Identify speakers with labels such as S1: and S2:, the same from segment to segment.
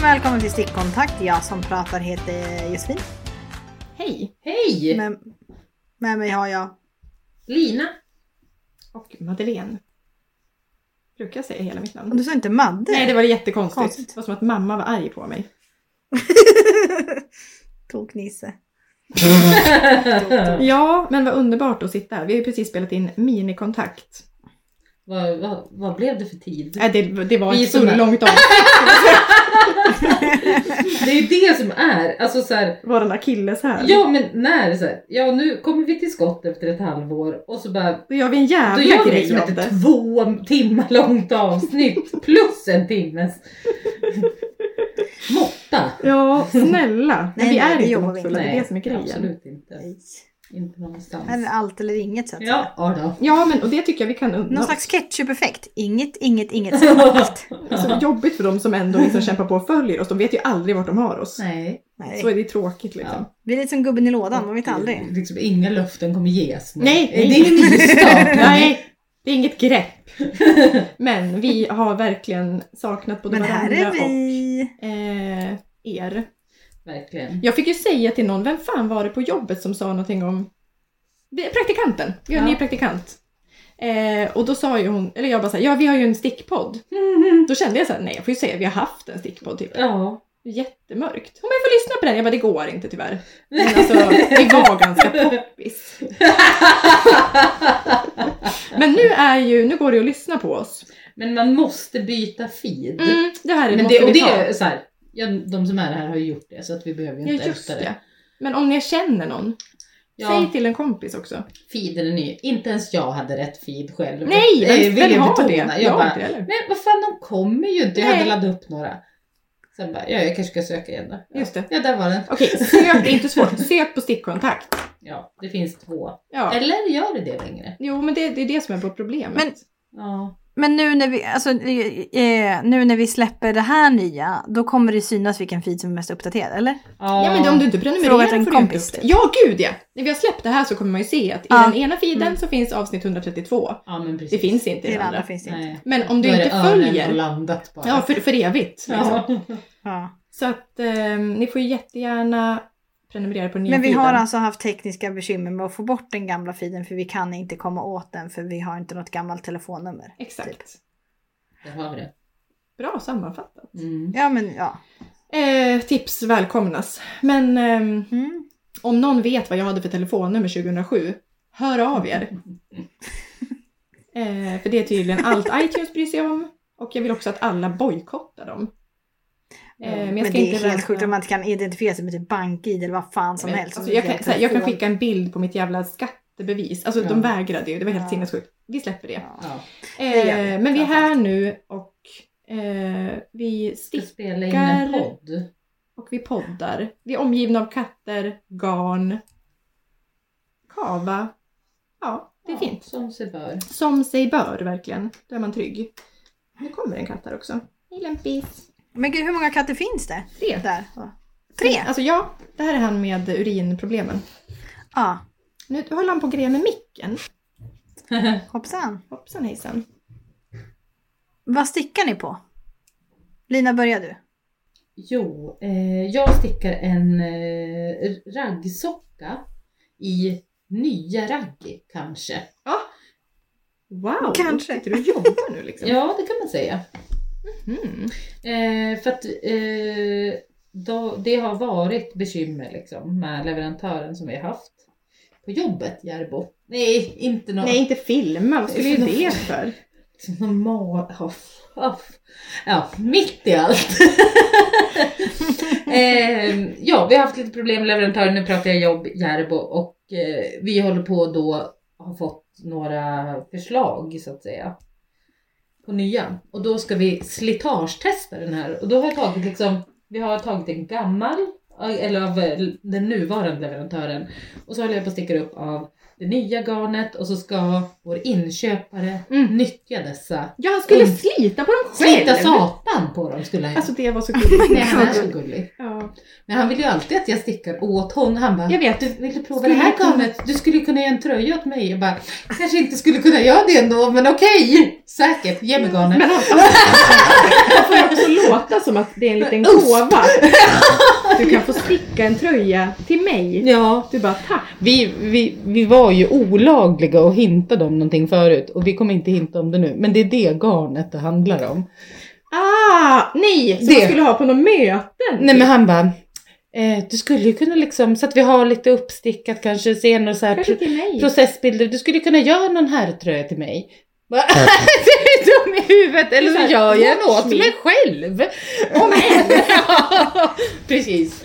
S1: välkommen till Stickkontakt. Jag som pratar heter Josefin.
S2: Hej!
S3: Hej!
S1: Med, med mig har jag...
S3: Lina.
S2: Och Madeleine. Brukar jag säga hela mitt namn?
S1: Du sa inte Madde?
S2: Nej, det var jättekonstigt.
S1: Konstigt.
S2: Det var som att mamma var arg på mig.
S1: Toknisse.
S2: Ja, men vad underbart att sitta här. Vi har ju precis spelat in minikontakt.
S3: vad, vad, vad blev det för tid?
S2: Nej, det, det var
S3: Vi
S2: ett
S3: som
S2: så
S3: är-
S2: långt avsnitt.
S3: Det är ju det som är, alltså så här,
S2: Våran akilleshäl.
S3: ja men när så här, ja nu kommer vi till skott efter ett halvår och så bara,
S2: Då gör vi en
S3: då
S2: jävla
S3: gör vi
S2: grej
S3: liksom
S2: av det.
S3: ett två timmar långt avsnitt plus en timmes måtta.
S2: Ja, snälla. Men
S1: Nej, nej,
S2: vi är
S1: det
S2: inte
S1: jobbar vi
S2: måttfulla, det
S3: Nej,
S2: är det som är grejen. äh,
S3: absolut inte.
S1: Nej.
S3: Inte någonstans.
S1: Här är det allt eller inget så att säga.
S3: Ja, ja då.
S2: Ja, men och det tycker jag vi kan
S1: Någon
S2: unna
S1: slags ketchup-effekt. Inget, inget, inget. så allt.
S2: Så Alltså, jobbigt för dem som ändå liksom kämpar på och följer oss. De vet ju aldrig vart de har oss.
S3: Nej.
S1: Nej.
S2: Så är det ju tråkigt liksom.
S3: Ja.
S1: Vi är lite som gubben i lådan, man vet aldrig.
S3: Liksom, inga löften kommer ges nu.
S2: Nej,
S3: det är ingen nyskap.
S2: Nej, det är inget grepp. Men vi har verkligen saknat både
S1: Men här
S2: varandra
S1: är vi.
S2: och eh, er.
S3: Verkligen.
S2: Jag fick ju säga till någon, vem fan var det på jobbet som sa någonting om Det är praktikanten? Vi har en
S3: Ja.
S2: ny praktikant. Eh, och då sa ju hon, eller jag bara såhär, ja vi har ju en stickpodd. Då kände jag såhär, nej jag får ju säga vi har haft en stickpodd typ.
S3: Ja.
S2: Jättemörkt. Hon bara, jag får lyssna på den. Jag bara, det går inte tyvärr. Men alltså, det var ganska poppis. Men nu är ju, nu går det att lyssna på oss.
S3: Men man måste byta feed.
S2: Mm, det här är
S3: Men
S2: måste
S3: det, och
S2: vi
S3: det
S2: ta.
S3: är så här, ja, de som är här har ju gjort det så att vi behöver ju
S2: Ja,
S3: inte
S2: just
S3: älta
S2: det. Men om ni känner någon,
S3: Ja.
S2: säg till en kompis också.
S3: Feeden är ny. Inte ens jag hade rätt feed själv.
S2: Nej,
S3: Eh,
S2: vem,
S3: vill
S2: vem
S3: jag
S2: har det?
S3: betona.
S2: Jag,
S3: Jag
S2: har
S3: bara,
S2: inte heller.
S3: men vad fan de kommer ju inte. Jag hade
S2: Nej.
S3: laddat upp några. Sen bara, ja jag kanske ska söka igen då. Ja,
S2: Just det.
S3: ja där var den.
S2: Okej, sök, det är inte svårt. Sök på stickkontakt.
S3: Ja, det finns två.
S2: Ja.
S3: Eller gör det det längre?
S2: Jo, men det, det är det som är vårt problem.
S1: Men-
S3: Ja.
S1: Men nu när, vi, alltså, eh, nu när vi släpper det här nya, då kommer det synas vilken feed som är mest uppdaterad, eller?
S2: Ja men om du inte
S1: Fråga
S2: prenumererar
S1: till en
S2: får du inte
S1: kompis,
S2: upp det.
S1: typ.
S2: Ja gud ja! När vi har släppt det här så kommer man ju se att i
S1: Ja.
S2: den ena feeden
S1: Mm.
S2: så finns avsnitt 132.
S3: ja men precis.
S2: Det finns inte i
S1: Det
S2: den
S1: andra
S2: andra.
S1: finns det inte.
S3: Nej.
S2: Men om du
S3: Då är
S2: inte
S3: det öronen och
S2: följer.
S3: landat bara.
S2: Ja, för, för evigt. Liksom.
S3: Ja.
S1: Ja.
S2: Så att eh, ni får ju jättegärna prenumerera på den nya
S1: Men vi
S2: feeden.
S1: har alltså haft tekniska bekymmer med att få bort den gamla feeden för vi kan inte komma åt den för vi har inte något gammalt telefonnummer.
S2: Exakt.
S3: Där har vi det.
S2: Bra sammanfattat.
S3: Mm.
S1: Ja men ja.
S2: Eh, tips välkomnas. Men ehm,
S1: Mm.
S2: om någon vet vad jag hade för telefonnummer 2007, hör av er. Eh, för det är tydligen allt iTunes bryr sig om. Och jag vill också att alla bojkottar dem. Eh,
S3: Ja.
S2: men jag
S1: Men
S2: ska
S1: det är
S2: inte
S1: helt
S2: räkna-
S1: sjukt om man inte kan identifiera sig med typ bank-id eller vad fan som
S3: Men,
S1: helst.
S2: Alltså, jag, kan, såhär, jag kan skicka en bild på mitt jävla skattebevis. Alltså de
S3: Ja.
S2: vägrade ju, det var helt
S1: Ja.
S2: sinnessjukt. Vi släpper det.
S1: Ja.
S3: Ja.
S1: det gör vi.
S2: Eh, men vi är här nu och eh, vi
S3: Ska
S2: stickar
S3: spela in en
S2: Stickar.
S3: podd.
S2: och vi poddar. Vi är omgivna av katter, garn, kava. Ja, det är
S3: Ja,
S2: fint.
S3: Som sig bör.
S2: Som sig bör verkligen. Då är man trygg. Nu kommer en katt här också. Hej Lempis!
S1: Men gud, hur många katter finns det?
S2: Tre.
S1: Där. Tre?
S2: Alltså ja, det här är han med urinproblemen.
S1: Ja.
S2: Nu höll han på att greja med micken.
S1: Hoppsan.
S2: Hoppsan hejsan.
S1: Vad stickar ni på? Lina, börjar du?
S3: Jo, eh, jag stickar en eh, raggsocka i nya ragg kanske.
S2: Wow!
S1: Kanske.
S2: Då sitter du och jobbar nu liksom.
S3: Ja, det kan man säga.
S2: Mm.
S3: Eh, för att eh, då, det har varit bekymmer liksom, med leverantören som vi har haft på jobbet, Järbo. Nej, inte någon...
S2: Nej, inte filma. Vad skulle ju det för?
S3: Liksom någon ma- hoff, hoff. Ja, mitt i allt. Ehm, ja, vi har haft lite problem med leverantören. Nu pratar jag jobb, Järbo och eh, vi håller på då har fått några förslag så att säga på nya och då ska vi slitagetesta den här och då har jag tagit liksom vi har tagit en eh, gammal eller av eh, den nuvarande leverantören och så håller jag på att sticka upp av det nya garnet och så ska vår inköpare
S2: Mm.
S3: nyttja dessa.
S2: Ja, han skulle
S3: Mm.
S2: slita på dem själv!
S3: Slita satan på dem skulle han
S2: Alltså
S3: alltså,
S2: det var så gulligt.
S3: Nej, han är
S2: så
S3: så
S2: gulligt.
S3: gullig.
S2: Ja.
S3: Men han vill ju alltid att jag stickar åt honom. Han bara,
S2: Jag vet.
S3: du ville prova
S2: Skulle
S3: det här
S2: kunna-
S3: garnet, du skulle kunna göra en tröja åt mig. Jag bara, jag kanske inte skulle kunna göra det ändå, men okej. Säkert, ge mig garnet.
S2: Men han, han får ju också låta som att det är en liten
S3: Uff.
S2: gåva. Du kan få sticka en tröja till mig.
S3: Ja,
S2: Du bara tack.
S3: vi, vi, vi var ju olagliga och hintade om någonting förut och vi kommer inte hinta om det nu. Men det är det garnet det handlar om.
S2: Ah, nej! Som
S3: Det.
S2: man skulle ha på något möten.
S3: Nej men han bara, eh, du skulle ju kunna liksom, så att vi har lite uppstickat kanske senare så här.
S2: Kanske till mig.
S3: processbilder, du skulle kunna göra någon herrtröja till mig. Bara, det är dum i huvudet, eller
S2: Det
S3: så
S2: är så här,
S3: gör jag den
S2: watch
S3: åt
S2: me.
S3: mig själv. Om Precis.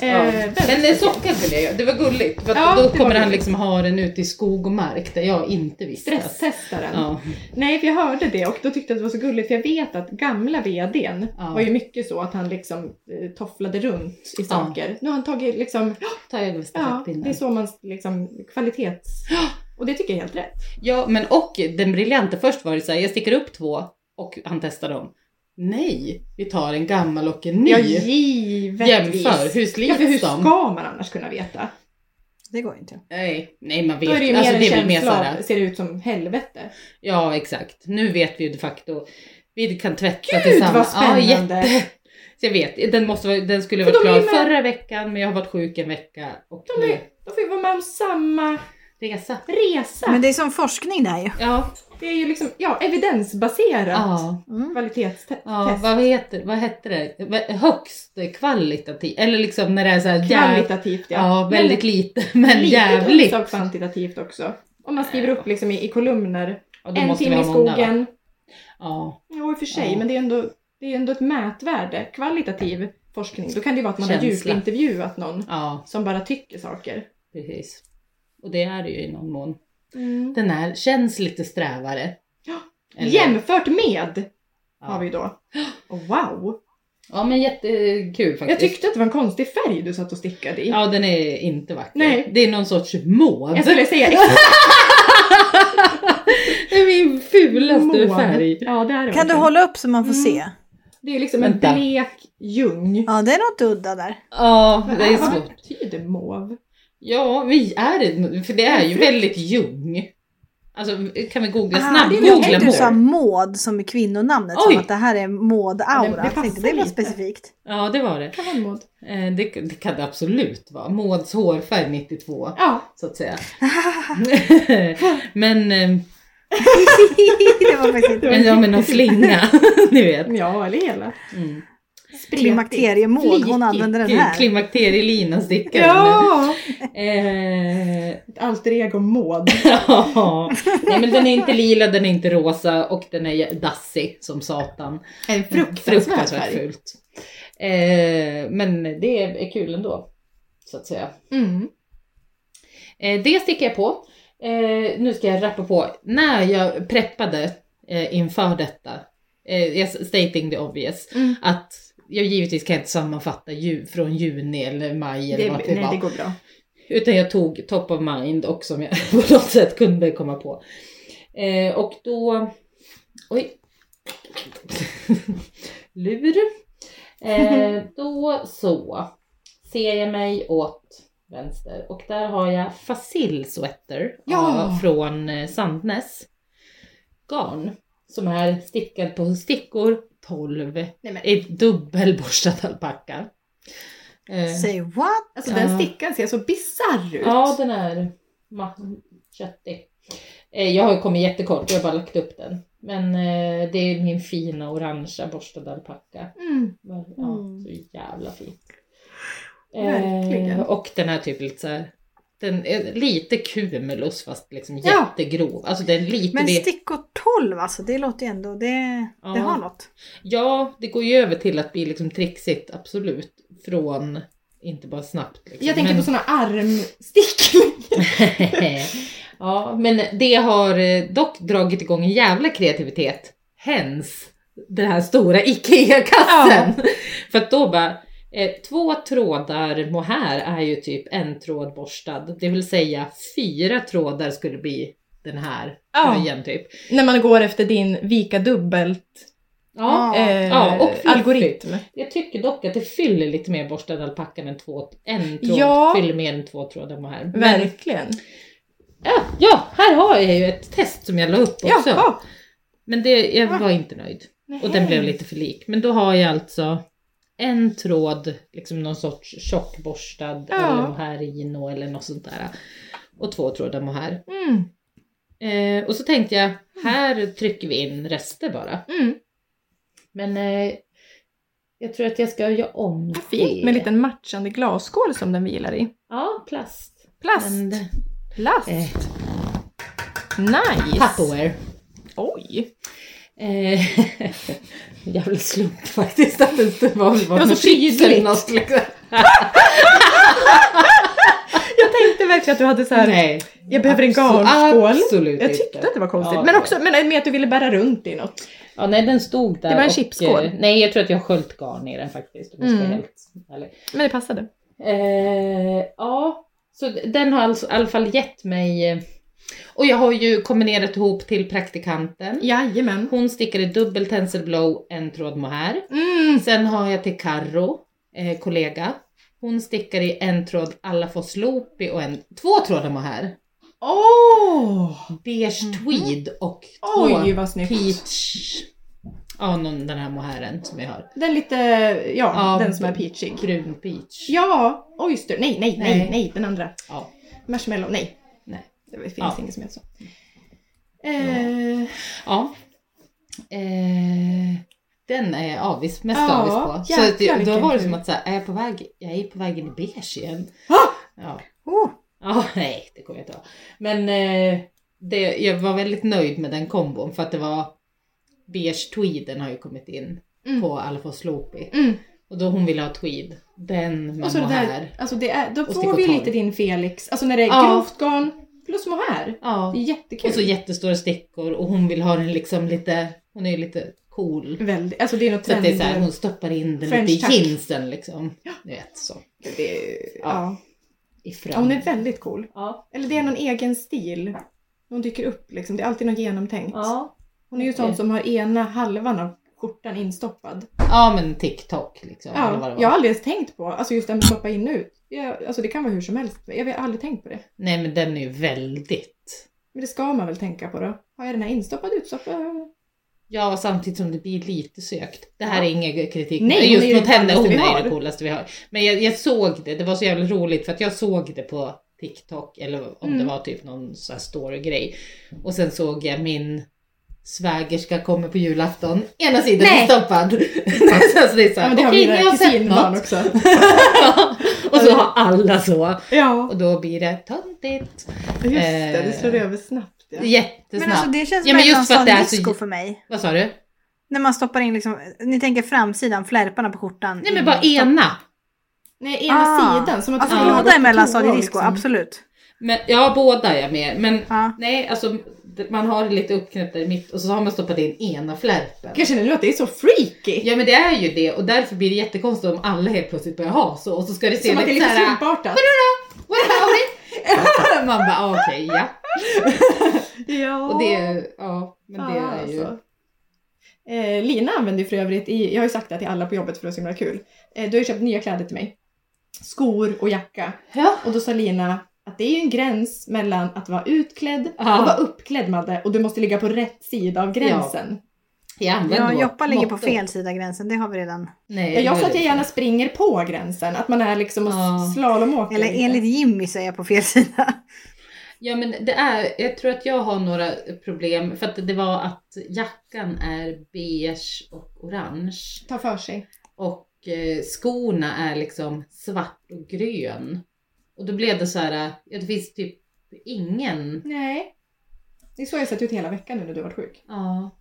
S3: Ja.
S2: Eh, vem-
S3: Men eh, sockar skulle jag göra, det var gulligt. För att
S2: Ja, det
S3: då
S2: var
S3: kommer han
S2: gulligt.
S3: liksom ha den ute i skog och mark där jag inte visste.
S2: Stresstesta den.
S3: Ja.
S2: Nej, för jag hörde det och då tyckte jag att det var så gulligt för jag vet att gamla VDn
S3: Ja.
S2: var ju mycket så att han liksom eh, tofflade runt i saker. Nu har han tagit liksom,
S3: Ta över
S2: ja, det är
S3: stafettpinnen.
S2: så man liksom kvalitets... Och det tycker jag är helt rätt.
S3: Ja, men och den briljanta, först var det så här, jag sticker upp två och han testar dem. Nej, vi tar en gammal och en ny.
S2: Ja, givetvis.
S3: Jämför, hur
S2: Ja,
S3: slits
S2: för hur
S3: de?
S2: ska man annars kunna veta?
S1: Det går ju inte.
S3: Nej, nej man vet.
S2: Då är det ju mer
S3: alltså,
S2: en
S3: det är väl mer
S2: känsla
S3: såhär,
S2: av, ser det ut som helvete?
S3: ja exakt. Nu vet vi ju de facto. Vi kan tvätta
S2: Gud
S3: tillsammans.
S2: vad
S3: Ja,
S2: spännande!
S3: jätte. Så jag vet, den, måste, vara- den skulle
S2: För
S3: varit
S2: de är
S3: klar
S2: ju med-
S3: förra veckan men jag har varit sjuk en vecka och
S2: De
S3: nu
S2: är, de får ju vara med om samma
S3: resa.
S2: resa.
S1: Men det är som forskning det här ju.
S3: Ja,
S2: det är ju liksom, ja, evidensbaserat
S3: ja,
S2: kvalitetstest.
S3: ja vad, heter, vad hette det? Va- Högst kvalitativ, eller liksom när det är såhär jävligt.
S2: Kvalitativt ja.
S3: Ja,
S2: Men
S3: väldigt lite men
S2: litet
S3: jävligt.
S2: också kvantitativt också. Om man skriver upp liksom i, i kolumner.
S3: Ja, då
S2: En
S3: måste vi
S2: timme i
S3: ha många, va?
S2: skogen.
S3: Ja,
S2: Ja, i och för sig,
S3: Ja.
S2: men det är, ändå, det är ändå ett mätvärde. Kvalitativ forskning, då kan det ju vara att man har
S3: Känsla.
S2: djupintervjuat någon
S3: ja,
S2: som bara tycker saker.
S3: precis. Och det är det ju i någon mån. Den här känns lite strävare.
S2: Ja.
S3: Eller-
S2: Jämfört med
S3: Ja.
S2: har vi ju då. Och wow!
S3: Ja men jättekul faktiskt.
S2: Jag tyckte att det var en konstig färg du satt och stickade i.
S3: Ja den är inte vacker.
S2: Nej.
S3: Det är någon sorts mauve.
S2: Jag skulle säga exakt
S3: Det är min fulaste
S2: mån.
S3: färg.
S2: Ja, det
S1: Kan
S2: är det
S1: du
S2: verkligen.
S1: hålla upp så man får
S2: Mm.
S1: se?
S2: Det är liksom en
S3: Vänta.
S2: blek ljung.
S1: Ja, det är något udda där.
S3: Ja det är
S2: Vad
S3: svårt.
S2: betyder mauve?
S3: Ja vi är det, för det är ju väldigt ljung. Alltså kan vi googla
S1: Ah,
S3: snabbt?
S2: Ah, det är
S1: jag tänkte
S3: Googla
S1: du sa
S3: mauve.
S1: Maud som är kvinnonamnet,
S3: Oj.
S1: som att det här är
S2: Ja, det- det
S1: Maud-aura. Jag tänkte,
S2: passar
S1: det var
S2: lite.
S1: specifikt.
S3: Ja det var det.
S2: Kan vara en mod.
S3: Eh, Det, det kan det absolut vara. Mauds hårfärg 92
S2: Ja,
S3: så att säga. men, eh,
S1: det var faktiskt inte
S3: men ja men någon slinga, ni vet.
S2: ja eller hela.
S3: Mm.
S2: Spretigt.
S1: Klimakteriemaud, hon använder den
S3: Gud,
S1: här.
S3: Klimakterielina stickar
S2: Ja!
S3: nu. Eh,
S2: Ett alter ego mod.
S3: ja. Nej men den är inte lila, den är inte rosa och den är dassig som satan.
S2: En fruktansvärd
S3: Fruktansvärt
S2: färg.
S3: fult. Eh, men det är kul ändå. Så att säga.
S2: Mm.
S3: Eh, det stickar jag på. Eh, nu ska jag rappa på. När jag preppade eh, inför detta, eh, jag stating the obvious,
S2: Mm.
S3: att jag givetvis kan inte sammanfatta ju, från juni eller maj eller
S2: Det,
S3: vad det
S2: nej,
S3: var.
S2: det går bra.
S3: Utan jag tog top of mind och som jag på något sätt kunde komma på. Eh, och då... Oj. Lur. Eh, då så ser jag mig åt vänster och där har jag Fasil Sweater
S2: Ja.
S3: av- från eh, Sandnes garn som är stickad på stickor 12
S2: Nej, men,
S3: i dubbelborstad alpacka. Eh,
S1: Say what?
S2: alltså
S3: Ja.
S2: den stickan ser så bisarr ut.
S3: Ja, den är ma- köttig. Eh, Jag har ju kommit jättekort, jag har bara lagt upp den. Men eh, det är min fina orangea borstade alpacka.
S2: Mm.
S3: Ja,
S1: Mm.
S3: så jävla fint.
S2: Verkligen.
S3: Eh, och den här typ lite så här, den är lite cumulus fast liksom
S2: Ja.
S3: jättegrov. Alltså den är lite
S1: Men
S3: det-
S1: stickor 12 alltså, det låter ju ändå, det,
S3: Ja.
S1: det har något.
S3: Ja, det går ju över till att bli liksom trixigt, absolut. Från, inte bara snabbt. Liksom.
S2: Jag tänker
S3: men...
S2: på såna armsticklingar.
S3: ja, men det har eh, dock dragit igång en jävla kreativitet. Hens den här stora IKEA-kassen. För att då bara, Eh, två trådar mohair är ju typ en tråd borstad. Det vill säga fyra trådar skulle bli den här
S2: Ja.
S3: tröjan typ.
S2: När man går efter din vika dubbelt
S1: Ja.
S2: eh,
S3: Ja, och fluffigt.
S2: algoritm.
S3: Jag tycker dock att det fyller lite mer borstad alpackan än två, en tråd
S2: Ja.
S3: fyller mer än två trådar mohair. Men-
S2: Verkligen.
S3: Ja, ja, här har jag ju ett test som jag la upp också.
S2: Jaha.
S3: Men det, jag
S2: Ah.
S3: var inte nöjd. Och den
S2: Nej.
S3: blev lite för lik. Men då har jag alltså en tråd, liksom någon sorts tjockborstad
S2: Ja.
S3: eller mohairino eller något sånt där. Och två trådar mohair.
S2: Mm.
S3: Eh, och så tänkte jag, här trycker vi in rester bara.
S2: Mm.
S3: Men eh, jag tror att jag ska göra om
S2: Vad Fint med en liten matchande glasskål som den vilar i.
S3: Ja, plast.
S2: Plast.
S3: Men det-
S2: Plast.
S3: eh,
S2: Nice.
S3: Tupperware.
S2: Oj.
S3: Eh, jävla slump faktiskt att det inte var, var,
S2: var så
S3: något chips eller
S2: tydligt.
S3: något, liksom.
S2: Jag tänkte verkligen att du hade så här.
S3: Nej.
S2: Jag behöver en
S3: Abso-
S2: garnskål.
S3: Absolut
S2: Jag tyckte
S3: inte.
S2: att det var konstigt.
S3: Ja,
S2: men
S3: ja.
S2: också men eh, med att du ville bära runt i något.
S3: Ja, nej den stod där.
S2: Det var en
S3: och,
S2: chipskål.
S3: eh, Nej, jag tror att jag har sköljt garn i den faktiskt. Om jag ska
S2: Mm.
S3: vara helt ärlig.
S2: Men det passade.
S3: Eh, ja, så den har alltså, i alla fall gett mig... eh, Och jag har ju kombinerat ihop till praktikanten.
S2: Jajamän.
S3: Hon stickade dubbel tencel blow, en tråd mohair.
S2: Mm.
S3: Sen har jag till Carro, eh, kollega. Hon stickar i en tråd alla får loopy och en, två trådar mohair.
S2: Åh!
S3: Beige tweed och två
S2: Mhm. Oj vad snyggt.
S3: peach. Ja, någon, den här mohairen som jag har.
S2: Den lite, ja,
S3: Ja,
S2: den som är peachig.
S3: Brun peach.
S2: Ja, oyster. Nej, nej, nej, nej,
S3: Nej.
S2: den andra.
S3: Ja.
S2: Marshmallow, nej.
S3: Nej.
S2: Det finns
S3: Ja.
S2: inget som heter så. Eh,
S3: ja. Eh, den är avis, mest
S2: Ja,
S3: avis på. Så
S2: jäklar
S3: det, då
S2: vilken
S3: var det som
S2: tur.
S3: att säga, är jag på väg, jag är på väg in i beige igen.
S2: Ah!
S3: Ja.
S1: Oh,
S3: Ja, nej, det kommer jag inte ha. Men eh, det, jag var väldigt nöjd med den kombon för att det var beige tweeden har ju kommit in
S2: Mm.
S3: på Alfa Sloopy.
S2: mm.
S3: Och då hon ville ha tweed. Den med
S2: Och så det
S3: mohair.
S2: där, alltså det är, då
S3: Och
S2: får vi
S3: stickotal.
S2: lite din Felix. Alltså när det är
S3: Ja.
S2: grovt garn plus mohair. Det
S3: Ja.
S2: är jättekul.
S3: Och så jättestora stickor och hon vill ha den liksom lite, hon är ju lite cool.
S2: Väldigt, alltså det är något
S3: Så att det är så här,
S2: trend-
S3: hon stoppar in den
S2: French
S3: lite
S2: touch.
S3: i jeansen liksom. Du vet så.
S2: det är, ja.
S3: Ja. I
S2: ja, hon är
S3: fram.
S2: väldigt cool.
S3: Ja.
S2: Eller det är någon egen stil. Hon dyker upp liksom, det är alltid något genomtänkt.
S3: Ja.
S2: Hon är ju sån som har ena halvan av skjortan instoppad.
S3: ja men TikTok liksom. eller vad
S2: Ja,
S3: det var.
S2: jag har aldrig ens tänkt på, alltså just det här med stoppa in och ut. Jag, alltså det kan vara hur som helst, jag har aldrig tänkt på det.
S3: Nej men den är ju väldigt
S2: Men det ska man väl tänka på då. Har jag den här instoppad, utstoppad?
S3: Ja, samtidigt som det blir lite sökt. Det här är ingen
S2: Nej,
S3: kritik Nej,
S2: hon är
S3: just
S2: ju
S3: mot
S2: det
S3: henne. Hon
S2: coolaste vi
S3: är
S2: har.
S3: det coolaste vi har. Men jag, jag såg det, det var så jävla roligt för att jag såg det på TikTok eller om
S2: Mm.
S3: det var typ någon sån här story-grej. Och sen såg jag min svägerska kommer på julafton, ena sidan
S2: Nej.
S3: är stoppad. alltså det är
S2: Ja,
S3: såhär,
S2: men det
S3: okej
S2: har mina
S3: ni har sett
S2: kusinbarn
S3: något.
S2: också.
S3: och så har alla så.
S2: Ja,
S3: Och eh, då blir det töntigt.
S2: just det, det slår över snabbt. Ja.
S3: Jättesnabbt.
S1: men alltså det känns
S3: Ja,
S1: ja,
S3: men
S1: verkligen
S3: just för att
S1: som
S3: det är så-
S1: disco för mig.
S3: Vad sa du?
S1: När man stoppar in liksom, ni tänker framsidan, flärparna på skjortan.
S3: Nej
S1: i-
S3: men bara
S2: Mm.
S3: ena.
S2: Nej, ena
S1: Ah.
S2: sidan. Som att
S1: Alltså
S2: du skulle ha gått
S1: båda
S2: på
S1: är mellanstadie
S2: toa,
S1: disco,
S2: liksom.
S1: absolut.
S3: Men, ja, båda är jag med. Men
S1: Ja.
S3: nej, alltså d- man har det lite uppknäppt där i mitt och så har man stoppat in ena flärpen.
S2: Jag känner nu att det är så freaky.
S3: Ja men det är ju det och därför blir det jättekonstigt om alla helt plötsligt börjar ha så och så ska det se
S2: Som att det är
S3: lite
S2: lite
S3: såhär,
S2: slumpartat.
S3: what about it? Man bara ah, okej ja.
S2: Ja.
S3: Och det, ja men det
S2: Ja,
S3: är ju.
S2: alltså. Eh, Lina använder ju för övrigt, i, jag har ju sagt det till alla på jobbet för det är så himla kul. Eh, du har ju köpt nya kläder till mig. Skor och jacka.
S3: Ja.
S2: Och då sa Lina att det är ju en gräns mellan att vara utklädd
S3: Ja.
S2: och vara uppklädd Madde och du måste ligga på rätt sida av gränsen.
S3: Jag använder
S1: Ja,
S3: vårt
S1: Joppa ligger på
S3: motto.
S1: fel sida gränsen, det har vi redan.
S3: Nej,
S2: Ja. Jag sa att jag
S3: det-
S2: gärna springer på gränsen, att man är liksom och
S3: Ja.
S2: slalomåker
S1: Eller
S2: lite.
S1: enligt Jimmy så är jag på fel sida.
S3: Ja men det är, jag tror att jag har några problem för att det var att jackan är beige och orange.
S2: Ta för sig.
S3: och eh, skorna är liksom svart och grön. Och då blev det så här, eh, ja det finns typ ingen.
S2: Nej. Det är så jag sett ut hela veckan nu när du varit sjuk.
S3: Ja.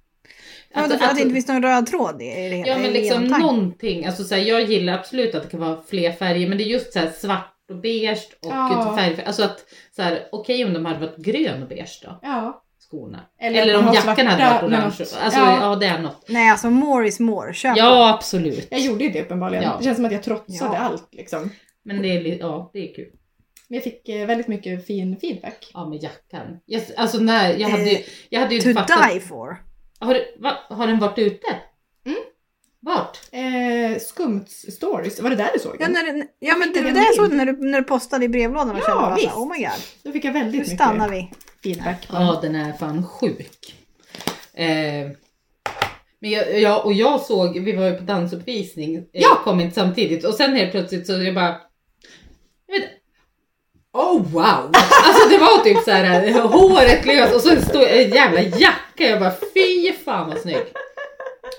S1: Ja,
S3: Alltså,
S1: för att det inte
S3: alltså,
S1: finns någon röd tråd i i det hela.
S3: ja
S1: i
S3: men liksom
S1: genomtanken.
S3: någonting, alltså så här, jag gillar absolut att det kan vara fler färger men det är just så här svart och beige och
S2: Ja.
S3: färg, alltså att så här, okej om de hade varit grön och beige då.
S2: Ja.
S3: Så skorna.
S2: Eller
S3: Eller,
S2: att man har
S3: om jackan hade
S2: svarta
S3: varit orange.
S2: med något.
S3: Alltså
S2: Ja.
S3: ja. det är något.
S1: Nej alltså more is more, köp det.
S3: Ja absolut.
S2: Jag gjorde ju det uppenbarligen.
S3: Ja.
S2: Det känns som att jag trotsade
S1: Ja.
S2: allt liksom.
S3: Men det är, li- ja, det är kul.
S2: Men jag fick eh, väldigt mycket fin feedback.
S3: Ja med jackan. Jag, alltså när, jag hade ju, jag hade ju
S1: To
S3: fattat.
S1: die for.
S3: Har, du- va, har den varit ute?
S2: Mm.
S3: Vart?
S2: Eh, skumt stories, var det där du såg
S1: Ja,
S2: den?
S1: när, den- ja men
S2: fick
S1: det
S2: den
S1: var
S2: en
S1: det jag såg
S2: bild.
S1: när du, när du postade i brevlådan och
S2: Ja,
S1: kände bara så
S2: visst.
S1: här, oh my god.
S2: Då fick jag
S1: Nu
S2: väldigt
S1: stannar
S2: mycket
S1: vi.
S2: feedback. på den.
S3: Ja, den är fan sjuk. Eh, men jag, jag, och jag såg, vi var ju på dansuppvisning, eh,
S2: Ja!
S3: kom inte samtidigt och sen helt plötsligt så jag bara, jag vet, oh wow! Alltså det var typ så här håret löst och så stod en jävla jacka, jag bara fy fan vad snygg!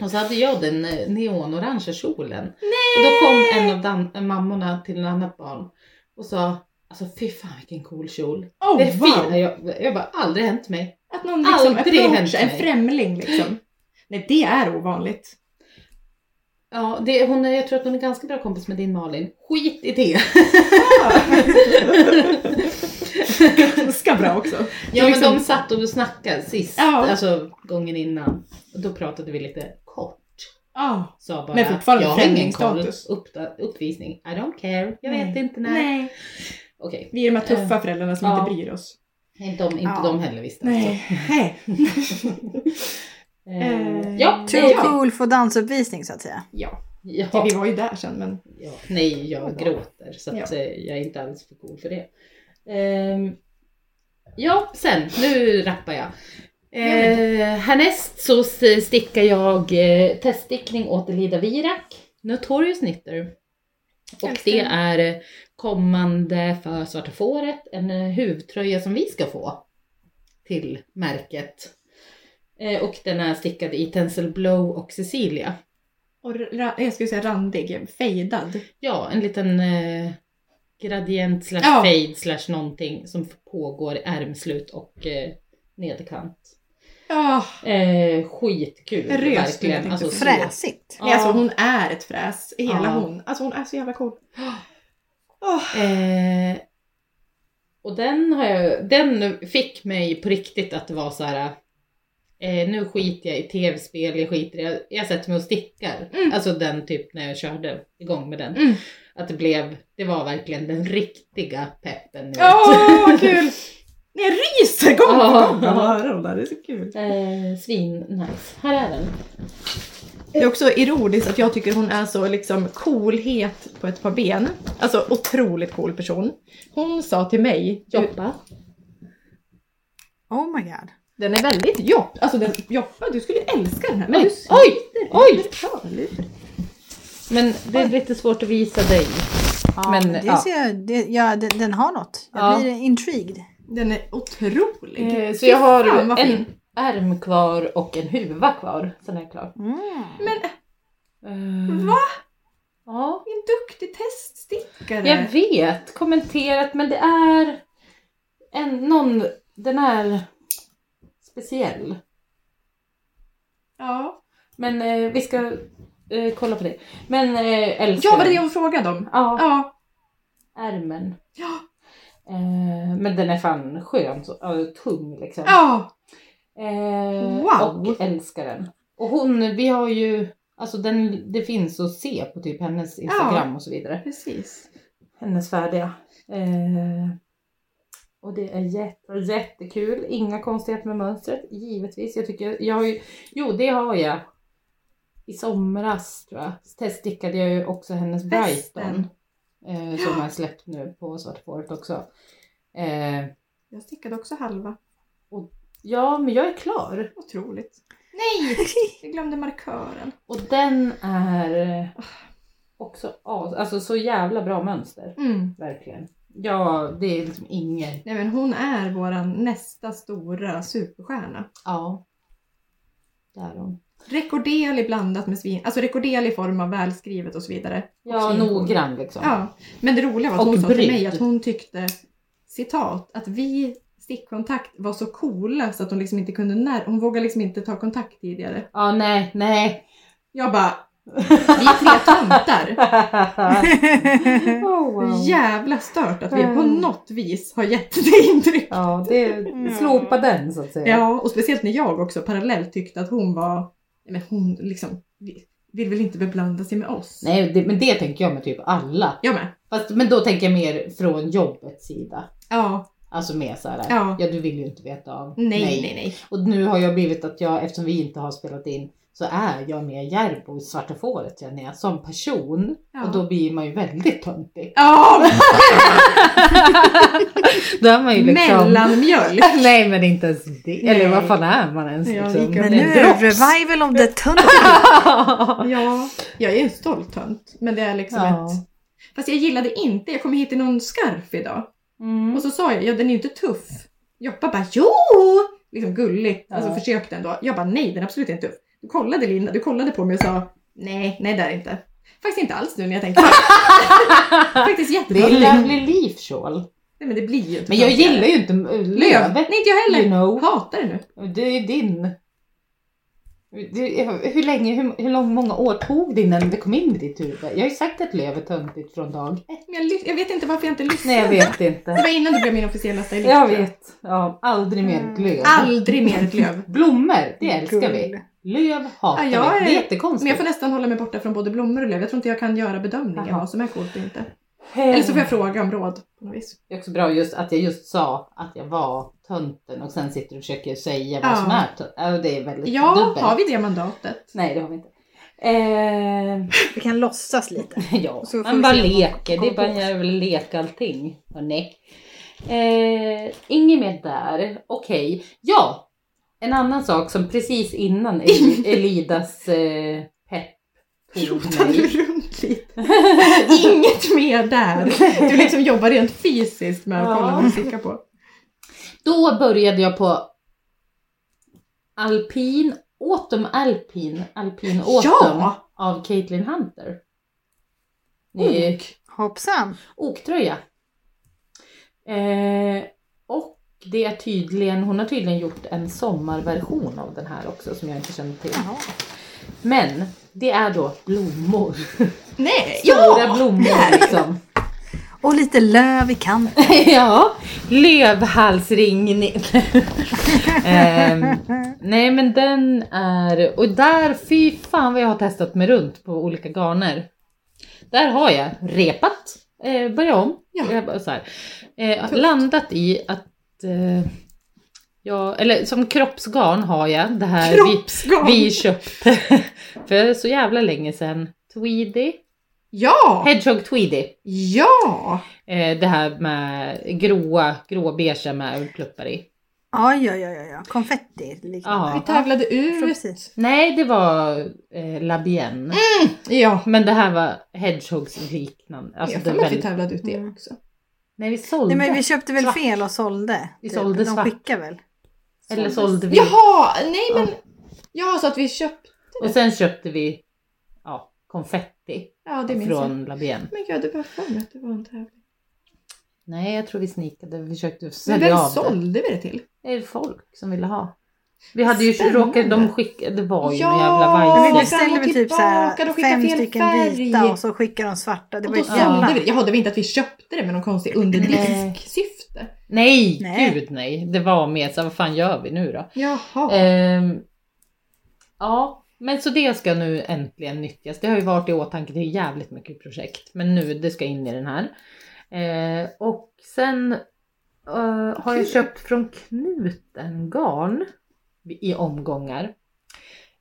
S3: Och så hade jag den eh, neonorangea kjolen. Och då kom en av dan- eh, mammorna till en annat barn och sa, alltså fy fan vilken cool kjol.
S2: Oh,
S3: det är
S2: wow.
S3: fina, jag, jag bara aldrig hänt mig.
S2: Att någon liksom
S3: Aldrig
S2: approachar,
S3: hänt
S2: en
S3: mig.
S2: främling liksom. Nej, det är ovanligt.
S3: Ja, det, hon är, jag tror att hon är ganska bra kompis med din Malin. Skit i det!
S2: Ganska bra också.
S3: Ja men
S2: liksom-
S3: de satt och snackade sist,
S2: Ja.
S3: alltså gången innan. Och då pratade vi lite kort.
S2: Ja.
S3: Sa bara,
S2: Men fortfarande
S3: jag har ingen koll.
S2: främlingsstatus.
S3: Uppda- uppvisning, I don't care. Jag vet inte när.
S2: Nej.
S3: Okej,
S2: Vi är de här tuffa föräldrarna som
S3: Ja.
S2: inte bryr oss. Alltså.
S3: inte, de, inte
S1: Ja.
S3: de heller visste.
S2: Nej. Nej.
S3: Alltså. Eh,
S2: Eh,
S3: ja,
S1: Too
S3: nej, ja.
S1: cool för dansuppvisning så att säga.
S2: Ja,
S3: Ja,
S2: vi var ju där sen men
S3: ja. Nej, jag gråter så att
S2: Ja.
S3: eh, jag är inte alls för cool för det. Ehm, ja, sen. Nu rappar jag. Eh, härnäst så s- stickar jag eh, teststickning åt Elida Virak, Notorious Knitter. Och
S2: Älskar
S3: det
S2: den.
S3: är eh, kommande för Svarta Fåret, en eh, huvudtröja som vi ska få till märket. Eh, och den är stickad i Tencel Blow och Cecilia.
S2: och ra- jag skulle säga randig, fejdad.
S3: Ja, en liten eh, gradient slash
S2: Ja.
S3: fade slash någonting som pågår i ärmslut och eh, nederkant.
S2: Ja,
S3: Eh, skitkul,
S2: En rös skulle jag
S3: verkligen.
S2: tänka
S3: Alltså,
S2: på.
S3: så-
S1: Fräsigt.
S2: men alltså
S3: Ja.
S2: hon är ett fräs, hela
S3: Ja.
S2: hon. Alltså hon är så jävla cool. Åh,
S3: Eh, och den, har jag, den fick mig på riktigt att vara så här. Eh, nu skiter jag i tv-spel, jag skiter i, jag, jag sätter mig och stickar.
S2: Mm.
S3: Alltså den typ när jag körde igång med den.
S2: Mm.
S3: Att det blev, det var verkligen den riktiga peppen. nu.
S2: Åh, vad kul! Nej, jag ryser gång på
S3: Ja.
S2: gång av att höra om det här, det är så kul.
S3: Eh, svin nice. Här är den.
S2: Det är också ironiskt att jag tycker hon är så liksom coolhet på ett par ben. Alltså otroligt cool person. Hon sa till mig,
S3: Joppa.
S1: Oh my god.
S2: den är väldigt jopp. Alltså den, joppa, du skulle älska den här. Men
S3: Oj,
S2: du
S3: oj, oj!
S2: oj!
S3: Men det är lite svårt att visa dig.
S1: Ja,
S3: Men,
S1: det
S3: ja.
S1: ser jag, det, ja, den, den har något. Jag
S3: Ja.
S1: blir intrigued.
S2: Den är otrolig.
S3: Eh, så jag har
S2: fan, vad
S3: en
S2: fin.
S3: ärm kvar och en huva kvar. Sen är det klart.
S1: Mm.
S2: Eh,
S3: Va? Ja.
S2: En duktig teststickare.
S3: Jag vet, kommenterat, men det är en, någon, den är speciell.
S2: Ja.
S3: Men eh, vi ska eh, kolla på det. Men eh, älskar
S2: ja, var det
S3: den.
S2: hon frågade om?
S3: Ja.
S2: Ja.
S3: ärmen.
S2: Ja.
S3: Eh, men den är fan skön, så, ja, tung liksom.
S2: Ja.
S3: Eh,
S2: Wow.
S3: Och älskar den. Och hon, vi har ju, alltså den, det finns att se på typ hennes Instagram och så vidare.
S2: Precis.
S3: Hennes färdiga. Eh, och det är jätte, jättekul, inga konstigheter med mönstret, givetvis. Jag tycker, jag har ju, jo det har jag. I somras tror jag, teststickade jag ju också
S2: Festen.
S3: hennes Brighton. Eh, som har släppt nu på Svarta Fåret också. Eh,
S2: Jag stickade också halva.
S3: ja, men jag är klar.
S2: Otroligt. Nej! Jag glömde markören.
S3: Och den är eh, också as- alltså så jävla bra mönster.
S2: Mm.
S3: Verkligen. Ja, det är liksom inget.
S2: Nej men hon är våran nästa stora superstjärna.
S3: Ja. Där är hon.
S2: Rekorderlig blandat med svin. Alltså rekorderlig i form av välskrivet och så vidare.
S3: Ja,
S2: Och fin.
S3: noggrann liksom.
S2: Ja, men det roliga var att
S3: Och
S2: hon sa till
S3: bryt.
S2: mig att hon tyckte, citat, att vi stickkontakt var så coola så att hon liksom inte kunde när, hon vågade liksom inte ta kontakt tidigare.
S3: Ja, nej, nej.
S2: Jag bara,
S4: Vi är tre tomtar.
S3: oh, wow.
S2: Jävla stört att vi på
S3: Mm.
S2: något vis har gett det intryck.
S3: Ja, det, slopa den så att säga.
S2: Ja, och speciellt när jag också parallellt tyckte att hon var, nej men hon liksom vi- vill väl inte beblanda sig med oss.
S3: Nej, det, men det tänker jag med typ alla.
S2: Jag med.
S3: Fast, men då tänker jag mer från jobbets sida.
S2: Ja,
S3: Alltså mer såhär, ja.
S2: Ja.
S3: ja du vill ju inte veta av
S2: nej,
S3: mig.
S2: nej, nej.
S3: Och nu har jag blivit att jag, eftersom vi inte har spelat in, så är jag mer Järbo i Svarta Fåret känner jag, som person.
S2: Ja.
S3: Och då blir man ju väldigt töntig.
S2: Ja,
S3: Då är man ju liksom...
S2: mellanmjölk.
S3: Nej men inte ens det.
S2: Nej.
S3: Eller vad fan är man ens
S2: Ja,
S3: liksom?
S2: gick upp
S1: Men
S3: Det
S1: nu
S3: är
S1: är det
S3: drops.
S1: revival of the tunt.
S2: Ja, jag är en stolt tönt. Men det är liksom
S3: Ja.
S2: ett... Fast jag gillade inte, jag kom hit i någon skarf idag.
S3: Mm.
S2: Och så sa jag, ja den är ju inte tuff. Joppa bara, jo! Liksom gulligt, alltså
S3: Ja.
S2: försökte ändå. Jag bara, nej den är absolut inte tuff. Du kollade Linda, du kollade på mig och sa, nej, nej det är det inte. Faktiskt inte alls nu när jag tänker Faktiskt jättebra.
S3: Det är
S2: Nej
S3: Lovely Leaf Shawl.
S2: men det blir ju inte
S3: Men jag
S2: töntigare.
S3: gillar ju inte äh,
S2: löv.
S3: lövet.
S2: Nej inte jag
S3: You
S2: heller.
S3: know.
S2: Hatar det nu.
S3: Det är ju din. Du, hur länge, hur, hur lång, många år tog det innan det kom in i ditt huvud? Jag har ju sagt att löv är töntigt från dag ett.
S2: Men jag, ly- jag vet inte varför jag inte lyssnade.
S3: Nej jag vet
S2: Det
S3: inte.
S2: var innan du blev min officiella stylist.
S3: Jag
S2: tror
S3: vet. Ja, aldrig mer ett löv.
S2: Mm. Aldrig mer ett löv.
S3: Blommor, det älskar vi. Löv hatar
S2: Ja, jag är-
S3: vi. Det är
S2: Men
S3: jättekonstigt.
S2: jag får nästan hålla mig borta från både blommor och löv. Jag tror inte jag kan göra bedömningen
S3: Jaha. Eh.
S2: vad som är coolt och inte.
S3: Hem.
S2: Eller så får jag fråga om råd på något vis.
S3: Det är också bra just att jag just sa att jag var tönten och sen sitter du och försöker säga vad
S2: Ja.
S3: som är tönt. Ja, det är väldigt
S2: Ja,
S3: dubbelt.
S2: har vi det mandatet?
S3: Nej, det har vi inte. Eh,
S1: Vi kan låtsas lite.
S3: Ja,
S1: Så får
S3: man
S1: vi
S3: bara
S1: se vad man
S3: leker. Det
S1: kommer
S3: är bara
S1: på.
S3: en jävla lek allting. Hörrni. Eh, inget mer där. Okej. Ja! En annan sak som precis innan El- Elidas eh, pepp tog
S2: Rotar du
S3: mig.
S2: runt lite? Inget mer där! Du liksom jobbar rent fysiskt med att
S3: Ja.
S2: kolla vad du stickar på.
S3: Då började jag på alpin, autumn alpin, alpin autumn
S2: Ja!
S3: av Caitlin Hunter. Eh, Ni-
S2: Ok.
S1: Hoppsan.
S3: Oktröja. Eh, och det är tydligen, hon har tydligen gjort en sommarversion av den här också som jag inte känner till.
S1: Jaha.
S3: Men det är då blommor.
S2: Nej!
S3: Stora
S2: Ja!
S3: blommor liksom.
S1: Och lite löv i kanten.
S3: ja, lövhalsringning. Ehm, nej men den är, och där, fy fan vad jag har testat mig runt på olika garner. Där har jag repat, eh, börjat om.
S2: Ja.
S3: Jag bara så här. Eh, landat i att, eh, jag, eller som kroppsgarn har jag det här vi,
S2: Kroppsgarn!
S3: vi köpte för så jävla länge sedan. Tweedy,
S2: Ja!
S3: Hedgehog Tweedy.
S2: Ja!
S3: Eh, det här med gråa, gråa beiga med ölpluppar i.
S1: Ja, ja, ja, ja, ja. Konfetti. liknande.
S3: Ja.
S2: Vi tävlade ut.
S1: Precis.
S3: Nej, det var eh, Labienne.
S2: Ja.
S3: Men det här var Hedgehogs liknande. Alltså,
S2: jag
S3: det
S2: har
S3: är
S2: för mig att vi
S3: väldigt...
S2: tävlade ut det
S1: Mm.
S2: också.
S3: Nej, vi sålde.
S1: Nej, men vi köpte väl
S3: Svart.
S1: fel och sålde.
S3: Vi
S1: typ.
S3: sålde
S1: De
S3: svart.
S1: skickar väl?
S3: Eller sålde vi.
S2: Jaha! Nej men... Ja, så att vi köpte...
S3: Och sen köpte vi ja, konfetti
S2: Ja, det minns jag.
S3: från Labienne.
S2: Men gud, det var för mig att det var en tävling.
S3: Nej, jag tror vi sneakade. Vi försökte
S2: Men
S3: sälja
S2: vem
S3: av det.
S2: sålde vi det till?
S3: Det är folk som ville ha. Vi hade ju
S2: Spännande.
S3: råkat, de skickade, det var ju en
S2: Ja,
S1: Men vi
S3: jävla vajs.
S2: fram och
S1: beställde väl typ så här
S2: tillbaka, de skickar
S1: fem
S2: fel
S1: stycken
S2: färg.
S1: vita och så skickar de svarta. Det
S2: och
S1: var
S2: då
S1: ju ett
S3: jävla-
S2: sålde
S1: jävla...
S2: vi det. Jaha, det var inte att vi köpte det med någon konstig underdisk-syfte.
S3: Nej,
S1: Nej.
S3: gud nej. Det var mer så här, vad fan gör vi nu då?
S2: Jaha.
S3: Ehm, ja, men så det ska nu äntligen nyttjas. Det har ju varit i åtanke, det är jävligt mycket projekt. Men nu, det ska in i den här. Eh, och sen eh, har jag köpt från Knuten garn i omgångar.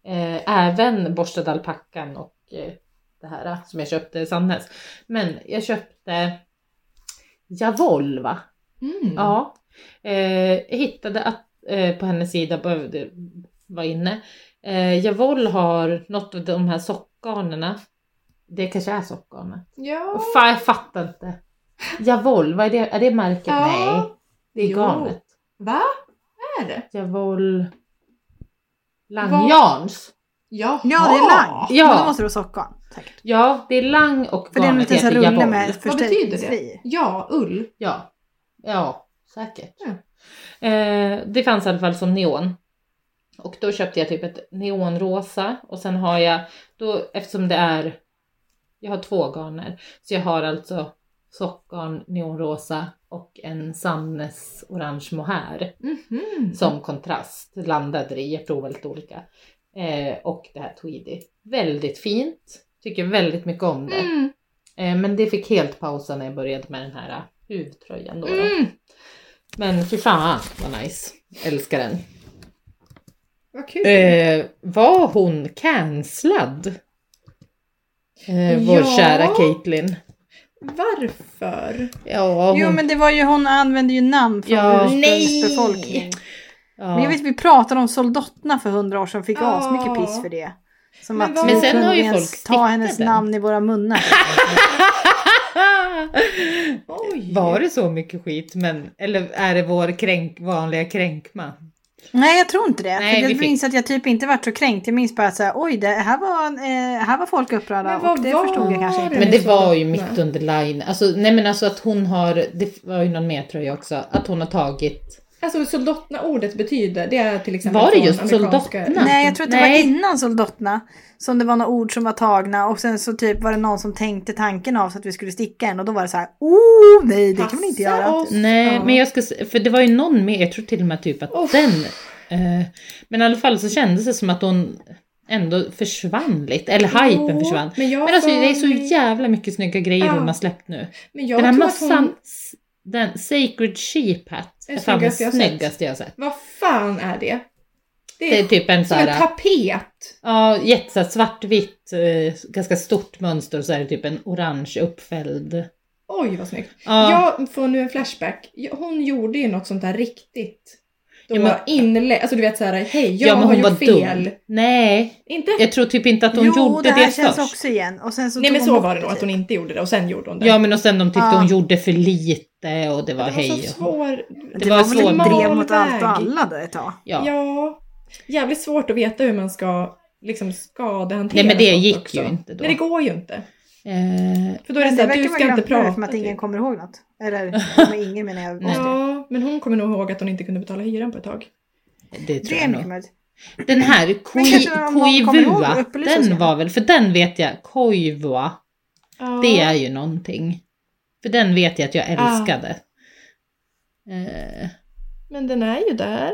S3: Eh, även borstad alpackan och eh, det här eh, som jag köpte i Sandnes. Men jag köpte Javolva.
S2: Mm.
S3: Ja. Eh, jag hittade att eh, på hennes sida behövde vara inne. Eh, Javol har något av de här sockgarnerna. Det kanske är sockgarner.
S2: Ja.
S3: Fan jag fattar inte. Javol, vad är det? Är det märket?
S2: Ja.
S3: Nej. Det är
S2: Jo.
S3: garnet.
S2: Va? Är det?
S3: Javol... Langjans.
S2: Jaha.
S1: Ja, det är lang.
S3: Ja.
S1: Men då måste det vara sockgarn. säkert.
S3: Ja, det är lang och
S1: För det är en
S3: garnet
S1: liten sån
S3: heter
S1: rulle
S3: Javol.
S1: med
S2: Vad betyder det?
S1: förstärkningsfri.
S2: Ja, ull.
S3: Ja, ja säkert.
S2: Ja.
S3: Eh, det fanns i alla fall som neon. Och då köpte jag typ ett neonrosa och sen har jag, då, eftersom det är, jag har två garner, så jag har alltså sockgarn, neonrosa och en Samnes orange mohair
S2: Mhm.
S3: som kontrast landade i. Jag provade lite olika. Eh, och det här tweedy. Väldigt fint. Tycker väldigt mycket om det.
S2: Mm.
S3: Eh, men det fick helt pausa när jag började med den här eh, huvtröjan då. då.
S2: Mm.
S3: Men fy fan vad nice. Älskar den.
S2: Vad kul.
S3: Eh, var hon cancellad? Eh, vår
S2: Ja.
S3: kära Caitlyn.
S2: Varför?
S3: Ja,
S1: Jo
S3: hon-
S1: men det var ju, hon använde ju namn från
S3: Ja.
S1: ursprungsbefolkningen.
S3: ja.
S1: Men jag vet vi pratade om soldaterna för hundra år sedan fick
S2: Ja.
S1: asmycket piss för det. Som
S2: Men
S1: att
S2: vad-
S1: vi
S2: Men sen
S1: kunde
S3: har ju
S1: ens
S3: folk
S1: ta hennes
S3: stickade.
S1: namn i våra munnar.
S2: Oj.
S3: Var det så mycket skit? Men, eller är det vår kränk, vanliga kränkma?
S1: Nej jag tror inte det.
S3: Nej,
S1: för
S3: vi
S1: jag
S3: fick-
S1: minns att jag typ inte varit så kränkt. Jag minns bara att säga, oj det här var, eh, här var folk upprörda
S2: Men vad
S1: och det
S2: var
S1: förstod jag kanske inte.
S2: det?
S3: Men
S2: är
S3: det
S2: så
S3: var ju
S2: dumt,
S3: mitt
S2: nej.
S3: under line. Alltså, nej men alltså att hon har, det var ju någon mer tröja också, att hon har tagit.
S2: Alltså soldatna ordet betyder, det är till exempel
S3: Var det
S2: från
S3: just
S2: amerikanska-
S3: soldatna?
S1: Nej jag tror att det
S3: Nej.
S1: var innan soldaterna som det var några ord som var tagna och sen så typ var det någon som tänkte tanken av så att vi skulle sticka en och då var det så här, oh nej det kan man inte
S2: Passa
S1: göra.
S2: oss.
S3: Nej
S2: Ja.
S3: men jag ska, s- för det var ju någon mer, jag tror till och med typ att
S2: Uff.
S3: den. Eh, men i alla fall så kändes det som att hon ändå försvann lite, eller hypen
S2: Jo,
S3: försvann.
S2: Men, jag
S3: Men alltså
S2: för
S3: det är så
S2: mig-
S3: jävla mycket snygga grejer
S2: Ja.
S3: hon har släppt nu.
S2: Men jag
S3: den här
S2: tror
S3: massan,
S2: att hon...
S3: s- den Sacred Sheep Hat,
S2: Är
S3: är fan den
S2: snyggaste jag sett.
S3: snyggaste jag har sett.
S2: Vad fan är det? Det
S3: Det
S2: är,
S3: är typ en
S2: som en
S3: såhär,
S2: tapet.
S3: ja jätte såhär svartvitt, eh, ganska stort mönster och så är det typ en orange uppfälld.
S2: Oj vad snyggt.
S3: Ja,
S2: Jag får nu en flashback. Jag- Hon gjorde ju något sånt där riktigt. Då
S3: Ja,
S2: ja,
S3: men-
S2: inlä... Alltså du vet såhär, hej jag
S3: ja, men
S2: har
S3: hon
S2: gjort
S3: var
S2: fel.
S3: dum. Nej,
S2: Inte?
S3: jag tror typ inte att hon
S1: jo
S3: gjorde
S1: det
S3: det,
S1: här känns
S3: först.
S1: också igen. Och sen så
S2: Nej
S1: tog
S2: men
S1: hon
S2: så
S1: bort
S2: var det
S1: det
S2: nog, att
S1: typ.
S2: hon inte gjorde det och sen gjorde hon det.
S3: Ja men och sen de tyckte
S1: Ja.
S3: hon gjorde för lite och det var
S2: det var
S3: hej.
S2: så
S3: och-
S2: svår...
S1: Det,
S3: Det
S1: var,
S3: var
S1: väl ett
S3: så
S1: drev
S2: mal
S1: mot allt och
S2: väg.
S1: alla där ett tag.
S3: Ja.
S2: Ja. Jävligt svårt att veta hur man ska liksom skadehantera
S3: Nej men det
S2: sånt
S3: gick
S2: också.
S3: ju inte då.
S2: Nej det går ju inte.
S3: Eh,
S2: För då är det,
S1: Men
S2: så
S1: det
S2: här,
S1: verkar
S2: du ska
S1: vara
S2: inte
S1: grannfröer
S2: prata.
S1: som att
S2: typ.
S1: ingen kommer ihåg något. Eller med ingen menar jag.
S3: Nej.
S2: Ja, men hon kommer nog ihåg att hon inte kunde betala hyran på ett tag.
S3: det tror
S1: Det är
S3: jag
S1: mycket
S3: nog.
S1: möjligt.
S3: Den här
S1: kanske om någon
S3: Koi-
S1: kommer ihåg
S3: Koivua,
S1: att upplysa oss
S3: den
S1: om.
S3: var väl, för den vet jag, Koivua,
S2: Ja.
S3: det är ju någonting. För den vet jag att jag älskade. Eh,
S2: Men den är ju där.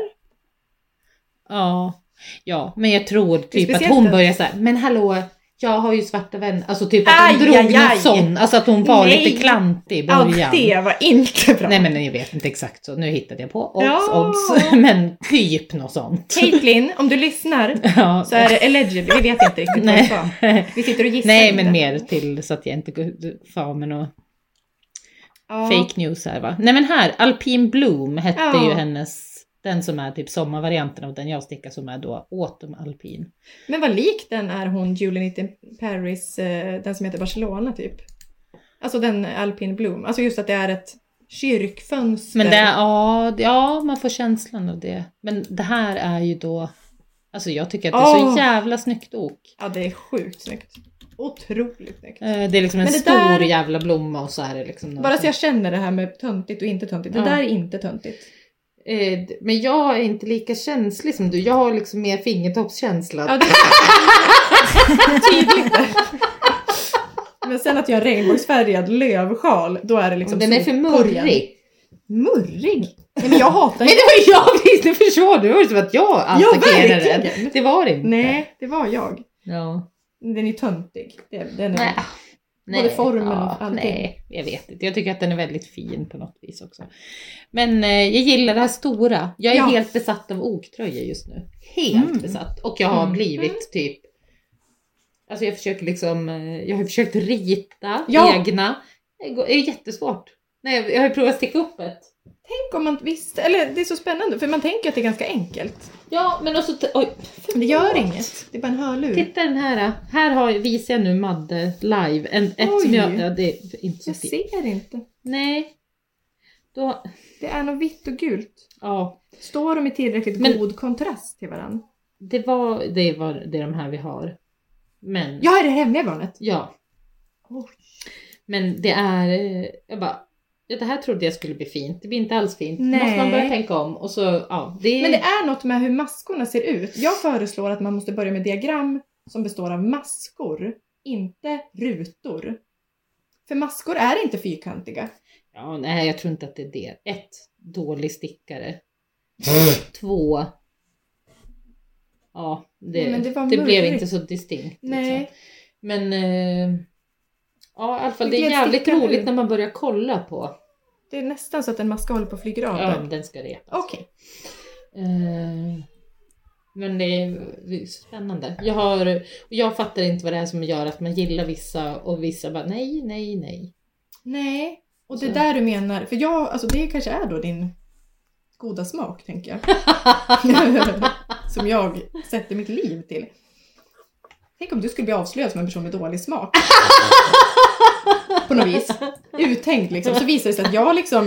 S3: ja. ja, men jag tror typ att
S2: speciellt
S3: hon
S2: att-
S3: börjar så här, men hallå, jag har ju svarta vänner. Alltså typ att hon
S2: Aj,
S3: drog
S2: aj, aj.
S3: någon sån, alltså att hon var
S2: Nej.
S3: lite klantig i
S2: Allt
S3: början.
S2: det var inte bra.
S3: Nej men jag vet inte exakt så, nu hittade jag på. Obs,
S2: Ja.
S3: obs. Men typ något sånt.
S2: Caitlin, om du lyssnar
S3: Ja.
S2: så är det allegedly, vi vet inte riktigt vad du
S3: Nej.
S2: sa. Vi sitter och gissar
S3: Nej
S2: lite.
S3: men mer till så att jag inte går far med något
S2: ja.
S3: fake news här va. Nej men här, Alpin Bloom hette
S2: Ja.
S3: ju hennes, den som är typ sommarvarianten av den jag stickar som är då autumn alpin.
S2: Men vad lik den är hon Julie Nitt in Paris, eh, den som heter Barcelona typ. Alltså den Alpin Bloom. Alltså just att det är ett kyrkfönster.
S3: Men det, ja, det- ja man får känslan av det. Men det här är ju då, alltså jag tycker att det är
S2: Åh.
S3: så jävla snyggt ok.
S2: Ja, det är sjukt snyggt. Otroligt snyggt.
S3: Eh, Det är liksom en
S2: Men det
S3: stor
S2: där-
S3: jävla blomma och så är det liksom några-
S2: Bara så jag känner det här med töntigt och inte töntigt. Det
S3: Ja.
S2: där är inte töntigt.
S3: Eh, d- Men jag är inte lika känslig som du, jag har liksom mer fingertoppskänsla.
S2: Ja, det Tydligt där. Men sen att jag har regnbågsfärgad lövsjal, då är det liksom
S3: Den är för
S2: solkorgen.
S3: murrig.
S2: Murrig? Nej men jag hatar
S3: Men det var ju jag precis, nu förstår du. Det var ju som att jag attackerade den.
S2: verkligen.
S3: Det var det inte.
S2: Nej, det var jag.
S3: Ja.
S2: Den är töntig. Det- Den är...
S3: Nej.
S2: Både formen och allting.
S3: Nej, jag vet inte. Jag tycker att den är väldigt fin på något vis också. Men eh, jag gillar det här stora. Jag är
S2: Ja.
S3: helt besatt av oktröjor just nu. Helt
S1: Mm.
S3: besatt. Och jag har
S2: Mm.
S3: blivit typ... Alltså jag försöker liksom... eh, Jag har försökt rita
S2: Ja.
S3: egna. Det går- det är jättesvårt. Nej, jag har ju provat att sticka upp ett.
S2: Tänk om man visste, eller det är så spännande för man tänker att det är ganska enkelt.
S3: Ja, men
S2: alltså,
S3: också... Oj,
S2: Men det gör
S3: förlåt.
S2: inget, det är bara en hörlur.
S3: Titta den här. Här har, visar jag nu Madde live. En, ett
S2: Oj.
S3: som jag, ja, det är inte så
S2: Jag
S3: fint.
S2: ser inte.
S3: Nej. Då,
S2: Det är något vitt och gult.
S3: ja,
S2: Står de i tillräckligt
S3: Men-
S2: god kontrast till varandra?
S3: det var, det var det är de här vi har. Men,
S2: Jag är det hemliga barnet.
S3: ja.
S2: Oj.
S3: Men det är, eh, jag bara, ja, det här trodde jag skulle bli fint, det blir inte alls fint. Då
S2: Nej.
S3: måste man börja tänka om. Och så, ja, det är,
S2: Men det är något med hur maskorna ser ut. Jag föreslår att man måste börja med diagram som består av maskor, inte rutor. För maskor är inte fyrkantiga.
S3: ja, nej, jag tror inte att det är det. Ett, dålig stickare. Två, ja, det,
S2: Men det var
S3: det, blev
S2: mörkt.
S3: inte så distinkt. Liksom.
S2: Nej.
S3: Men eh, ja, i alla fall,
S2: Det
S3: det är
S2: gled
S3: jävligt
S2: stickan
S3: roligt
S2: ur.
S3: när man börjar kolla på.
S2: Det är nästan så att en maska håller på att flyga av.
S3: Ja, men
S2: där.
S3: den ska repas.
S2: Okej.
S3: Eh, men det är, det är spännande. Jag, har, och jag fattar inte vad det är som gör att man gillar vissa och vissa bara nej, nej, nej.
S2: Nej. Och det
S3: Så.
S2: där du menar, för jag, alltså det kanske är då din goda smak tänker jag. som jag sätter mitt liv till. Tänk om du skulle bli avslöjad som en person med dålig smak. På något vis. Uttänkt liksom. Så visar det sig att jag liksom...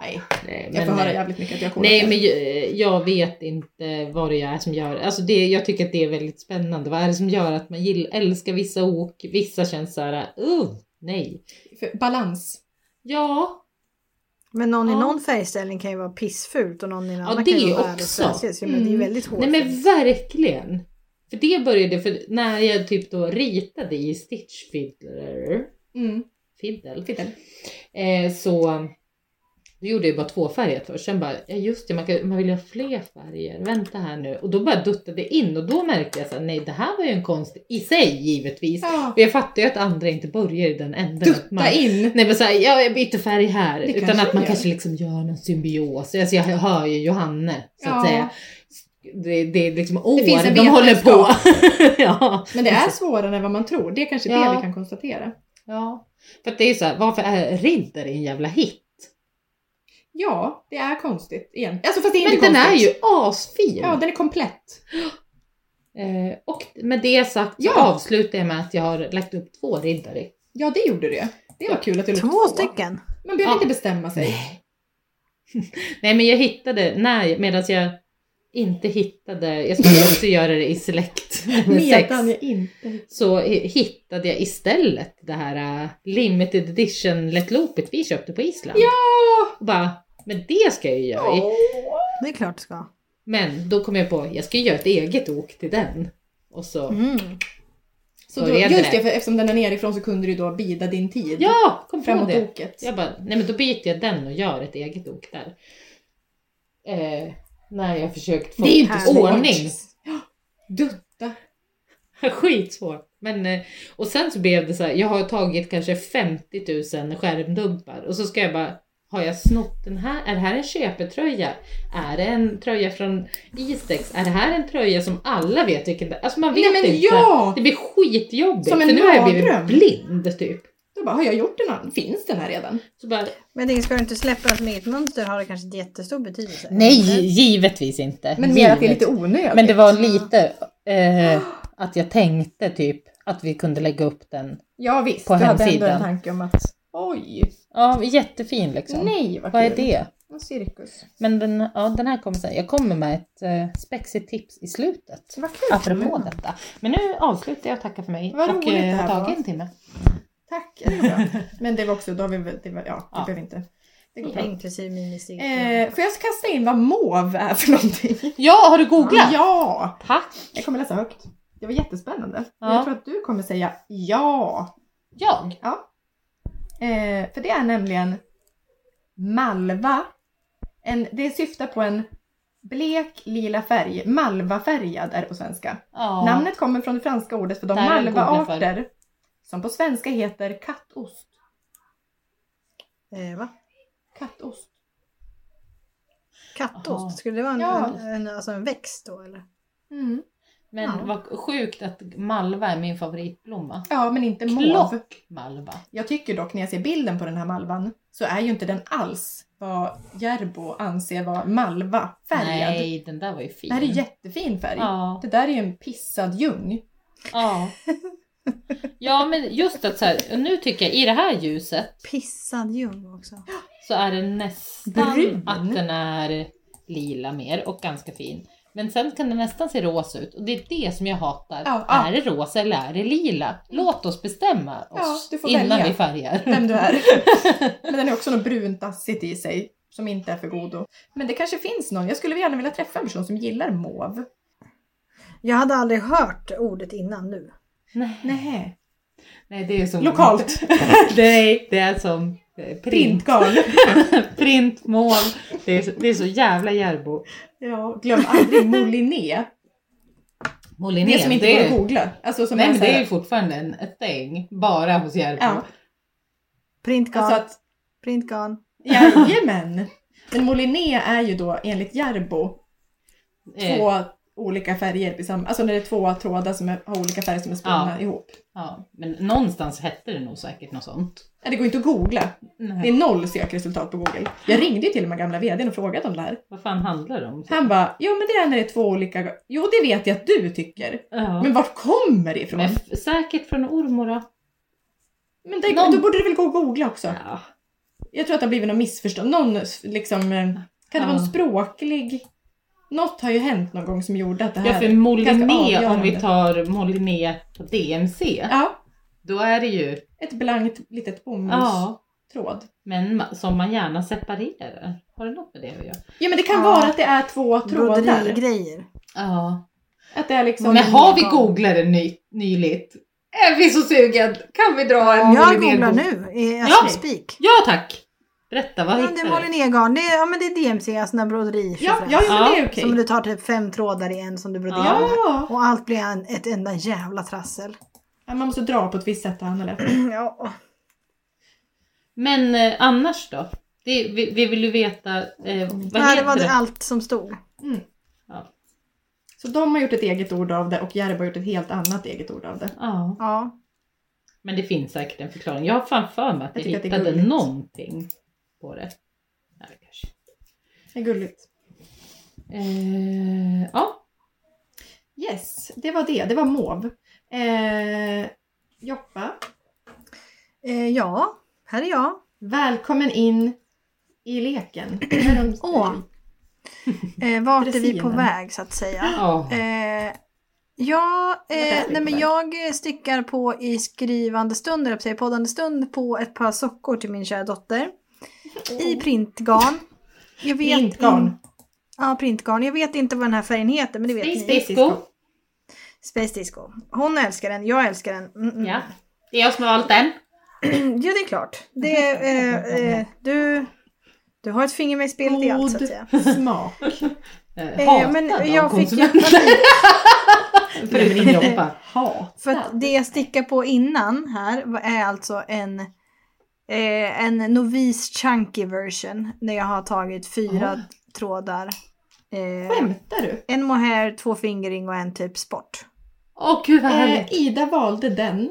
S2: Nej,
S3: nej
S2: jag får höra
S3: eh,
S2: jävligt mycket att jag är
S3: Nej men ju- jag vet inte vad det är som gör, alltså det, jag tycker att det är väldigt spännande. Vad är det som gör att man gillar, älskar vissa ok, vissa känns såhär, uh, nej.
S2: För balans.
S3: Ja,
S1: Men någon i
S3: Ja.
S1: någon färgställning kan ju vara pissfult och någon i en annan
S3: det
S1: kan ju vara
S3: också.
S1: världens fräsigaste. Men Det är ju
S2: Mm.
S1: väldigt hårt.
S3: Nej men verkligen! För det började, för när jag typ då ritade i Stitch Fiddler,
S2: Mm.
S3: Fiddle,
S2: Fiddle.
S3: Eh, så då gjorde jag bara tvåfärgat först, sen bara, ja just det, man, kan, man vill ju ha fler färger, vänta här nu. Och då bara duttade det in och då märkte jag så här, nej det här var ju en konst i sig givetvis.
S2: Ja.
S3: Och jag fattar ju att andra inte börjar i den änden. att man-
S2: Dutta in.
S3: Nej men såhär, ja jag byter färg här.
S2: Det
S3: Utan
S2: kanske
S3: att man
S2: gör.
S3: kanske liksom gör någon symbios. Alltså jag hör ju Johanne så att
S2: Ja.
S3: säga. Det, det är liksom år
S2: finns en
S3: de håller på. ja.
S2: Men det är svårare än vad man tror. Det är kanske
S3: Ja.
S2: det vi kan konstatera.
S3: ja. För att det är så här, varför är riddare en jävla hit?
S2: Ja, det är konstigt igen. Alltså fast det är
S3: Men
S2: inte
S3: den är
S2: konstigt.
S3: ju asfin!
S2: Ja, den är komplett.
S3: Eh, och med det sagt så
S2: Ja.
S3: avslutar jag med att jag har lagt upp två riddare.
S2: Ja, det gjorde du. Det var kul att du la upp
S1: Två stycken?
S2: Man behöver
S3: Ja.
S2: inte bestämma sig.
S3: Nej men jag hittade, när, medan jag inte hittade, jag skulle också göra det i select nummer sex,
S2: Medan jag inte...
S3: så hi- hittade jag istället det här eh, limited edition Let Loopet vi köpte på Island.
S2: Ja!
S3: Och bara, men det ska jag ju göra. i.
S1: Det är klart det ska.
S3: Men då kom jag på, jag ska ju göra ett eget ok till den. Och så,
S1: Mm.
S2: Så då,
S3: Började
S2: just
S3: det.
S2: det, för eftersom den är nerifrån så kunde du då bida din tid
S3: ja, kom på
S2: framåt
S3: det.
S2: boket.
S3: Jag bara, nej men då byter jag den och gör ett eget ok där. Eh, när jag försökt få
S2: Det är ju inte
S1: svårt.
S3: ordning.
S2: Dutta.
S3: Skitsvårt. Men, eh, och sen så blev det så här, jag har tagit kanske 50 000 skärmdumpar och så ska jag bara, har jag snott den här? Är det här en köpetröja? Är det en tröja från Istex? Är det här en tröja som alla vet vilken det är? Alltså man vet
S2: Nej men
S3: inte.
S2: ja!
S3: Det blir skitjobbigt.
S2: Som en
S3: för nu har jag blivit
S2: mardröm.
S3: blind typ.
S2: Då bara, har jag gjort den här? Finns den här redan?
S3: Så bara,
S1: Men jag tänker, ska du inte släppa den som eget mönster har det kanske inte jättestor betydelse.
S3: nej, givetvis inte.
S2: Men mer att det är lite onödigt.
S3: Men det var lite eh, att jag tänkte typ att vi kunde lägga upp den.
S2: Ja visst,
S3: på
S2: du hade ändå
S3: hemsidan.
S2: en tanke om att oj,
S3: Ja, jättefin liksom.
S2: nej vad,
S3: Vad är
S2: kul.
S3: det?
S2: En cirkus.
S3: Men den, ja, den här kommer sen. Jag kommer med ett eh, spexigt tips i slutet.
S2: Vad kul.
S3: Apropå detta. Men nu avslutar jag och tackar för mig.
S2: Mm. Vad
S3: och
S2: roligt det
S3: har
S2: här var.
S3: tagit en timme.
S2: Tack, det var bra. Men det var också, då har vi väl, det var, ja, det
S3: Ja.
S2: behöver inte. Det går bra.
S1: Inklusive ministig.
S2: Eh, får jag kasta in vad MOV är för någonting?
S3: Ja, har du googlat?
S2: Ja!
S3: Tack!
S2: Jag kommer läsa högt. Det var jättespännande.
S3: Ja.
S2: Jag tror att du kommer säga ja.
S3: Jag?
S2: Eh, för det är nämligen malva. En, det syftar på en blek lila färg. Malvafärgad är det på svenska.
S3: Ja.
S2: Namnet kommer från det franska ordet för de
S3: Där har jag googlat
S2: malvaarter som på svenska heter kattost.
S1: Eh, va?
S2: Kattost.
S1: Kattost?
S3: Jaha.
S1: Skulle det vara en,
S2: Ja.
S1: en, en, alltså en växt då eller?
S2: Mm.
S3: Men
S1: Ja.
S3: vad sjukt att malva är min favoritblomma.
S2: Ja, men inte mauve.
S3: Klockmalva.
S2: Jag tycker dock när jag ser bilden på den här malvan så är ju inte den alls vad Järbo anser vara malva-färgad.
S3: Nej, den där var ju fin.
S2: Det här är jättefin färg.
S3: Ja.
S2: Det där är ju en pissad ljung.
S3: Ja. ja, men just att så här, och nu tycker jag i det här ljuset
S1: Pissad ljung också.
S3: så är den nästan
S2: Brun.
S3: att den är lila mer och ganska fin. Men sen kan det nästan se rosa ut och det är det som jag hatar.
S2: Ja, ja.
S3: Är det rosa eller är det lila? Låt oss bestämma oss
S2: du får
S3: innan
S2: välja.
S3: vi färgar.
S2: vem du är. Men den är också något brunt dassigt i sig som inte är för godo. Men det kanske finns någon. Jag skulle gärna vilja träffa en person som gillar mauve.
S1: Jag hade aldrig hört ordet innan nu.
S3: Nej.
S2: Nej.
S3: Nej, det är som...
S2: Lokalt.
S3: Nej, det är som eh, print.
S2: Printgarn.
S3: Printmål. Det är så, det är så jävla Järbo.
S2: Ja, glöm aldrig Moliné.
S3: Moliné,
S2: Det som inte
S3: det
S2: går
S3: är,
S2: att googla. Alltså som
S3: Nej,
S2: är
S3: men
S2: så
S3: det är ju
S2: här,
S3: fortfarande en a thing. Bara hos Järbo.
S2: Ja.
S1: Printgarn,
S2: alltså att
S1: printgarn.
S2: Jajamän! Men Moliné är ju då enligt Järbo
S3: Eh,
S2: två olika färger tillsammans. Alltså när det är två trådar som är, har olika färger som är spunna
S3: Ja.
S2: ihop.
S3: Ja, men någonstans hette det nog säkert något sånt.
S2: Nej, det går inte att googla. Det är noll sökresultat på Google. Jag ringde ju till och med gamla vdn och frågade om det här.
S3: Vad fan handlar det om?
S2: Han bara, jo men det är när det är två olika... Jo det vet jag att du tycker.
S3: Ja.
S2: Men vart kommer det ifrån?
S3: Men f- säkert från Ormora.
S2: Men det,
S3: Någon-
S2: då borde det väl gå att googla också.
S3: Ja.
S2: Jag tror att det har blivit något missförstånd. Någon s- liksom... eh, Kan det vara en
S3: Ja.
S2: språklig... Något har ju hänt någon gång som gjorde att det här...
S3: Ja, för
S2: ganska
S3: Moliné, om
S2: avgörande.
S3: vi tar Moliné på DMC,
S2: Ja,
S3: då är det ju...
S2: ett blankt litet bomullstråd.
S3: Ja, men ma- som man gärna separerar. Har det något med det att göra?
S2: Ja men det kan
S1: Ja.
S2: vara att det är två trådar.
S1: Broderi-grejer.
S3: Ja.
S2: Att det är liksom...
S3: Men har vi googlat det ny- nyligt? Är vi så sugen? Kan vi dra en
S1: Jag
S3: Moliné-
S1: googlar nu i
S3: Ja.
S1: ja. spik.
S3: Ja tack! Berätta, vad
S1: Ja, det är
S3: hittar du?
S1: molinégarn. Det är, ja, men det är DMC, alltså när broderi
S2: Ja, ja, ja, men det är okej.
S1: Som du tar typ fem trådar i en som du broderar.
S3: Ja.
S2: Ja.
S1: Och allt blir en, ett enda jävla trassel.
S2: ja! Man måste dra på ett visst sätt Anna. eller?
S1: Ja.
S3: Men eh, annars då? Det, vi, vi vill ju veta, eh, vad
S1: Nej, det
S3: heter
S1: var det
S3: det?
S1: allt som stod.
S3: Ja.
S2: Så de har gjort ett eget ord av det och Järbo har gjort ett helt annat eget ord av det.
S3: ja.
S1: Ja.
S3: Men det finns säkert en förklaring. Jag har fan för mig att jag,
S2: Jag tycker att det är
S3: hittade
S2: gulligt.
S3: någonting på det. Nej, det kanske.
S2: Det är gulligt.
S3: Eh, ja,
S2: Yes, det var det. Det var mauve. Eh, Joppa,
S1: Eh, ja, här är jag.
S2: välkommen in i leken. Här har de-
S1: Åh. Eh, vart är vi på
S2: Dressinen.
S1: väg så att säga?
S3: ja.
S1: Eh, ja,
S2: Vart är
S1: eh,
S2: vi på
S1: nej, men
S2: väg?
S1: jag stickar på i skrivande stund, eller poddande stund, på ett par sockor till min kära dotter. I printgarn. Jag vet
S2: Printgarn.
S1: in- ja, printgarn. Jag vet inte vad den här färgen heter, men det vet
S3: Space
S1: ni.
S3: Disco.
S1: Space Disco. Hon älskar den, jag älskar den. Mm, mm.
S3: Ja. Det är jag som har valt den.
S1: ja, det är klart. Det, eh, eh, du, du har ett finger med i spelet i allt så att säga.
S2: God smak.
S3: Eh,
S1: Eh,
S3: hatad
S1: men
S3: av
S1: jag fick ju
S3: konsumenter.
S1: panik.
S3: Förutom Joppa.
S2: Hat.
S1: För att det jag stickar på innan här är alltså en, eh, en novis chunky version. Där jag har tagit fyra trådar. Eh,
S2: Skämtar du?
S1: en mohair, två fingering och en typ sport.
S3: Åh gud vad
S2: Eh,
S3: härligt.
S2: Ida valde den.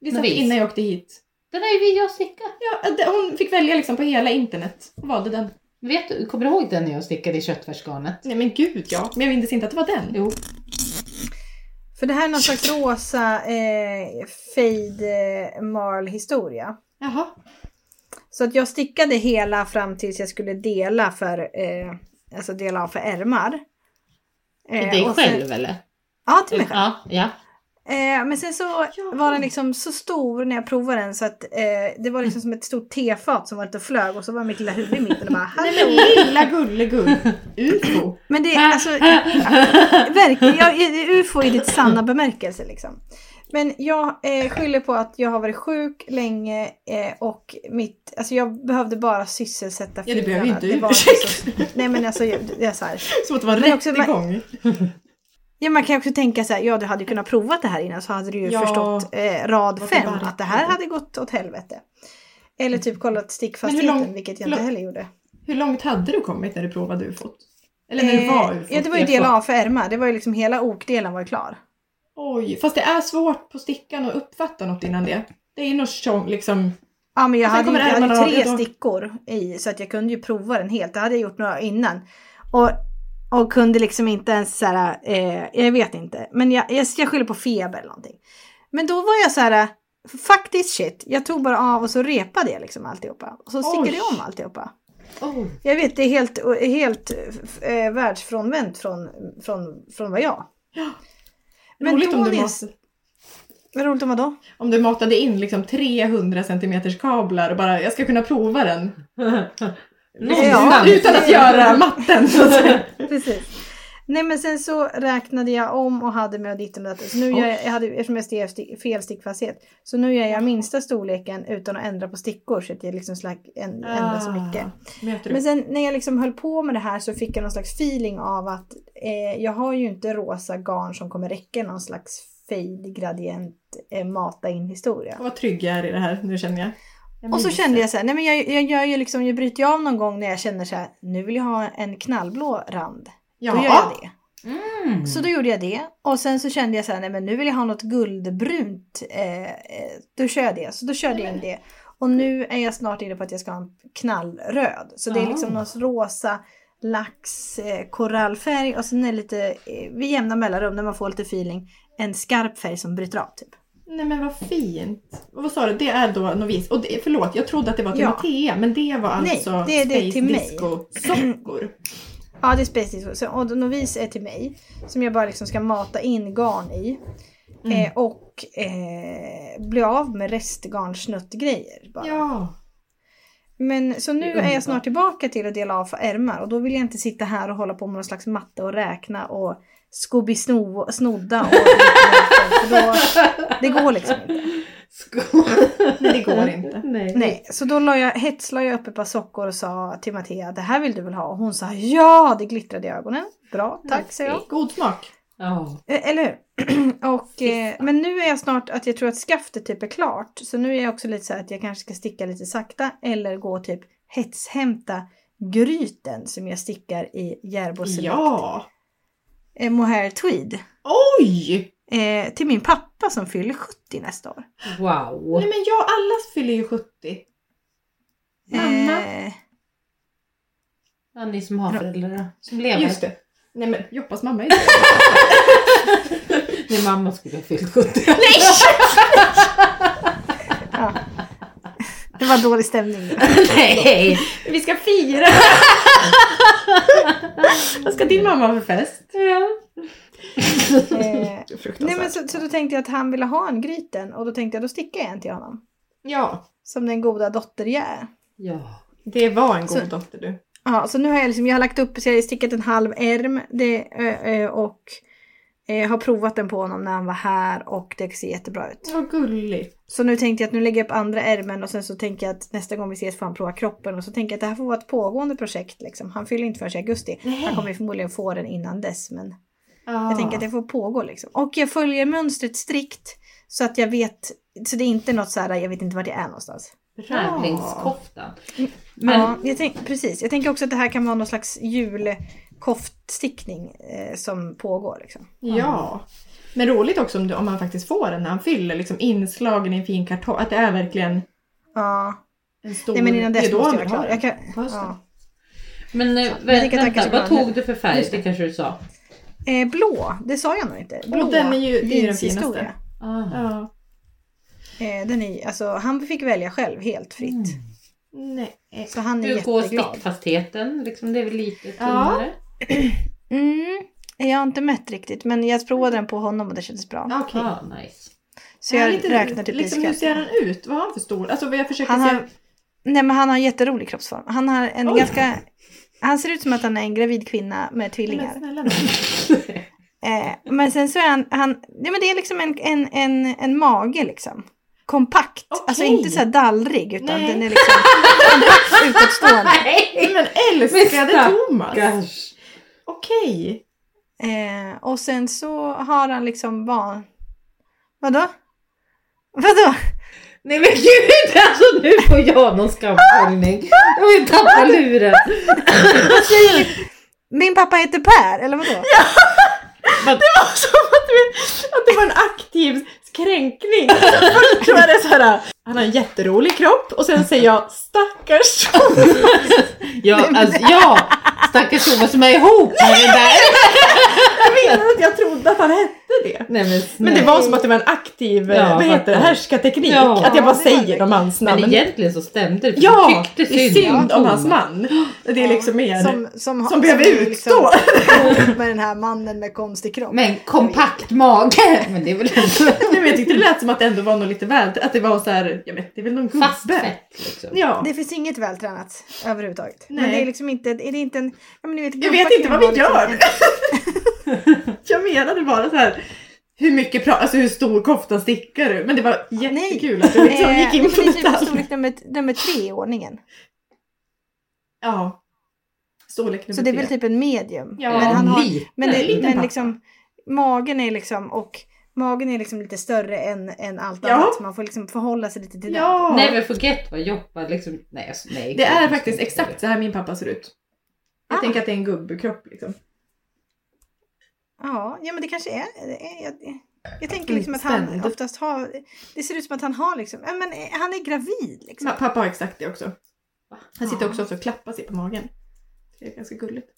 S2: Vi satt
S3: Novis.
S2: innan jag åkte hit.
S3: Den har ju vi jag stickat.
S2: Ja, eh, det- hon fick välja liksom på hela internet och valde den.
S3: Vet du, kommer du ihåg den när jag stickade i köttfärsgarnet?
S2: Nej men gud ja, men jag minns inte att det var den.
S3: Jo.
S1: För det här är någon slags rosa eh, fade eh, marl historia.
S2: Jaha.
S1: Så att jag stickade hela fram tills jag skulle dela för eh, alltså dela av för ärmar.
S3: Till
S1: Eh,
S3: dig
S1: och sen-
S3: själv eller?
S1: Ja, till mig själv.
S3: Ja, ja.
S1: Eh, men sen så var den liksom så stor när jag provade den så att eh, det var liksom som ett stort tefat som var ute och flög och så var mitt lilla huvud i mitten och bara
S2: Nej
S1: Hallå.
S2: men lilla gullegull. UFO.
S1: Men det är alltså verkligen, jag, det är ufo i ditt sanna bemärkelse liksom. Men jag eh, skyller på att jag har varit sjuk länge eh, och mitt, alltså jag behövde bara sysselsätta
S2: Ja, det behöver
S1: fingrarna.
S2: inte
S1: Det var
S2: ursäkt.
S1: liksom- Nej men alltså, jag, jag, så här,
S2: Som att det var en
S1: Men också-
S2: rättegång.
S1: Ja man kan också tänka så här, ja du hade ju kunnat prova det här innan så hade du ju
S2: Ja.
S1: förstått eh, rad
S2: Vad
S1: fem
S2: det var.
S1: att det här hade gått åt helvete. Eller typ kollat stickfastheten,
S2: Men hur lång-
S1: vilket jag
S2: förlåt.
S1: inte heller gjorde.
S2: Hur långt hade du kommit när du provade ufot? Eller när du var
S1: Eh,
S2: ufot?
S1: ja det var ju del A för ärmar, det var ju liksom hela okdelen var ju klar.
S2: Oj, fast det är svårt på stickan att uppfatta något innan det. Det är nog tjong, liksom.
S1: Ja men jag
S2: Och sen
S1: hade, ju,
S2: kommer
S1: jag hade
S2: ärmarna
S1: ju
S2: av,
S1: tre
S2: ja, då-
S1: stickor i så att jag kunde ju prova den helt, det hade jag gjort några innan. Och, och kunde liksom inte ens så här, eh, jag vet inte, men jag, jag, jag skyller på feber eller någonting. Men då var jag så här, eh, faktiskt shit, jag tog bara av och så repade jag liksom alltihopa. Och så stickade
S2: Oj.
S1: jag om alltihopa.
S3: Oh.
S1: Jag vet, det är helt, helt eh, världsfrånvänt från, från, från vad jag.
S2: Ja.
S1: Men
S2: Roligt om du,
S1: Tonis,
S2: mat,
S1: vad roligt om vadå?
S2: om du matade in liksom 300 centimeters kablar och bara jag ska kunna prova den.
S3: Någonstans.
S1: Ja,
S2: Utan att göra matten så att säga.
S1: Precis. Nej men sen så räknade jag om och hade med och ditt och datten. Så nu gör jag, jag hade, eftersom jag skrev sti- fel stickfasthet. Så nu gör jag minsta storleken utan att ändra på stickor så att jag liksom slack, en, ändrar så mycket.
S2: Ah, Möter
S1: Men
S2: du?
S1: sen när jag liksom höll på med det här så fick jag någon slags feeling av att eh, jag har ju inte rosa garn som kommer räcka i någon slags fade gradient eh, mata in historia.
S2: Vad trygg jag är i det här nu känner jag. jag
S1: Och så
S2: minns
S1: kände
S2: det.
S1: jag så här, nej men jag, jag gör ju liksom, jag bryter ju av någon gång när jag känner så här, nu vill jag ha en knallblå rand. Då gör jag
S2: Ja,
S1: det.
S4: Mm.
S1: Så då gjorde jag det och sen så kände jag så här, nej men nu vill jag ha något guldbrunt. Eh, eh, då kör jag det. Så då körde jag in det. Och nu är jag snart inne på att jag ska ha en knallröd. Så det är liksom
S4: Ah.
S1: någon rosa lax eh, korallfärg och sen är det lite eh, vid jämna mellanrum när man får lite feeling en skarp färg som bryter av typ.
S2: nej men vad fint. Och vad sa du, det är då novis. Och det, förlåt, jag trodde att det var till
S1: Ja.
S2: Mattea, men det var
S1: Nej,
S2: alltså
S1: det är det
S2: Space
S1: till mig.
S2: Disco-sockor.
S1: Ja det är Space Disco. Så, och novis är till mig. Som jag bara liksom ska mata in garn i. Eh, och eh, bli av med restgarnsnuttgrejer. Bara.
S2: Ja.
S1: Men så nu
S4: Det är
S1: är jag
S4: underbart.
S1: snart tillbaka till att dela av för ärmar och då vill jag inte sitta här och hålla på med någon slags matte och räkna och Scooby-snodda och för då, Det går liksom inte.
S2: Nej, det går inte.
S3: Nej.
S1: Nej, så då la jag, hetslade jag upp ett par sockor och sa till Mattea det här vill du väl ha? Och hon sa ja, det glittrade i ögonen. Bra, tack säger jag.
S2: God smak.
S4: Ja.
S1: Eh, Eller hur? och, eh, men nu är jag snart att jag tror att skaftet typ är klart. Så nu är jag också lite så här att jag kanske ska sticka lite sakta eller gå typ hetshämta gryten som jag stickar i Järbo Select
S2: Ja.
S1: eh, Mohair Tweed.
S2: Oj!
S1: Eh, till min pappa som fyller 70 nästa år.
S4: Wow.
S2: Nej men jag, alla fyller ju 70. Mamma.
S1: Eh,
S4: Ja, ni som har föräldrar som lever.
S2: Just det. Nej men Joppas mamma är det.
S4: Min mamma skulle ha fyllt 70.
S1: ja. Det var dålig stämning.
S4: Nej!
S2: Vi ska fira! Vad ska din mamma ha för fest?
S4: Ja.
S1: Eh,
S2: Fruktansvärt.
S1: nej men så, så då tänkte jag att han ville ha en gryten och då tänkte jag då stickar jag en till honom.
S2: Ja,
S1: Som den goda dotter jag är.
S4: ja.
S2: det var en god
S1: Så-
S2: dotter du.
S1: Ja, så nu har jag, liksom, jag har lagt upp, så jag har stickat en halv ärm det, ö, ö, och eh, har provat den på honom när han var här och det ser jättebra ut.
S2: Vad gulligt.
S1: Så nu tänkte jag att nu lägger jag upp andra ärmen och sen så tänker jag att nästa gång vi ses får han prova kroppen och så tänker jag att det här får vara ett pågående projekt liksom. Han fyller inte förrän i augusti. Han kommer ju förmodligen få den innan dess men
S2: Ah.
S1: jag tänker att det får pågå liksom. Och jag följer mönstret strikt så att jag vet, så det är inte något så här, jag vet inte var det är någonstans.
S4: Tävlingskoftan. Men,
S1: Men... Ja, jag tänk, precis. Jag tänker också att det här kan vara någon slags julkoftstickning eh, som pågår. Liksom.
S2: Ja. Men roligt också om, du, om man faktiskt får den när han fyller, liksom inslagen i en fin kartong. Att det är verkligen
S1: Ja.
S2: en stor...
S1: Nej men innan
S2: det är
S1: dess
S2: då
S1: måste jag
S2: han
S1: vara
S2: vill ha
S1: klar.
S2: den.
S1: Jag kan,
S2: På hösten.
S1: ja.
S4: men eh,
S1: jag tänker att han
S4: vänta,
S1: kanske
S4: vad
S1: kommer-
S4: tog du för färg?
S1: Just det.
S4: Det kanske du sa?
S1: eh, blå, det sa jag nog inte. Blå,
S2: Och den är ju- det är ju den
S1: linshistoria.
S2: finaste.
S4: Ah.
S2: Ja.
S1: Eh, den är, alltså, han fick välja själv helt fritt.
S2: Mm. Nej.
S1: Så han är
S4: Hur går
S1: jätteglad.
S4: stickfastheten? Liksom, det är väl lite
S2: Ja.
S4: tunnare?
S1: Mm. Jag har inte mätt riktigt men jag provade den på honom och det kändes bra.
S2: Okej.
S4: Ah, nice.
S1: Så jag
S2: Ja, lite-
S1: räknade typ
S2: liksom,
S1: i
S2: Hur
S1: skratt.
S2: ser han ut? Vad har han för stor? Alltså vad jag försöker
S1: Han
S2: se...
S1: har, nej men han har en jätterolig kroppsform. Han har en
S2: Oj.
S1: ganska... Han ser ut som att han är en gravid kvinna med tvillingar.
S2: Men snälla nån.
S1: Eh, men sen så är han, han nej men det är liksom en, en, en, en mage liksom. Kompakt,
S2: Okej.
S1: alltså inte så här dallrig utan
S2: Nej.
S1: den är liksom kompakt utåtstående.
S4: Nej!
S2: Men älskade
S4: Men
S2: Thomas!
S4: Gosh.
S2: Okej.
S1: Eh, och sen så har han liksom van... Vadå? Vadå?
S4: Nej men gud! Alltså nu får jag någon skamfällning. Jag vill tappa luren.
S1: Vad säger du? Min pappa heter Per, eller vadå?
S2: Det var som Alltså, att, vi, att det var en aktiv kränkning. Först tror jag det är så här. Han har en jätterolig kropp och sen säger jag stackars
S4: Ja, alltså, ja, stackars Thomas som är ihop med det där.
S2: Jag minns att jag trodde att han hette det.
S3: Nej, men,
S2: Men det var som att det var en aktiv eh,
S3: Ja,
S2: vad heter det,
S3: fattar.
S2: härskarteknik.
S3: Ja,
S2: att jag bara
S1: det var det.
S2: säger om hans
S3: men
S2: namn.
S3: egentligen så stämde det. för
S2: ja,
S3: du
S2: det är synd om
S3: Tom.
S2: hans man. Det är liksom mer som,
S1: som,
S2: behöver
S1: är liksom
S2: utstå.
S1: ihop med den här mannen med konstig kropp.
S3: Men kompakt mage. Men det är väl inte
S2: Nej, men jag tyckte det lät som att det ändå var något lite väl, att det var så här, jag vet, det är väl någon gubbe.
S3: fast fett liksom.
S2: Ja.
S1: Det finns inget vältränat överhuvudtaget. Men
S2: Nej.
S1: det är liksom inte, är det inte en... Ja, men ni vet, liksom.
S2: Jag vet inte vad vi
S1: gubbar kan
S2: gör. jag menade bara så här. Hur mycket pra- alltså hur stor kofta stickar du? Men det var jättekul att du
S1: vara
S2: liksom
S1: Eh,
S2: gick
S1: men
S2: in
S1: det
S2: på
S1: är typ
S2: detaljer.
S1: storlek nummer, nummer tre i ordningen.
S2: Ja. Storlek nummer
S1: Så det är
S2: tre.
S1: väl typ en medium.
S2: Ja.
S1: men han har,
S3: lite.
S1: men,
S2: Nej,
S1: det,
S2: liten
S1: men
S2: pappa.
S1: liksom magen är liksom och magen är liksom lite större än, än allt
S2: Ja.
S1: annat. Så man får liksom förhålla sig lite till det.
S2: Ja.
S3: Never forget vad jobbar liksom. Nej, alltså, nej.
S2: Det är
S3: gud,
S2: faktiskt
S3: jag ska inte
S2: exakt så här min pappa ser ut. Jag
S1: Ah.
S2: tänker att det är en gubbkropp liksom.
S1: Ja, ja men det kanske är. det är- Jag, jag tänker liksom att han
S2: Spännande.
S1: oftast har. Det ser ut som att han har liksom. ja, Men eh, han är gravid liksom.
S2: Ma- Pappa har exakt det också. Han sitter
S1: Ah.
S3: Ja.
S2: också och klappar sig på magen. Det är ganska gulligt.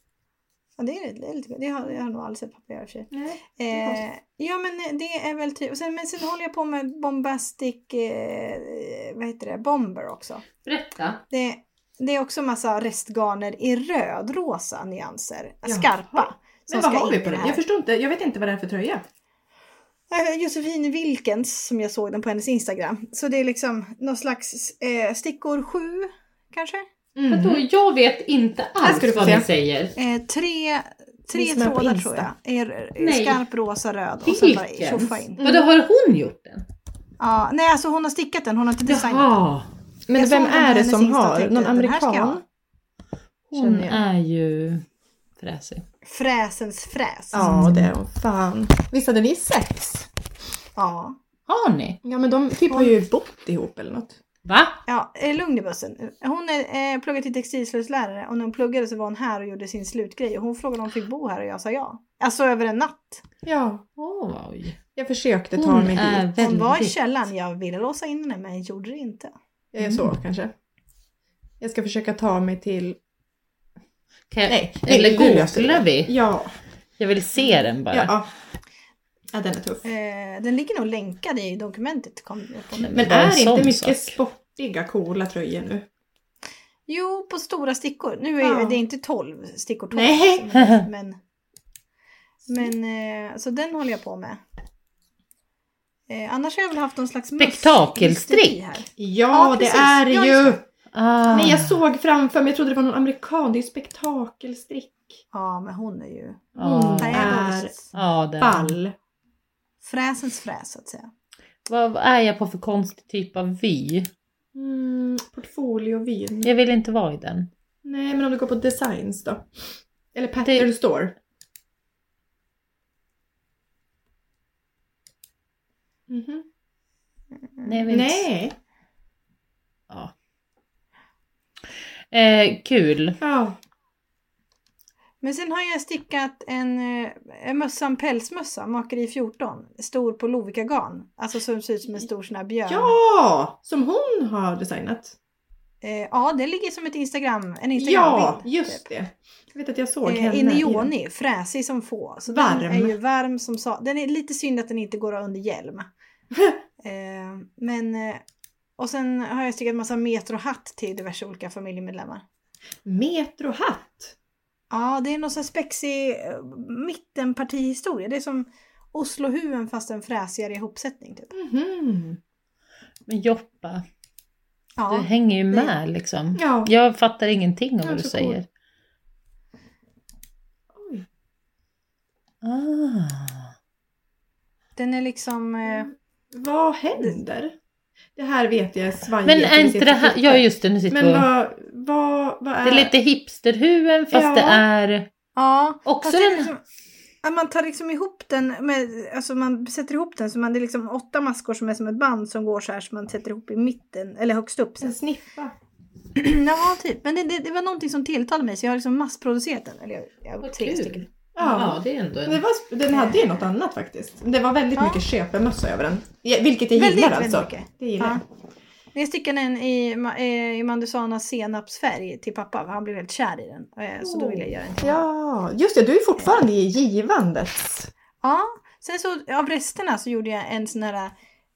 S1: Ja, det, är, det, är lite, det har jag har nog aldrig sett pappa göra i och för sig.
S2: Nej. är
S1: Eh,
S2: konstigt.
S1: ja men eh, det är väl typ. och Sen, men sen håller jag på med bombastic. Eh, vad heter det? Bomber också.
S3: Berätta.
S1: Det, det är också massa restgarner i röd-rosa nyanser.
S2: Jaha.
S1: Skarpa. som
S2: Men vad
S1: ska
S2: har
S1: in
S2: vi
S1: i
S2: på
S1: det
S2: den?
S1: här.
S2: Jag förstår inte. Jag vet inte vad det är för tröja.
S1: Eh, Josefin Wilkens som jag såg den på hennes Instagram. Så det är liksom någon slags eh, stickor 7 kanske?
S3: Vadå? jag vet inte
S2: Mhm. Här ska du
S3: alls
S2: få
S3: vad
S2: se.
S3: ni säger.
S1: Eh, tre
S2: Ni
S1: tre
S2: som är på
S1: trådar
S2: Insta.
S1: tror jag. Är
S3: Nej.
S1: skarp rosa röd och sen bara
S3: Wilkens?
S1: tjoffa in.
S2: Mm.
S3: Vadå har hon gjort den?
S1: Ja, nej alltså hon har stickat den, hon har inte designat den.
S3: Jaha.
S2: Men
S1: Jag
S2: vem
S1: såg den på
S2: är det
S1: hennes
S2: som
S1: Insta och
S2: har?
S1: tänkte,
S2: Någon
S1: "Den här ska jag ha."
S2: amerikan? Mm.
S3: Hon
S2: Känner jag.
S3: är ju fräsig.
S1: Fräsens fräs.
S2: Ja, det är hon. Fan. Visst hade ni sex?
S1: Ja.
S3: Har ni?
S2: Ja, men de typ har ju bott ihop eller något.
S3: Va?
S1: Ja, eh, lugn i bussen. Hon är, eh, pluggar till textilslöjdslärare och när hon pluggade så var hon här och gjorde sin slutgrej och hon frågade om hon fick bo här och jag sa ja. Alltså över en natt.
S2: Ja,
S3: Oj.
S2: jag försökte ta
S3: Hon
S2: mig
S3: är
S2: dit.
S1: Hon
S3: väldigt...
S1: var i källaren, jag ville låsa in henne men jag gjorde det inte.
S2: Jag är så kanske. Jag ska försöka ta mig till...
S3: Kan jag-
S2: Nej,
S3: Eh, Eller
S2: nu löser det.
S3: googlar vi?
S2: Ja,
S3: Jag vill se den bara.
S2: ja. Ja, ja den är tuff.
S1: Eh, den ligger nog länkad i dokumentet. Kom jag på nu.
S3: Det
S2: Men
S3: var en
S2: är
S3: sån
S2: inte mycket
S3: sak.
S2: sportiga coola tröjor nu?
S1: Jo, på stora stickor. Nu är
S2: Ja.
S1: det inte 12 stickor 12.
S2: Nej.
S1: Men, men, men eh, så den håller jag på med. Eh, annars har jag väl haft någon slags möss-
S3: Spektakelstrick.
S1: hysteri här.
S2: Ja,
S1: Ja,
S2: det
S1: precis.
S2: är
S1: Ja,
S2: ju!
S1: just
S3: Ah.
S2: Nej, jag såg framför mig, jag trodde det var någon amerikan. Det är ju spektakelstrick.
S1: Ja, men hon är ju...
S3: Ah.
S2: Mm.
S3: Ah.
S1: Äh,
S3: Ja, den.
S2: Ball.
S1: fräsens fräs så att säga.
S3: Vad är jag på för konstig typ av vy?
S2: Mm, portfoliovin.
S3: Jag vill inte vara i den.
S2: Nej, men om du går på designs då? Eller pattern
S3: Det-
S2: store? Mhm.
S3: Nej, jag vill inte-
S2: Nej.
S3: Ja. Eh, kul.
S2: Ja.
S1: Men sen har jag stickat en, eh, en mössa, en pälsmössa, Makeri 14, stor på Lovikagarn. Alltså som ser ut som en stor sån här björn.
S2: ja, som hon har designat.
S1: Eh, ja, det ligger som ett Instagram, en
S2: Ja,
S1: Instagram-bild. typ.
S2: just det. Jag vet att jag såg
S1: Eh,
S2: henne.
S1: I
S2: den.
S1: neoni, fräsig som få. Så
S2: Varm.
S1: Den är ju varm som sa. Den är lite synd att den inte går under hjälm. eh, men, eh, och sen har jag stickat massa metrohatt till diverse olika familjemedlemmar.
S2: Metrohatt.
S1: Ja, det är någon sån här spexig eh, mittenpartihistoria. Det är som Oslohuven fast en fräsigare ihopsättning. Typ.
S2: Mhm.
S3: Men Joppa, du
S1: Ja.
S3: hänger ju
S1: det-
S3: med liksom.
S2: Ja.
S3: Jag fattar ingenting
S2: Ja,
S3: av vad du
S2: så
S3: säger.
S2: coolt. Oj.
S3: Ah.
S1: Den är liksom... Eh,
S2: Vad händer? Det här vet jag är svajigt.
S3: Men
S2: och
S3: är
S2: vi
S3: inte
S2: sitter
S3: det här...
S2: och tittar.
S3: Ja just det, nu sitter
S2: Men
S3: vi och...
S2: vad, vad, vad är...
S3: Det är lite hipsterhuen fast
S2: Ja.
S3: det är...
S1: ja.
S3: Också
S1: fast det är
S3: den-
S1: Liksom, ja, man tar liksom ihop den med... Alltså man sätter ihop den så man, det är liksom åtta maskor som är som ett band som går så här så man sätter ihop i mitten. Eller högst upp. Så.
S2: En sniffa.
S1: ja, typ. Men det, det, det var någonting som tilltalade mig så jag har liksom massproducerat den. Eller jag, jag har
S3: Vad
S1: tre
S3: kul.
S1: stycken.
S3: Ja, det är ändå
S2: Men Det
S3: en...
S2: var, sp- den hade ju något annat faktiskt. Det var väldigt
S1: Ja.
S2: mycket köpemössa över den. Ja, Vilket jag gillar alltså.
S1: mycket.
S2: Det gillar
S1: Ja.
S2: jag.
S1: Jag stickade en i, Ma- eh, i Mandusanas senapsfärg till pappa, för han blev helt kär i den. Eh, Så då ville jag göra en till honom.
S2: Ja, just det. Du är fortfarande i givandets.
S1: Ja, sen så av resterna så gjorde jag en sån här eh,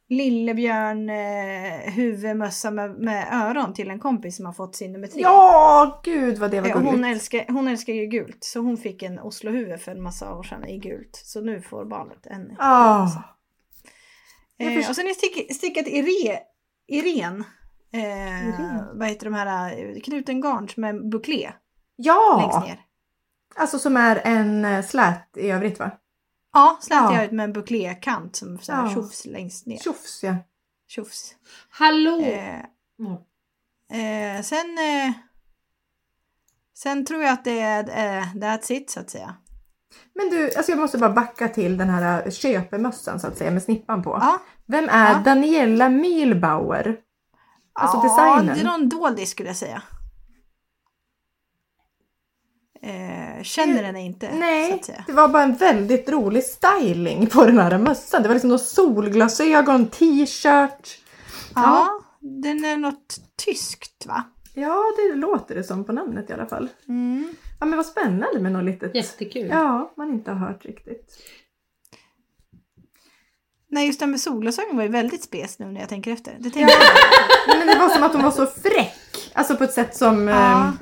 S1: lillebjörn eh, huvudmössa med, med öron till en kompis som har fått sin nummer tre.
S2: Ja, gud vad det var
S1: Eh, och
S2: gulligt.
S1: hon, älskar, hon älskar ju gult, så hon fick en Oslohuvud för en massa år sedan i gult. Så nu får barnet en.
S2: Ah. Jag
S1: Eh,
S2: förstår.
S1: och sen har jag stick, stickat Ire, Irene. Eh,
S2: Irene.
S1: Vad heter de här eh, knutengarns med buklé längst
S2: Ja,
S1: ner.
S2: alltså som är en eh, slät i övrigt va?
S1: Ja, slätade
S2: Ja.
S1: jag ut med en buklékant som så här
S2: Ja.
S1: tjofs längst ner.
S2: Tjofs ja.
S1: Tjofs.
S4: Hallå!
S2: Mm.
S1: Eh,
S4: Ja.
S1: eh, sen, eh, sen tror jag att det är eh, that's it så att säga.
S2: Men du, alltså jag måste bara backa till den här eh, köpemössan så att säga med snippan på.
S1: Ja.
S2: Vem är
S1: Ja.
S2: Daniela Mühlbauer? Alltså
S1: ja,
S2: designen.
S1: det är någon doldis skulle jag säga. Eh, känner henne inte så
S2: Nej,
S1: att säga.
S2: det var bara en väldigt rolig styling på den här mössan. Det var liksom några solglasögon, t-shirt.
S1: Ja, den är något tyskt va?
S2: Ja, det låter det som på namnet i alla fall.
S1: Mm.
S2: Ja, men vad spännande med något litet.
S3: Jättekul.
S2: Ja, man inte har hört riktigt.
S1: Nej, just den med solglasögon var ju väldigt spes nu när jag tänker efter. Det tänkte jag.
S2: Nej, men det var som att hon var så fräck. Alltså på ett sätt som...
S1: Ja.
S2: ehm,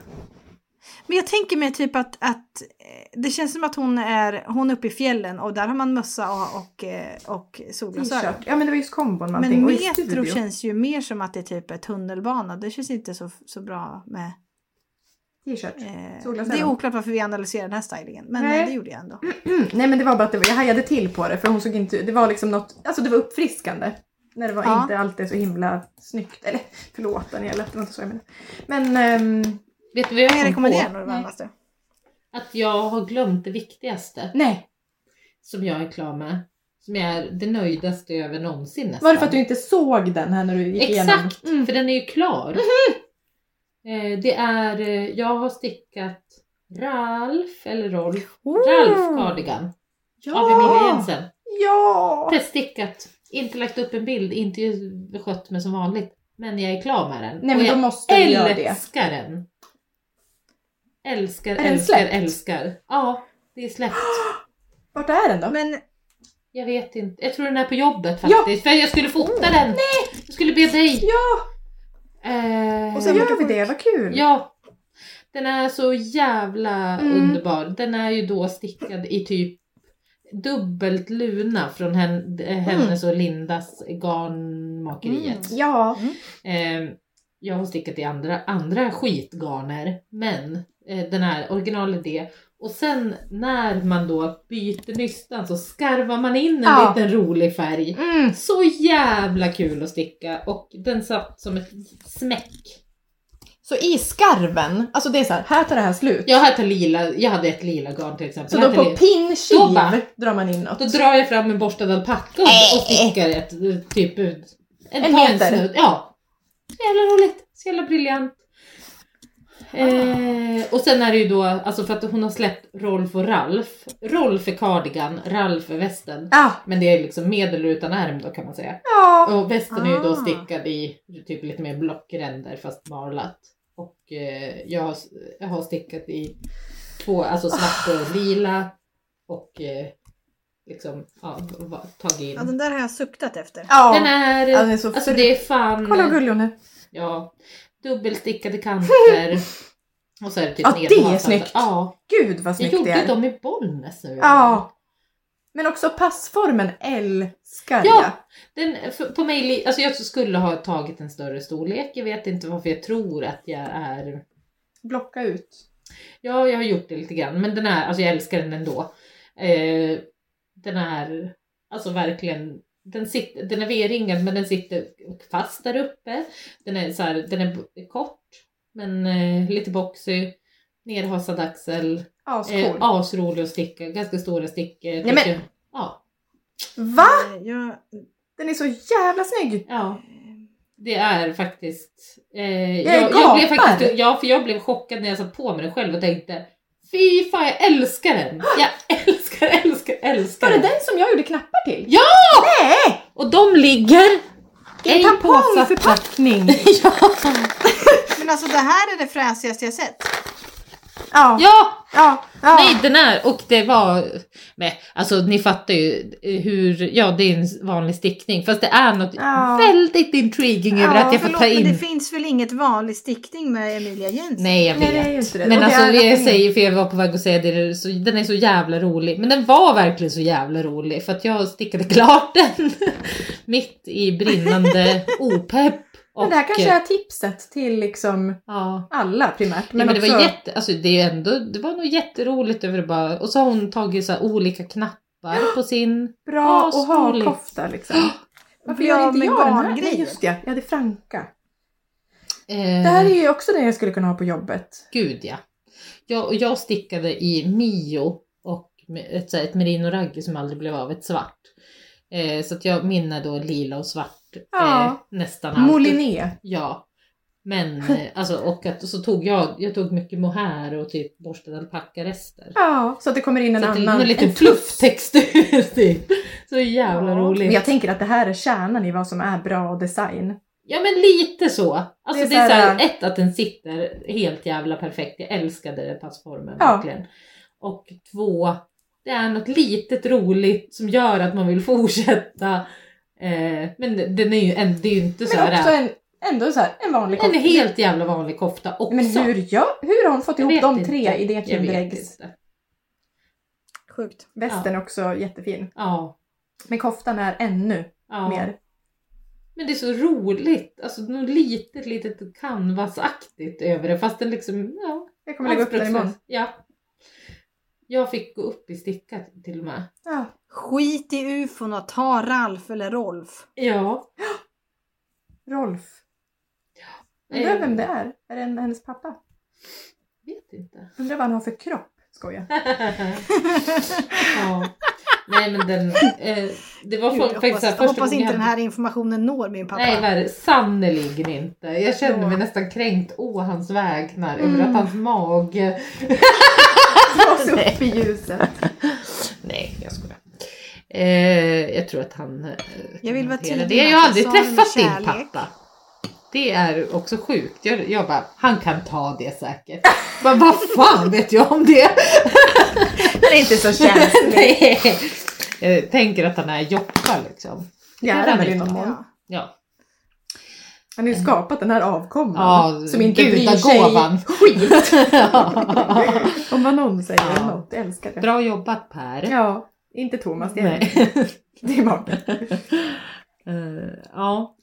S1: Men jag tänker mig typ att, att eh, det känns som att hon är, hon är uppe i fjällen och där har man mössa och, och, eh, och solglasögon.
S2: t-shirt. Ja men det var just kombon med allting.
S1: Men
S2: Och i
S1: metro
S2: studio.
S1: känns ju mer som att det är typ är tunnelbana. Det känns inte så, så bra med...
S2: T-shirt.
S1: Eh,
S2: Solglasögon.
S1: det är oklart varför vi analyserar den här stylingen. Men
S2: Nej.
S1: eh, det gjorde jag ändå.
S2: Mm, nej men det var bara att det var, jag hajade till på det för hon såg inte... Det var liksom något... Alltså det var uppfriskande. När det var
S1: Ja.
S2: inte alltid så himla snyggt. Eller förlåt Daniela, det var inte så jag menade. Men... ehm,
S3: Vet du vad jag
S1: Men jag
S3: kom
S1: rekommenderar
S3: på?
S1: nog det varmaste.
S3: Att jag har glömt det viktigaste
S2: nej.
S3: som jag är klar med. Som jag är det nöjdaste över någonsin nästan.
S2: Var det för att du inte såg den här när du gick igenom? Mm. Mm-hmm.
S3: Exakt! Mm. För den är ju klar. Eh, det är, eh, jag har stickat Ralf, eller Rolf, Ralf Cardigan av Emilia
S2: Oh! Ja!
S3: Jensen.
S2: Ja!
S3: Teststickat, inte lagt upp en bild, inte ju- skött mig som vanligt. Men jag är klar med den.
S2: Nej men
S3: Och
S2: då
S3: jag
S2: måste vi göra det.
S3: älskar den! Älskar,
S2: den
S3: älskar,
S2: släppt?
S3: älskar. Ja, det är släppt.
S2: Vart är den då?
S1: Men
S3: Jag vet inte. Jag tror den är på jobbet
S2: Ja. Oh,
S3: faktiskt. För jag skulle fota den. Jag skulle be dig.
S2: Ja!
S3: Eh,
S2: Och så gör vi det, vad kul!
S3: Ja. Den är så jävla
S2: Mm.
S3: underbar. Den är ju då stickad i typ dubbelt luna från hen, eh, hennes
S2: Mm.
S3: och Lindas garnmakeriet.
S2: Ja.
S3: Eh, jag har stickat i andra, andra skitgarner, men eh, den här original är det. Och sen när man då byter nystan så skarvar man in en
S2: Ja.
S3: liten rolig färg.
S2: Mm.
S3: Så jävla kul att sticka och den satt som ett smäck.
S2: Så i skarven, alltså det är så här, här tar det här slut.
S3: Jag hade, ett lila, jag hade ett lila garn till exempel.
S2: Så
S3: Jag
S2: då
S3: hade
S2: på
S3: lila-
S2: pinkiv
S3: Då bara-
S2: drar man in något.
S3: då drar jag fram en borstad alpacka och, och stickar ett eh, typ ut.
S2: En
S3: tand
S2: meter.
S3: snut. Ja. Så jävla roligt. Så jävla briljant. Eh, och sen är det ju då, alltså för att hon har släppt Rolf och Ralf. Rolf är cardigan, Ralf är västen.
S2: Ja.
S3: Men det är liksom med eller utan ärm då kan man säga.
S2: Ja.
S3: Och västen är ju
S1: Ah.
S3: då stickad i typ lite mer blockränder fast marlat. Och eh, jag, har, jag har stickat i två, alltså svart
S2: Ah.
S3: och lila. Och eh, liksom ja, va- tagit in.
S1: ja, den där har jag suktat efter.
S3: Den
S2: Alltså, ja.
S3: är,
S2: Ja, den är så
S3: alltså
S2: fri-
S3: det är fan,
S2: Kolla vad gullig hon är.
S3: ja, dubbelstickade kanter. och så är det typ
S2: Ja, det är
S3: nedmatande.
S2: snyggt.
S3: Ja,
S2: Gud vad
S3: jag
S2: snyggt det
S3: gjorde ju
S2: är.
S3: dem i Bollnäs nu.
S2: Ja. Men också passformen älskar jag.
S3: Ja. Den, för, på mig, li- alltså jag skulle ha tagit en större storlek. Jag vet inte varför jag tror att jag är
S2: Blocka ut.
S3: Ja, jag har gjort det lite grann. Men den här, alltså jag älskar den ändå. Eh, den här, alltså verkligen. Den, sitter, den är V-ringad men den sitter fast där uppe. Den är, så här, den är b- kort men eh, lite boxy. Nerhasad axel.
S2: Ascool.
S3: Eh, asrolig att sticka. Ganska stora stickor.
S2: men-
S3: Tycker- Ja,
S2: Va?
S1: Eh, Jag,
S2: Den är så jävla snygg!
S3: ja. Det är faktiskt... Eh,
S2: Jag
S3: jag, jag, blev
S2: gapar.
S3: faktiskt ja, för jag blev chockad när jag satt på mig den själv och tänkte Fy fan, jag älskar den! Jag älskar, älskar, älskar
S2: Var det den som jag gjorde knappar till?
S3: Och de ligger
S1: En
S3: En
S1: tampong för papp!
S3: påsatspackning.
S1: Men alltså det här är det fräsigaste jag sett. Ja, ja,
S3: ja,
S1: ja.
S3: Nej, den är, och det var, men, alltså ni fattar ju hur, ja det är en vanlig stickning fast det är något
S1: Ja.
S3: väldigt intriguing över att jag får
S1: förlåt,
S3: ta
S1: men det
S3: in.
S1: finns väl inget vanlig stickning med Emilia Jensen?
S3: Nej jag
S2: Nej, det
S3: vet.
S2: är ju inte det.
S1: Och
S3: Men
S1: det
S3: alltså
S1: är
S3: jag
S1: någonting-
S3: säger för jag var på väg att säga det, så, den är så jävla rolig. Men den var verkligen så jävla rolig för att jag stickade klart den mitt i brinnande opepp.
S2: men det här kanske
S3: eh,
S2: är tipset till liksom
S3: ja.
S2: alla primärt.
S3: Men, men det,
S2: också,
S3: var jätte, alltså det, är ändå, det var nog jätteroligt över det bara. Och så har hon tagit så här olika knappar på sin.
S2: bra att ha
S3: asroligt.
S2: kofta liksom. Varför
S1: Ja,
S2: gör inte
S1: men
S2: jag den här?
S1: garngrejer.
S2: Nej just det, jag hade franka.
S3: Eh,
S2: Det här är ju också det jag skulle kunna ha på jobbet.
S3: Gud ja. Jag, och jag stickade i Mio och med ett, så här, ett merino-ragg som aldrig blev av, ett svart. Eh, så att jag minnar då lila och svart eh,
S2: Ja.
S3: nästan alltid.
S2: Moliné.
S3: Ja. Men eh, alltså och att, så tog jag, jag tog mycket mohair och typ borstade alpackarester.
S2: Ja, så att det kommer in en
S3: Så att det är
S2: annan.
S3: en liten
S2: en fluff.
S3: flufftextur typ. Så jävla
S1: Ja.
S3: roligt.
S2: Men jag tänker att det här är kärnan i vad som är bra design.
S3: Ja men lite så. Alltså
S2: Det
S3: det
S2: är
S3: är,
S2: så
S3: så
S2: här-
S3: här, ett att den sitter helt jävla perfekt. Jag älskade den passformen
S2: Ja.
S3: verkligen. Och två, det är något litet roligt som gör att man vill fortsätta. Eh, men den är ju, en, det är ju inte så
S2: Men också
S3: här.
S2: en, ändå så här, en vanlig
S3: En
S2: kofta.
S3: helt jävla vanlig kofta också.
S2: Men hur, ja, hur har hon fått
S3: Jag
S2: ihop
S3: vet
S2: de
S3: inte.
S2: tre i det
S3: Jag vet
S2: Kinderäggs?
S3: inte.
S1: Sjukt.
S2: Västen är också jättefin.
S3: Ja.
S2: Men koftan är ännu
S3: ja.
S2: mer.
S3: Men det är så roligt. Alltså något litet, litet canvasaktigt över det. Fast den liksom, ja.
S2: Jag kommer lägga upp den imorgon.
S3: Anspråkslös. Ja. Jag fick gå upp i stickat till och med.
S2: Ja.
S1: Skit i ufon och ta Ralf eller Rolf.
S3: Ja.
S2: Rolf.
S3: Eh.
S2: Undrar vem det är? Är det en, hennes pappa?
S3: vet inte.
S2: Undrar vad han har för kropp? Skoja.
S3: ja. Nej men den, eh, det var
S1: Gud,
S3: folk-
S1: jag
S3: faktiskt så här,
S1: hoppas,
S3: första
S1: hoppas
S3: gången
S1: inte
S3: jag
S1: den
S3: hade-
S1: här informationen når min pappa.
S3: Nej ver- sannerligen inte. Jag kände
S2: Ja.
S3: mig nästan kränkt å hans vägnar över
S2: Mm.
S3: att hans mage...
S2: Dras upp i ljuset.
S3: Nej jag skojar. Eh, jag tror att han... Eh,
S1: Jag vill vara
S3: kan hantera
S1: tydlig med
S3: det. Jag har
S1: att
S3: aldrig
S1: jag sa det med
S3: träffat din
S1: kärlek.
S3: pappa. Det är också sjukt. Jag, jag bara, han kan ta det säkert. Men vad fan vet jag om det?
S2: Han är inte så känslig.
S3: Nej. Jag Eh, tänker att han är joppa liksom.
S2: Det är han väl i någon mån.
S1: Ja.
S3: Ja.
S2: Han har ju skapat den här avkomman.
S3: Eh. Ja,
S2: som inte bryr sig
S3: gudagåvan.
S2: skit om vad någon säger.
S3: Ja.
S2: Något. Jag älskar det.
S3: Bra jobbat Per.
S2: Ja, inte Thomas. Det är,
S3: Nej.
S2: det är Martin.
S3: Eh, ja.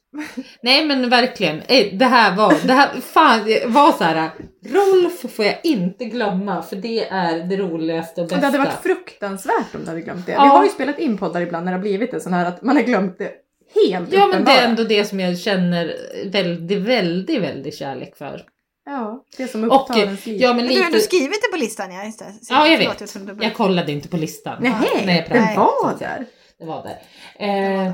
S3: Nej men verkligen. Eh, Det här var, det här, fan, det var så här. Rolf får jag inte glömma för det är det roligaste och bästa.
S2: Och det hade varit fruktansvärt om du hade glömt det.
S3: Ja.
S2: Vi har ju spelat in poddar ibland när det har blivit en sån här att man har glömt det helt
S3: Ja men det är
S2: uppenbara.
S3: ändå det som jag känner väldigt, väldigt, väldigt kärlek för.
S2: Ja, det som
S3: Och
S2: upptar ens liv.
S3: ja men
S1: Men du har ändå
S3: lite,
S1: skrivit det på listan ja. Just det. Så-
S3: Ja, jag
S1: förlåt,
S3: vet.
S1: Jag trodde du
S3: jag kollade inte på listan.
S2: Nej,
S3: när jag
S2: den
S3: pratade,
S2: var
S3: så att-
S2: där.
S3: Det var där. Eh,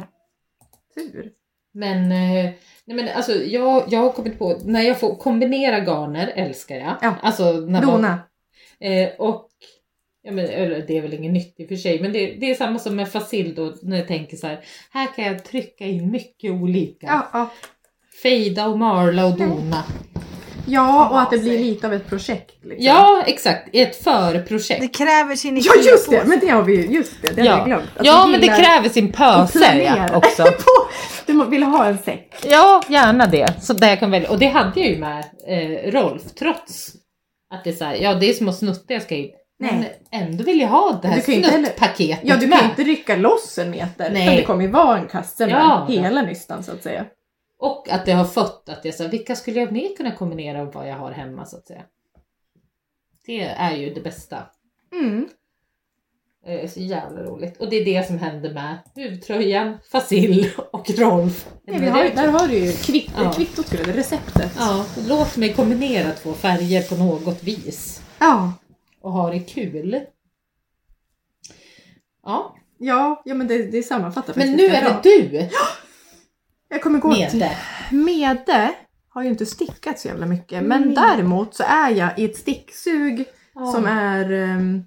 S2: Tur.
S3: men eh, nej men alltså jag, jag har kommit på, när jag får kombinera garner älskar jag.
S2: Ja.
S3: Alltså när man,
S2: Dona.
S3: Eh, och ja, men, eller, det är väl inget nytt i och för sig, men det, det är samma som med Fasil då när jag tänker så här. Här kan jag trycka in mycket olika.
S2: Ja, Mm. ja.
S3: Fejda och marla och dona.
S2: ja, och att det
S1: Ja,
S2: blir
S1: säg.
S2: lite av ett projekt. Liksom.
S3: Ja, exakt. Ett
S1: Det
S3: förprojekt.
S1: kräver sin
S2: ja,
S1: ikea
S2: just
S1: på
S2: det!
S1: sig.
S2: Men det har vi ju, just det, det
S3: Ja.
S2: hade jag glömt. Att
S3: ja,
S2: alltså, du
S3: men det
S2: gillar
S3: kräver sin
S2: att
S3: pöse
S2: planera.
S3: ja, också.
S2: På- du må- vill ha en säck.
S3: Ja, gärna det. Så där jag kan välja. Och det hade jag ju med eh, Rolf, trots att det är så här, ja det är små snuttar jag ska in.
S2: Nej.
S3: Men ändå vill jag ha det här
S2: Du kan ju inte heller-
S3: snuttpaketet
S2: Ja, du kan ju
S3: med.
S2: inte rycka loss en meter.
S3: Nej.
S2: Utan det kommer ju vara en kasse med
S3: Ja.
S2: hela nystan så att säga.
S3: Och att det har fött att jag sa, vilka skulle jag mer kunna kombinera av vad jag har hemma så att säga. Det är ju det bästa.
S2: Mm.
S3: Eh, Så jävla roligt. Och det är det som händer med huvtröjan, Fasil och Rolf.
S2: Nej, vi har, ju- där har du ju kvitt,
S3: Ja.
S2: kvittot, skulle jag- receptet.
S3: Ja, låt mig kombinera två färger på något vis
S2: ja.
S3: och ha det kul. Ja,
S2: Ja, ja men det, det sammanfattar
S3: men
S2: faktiskt
S3: nu är det
S2: bra. typ.
S3: du
S2: Jag kommer gå
S3: med
S2: till...
S3: det.
S2: Mede har ju inte stickat så jävla mycket. Men
S1: Mm.
S2: däremot så är jag i ett sticksug som är... ehm,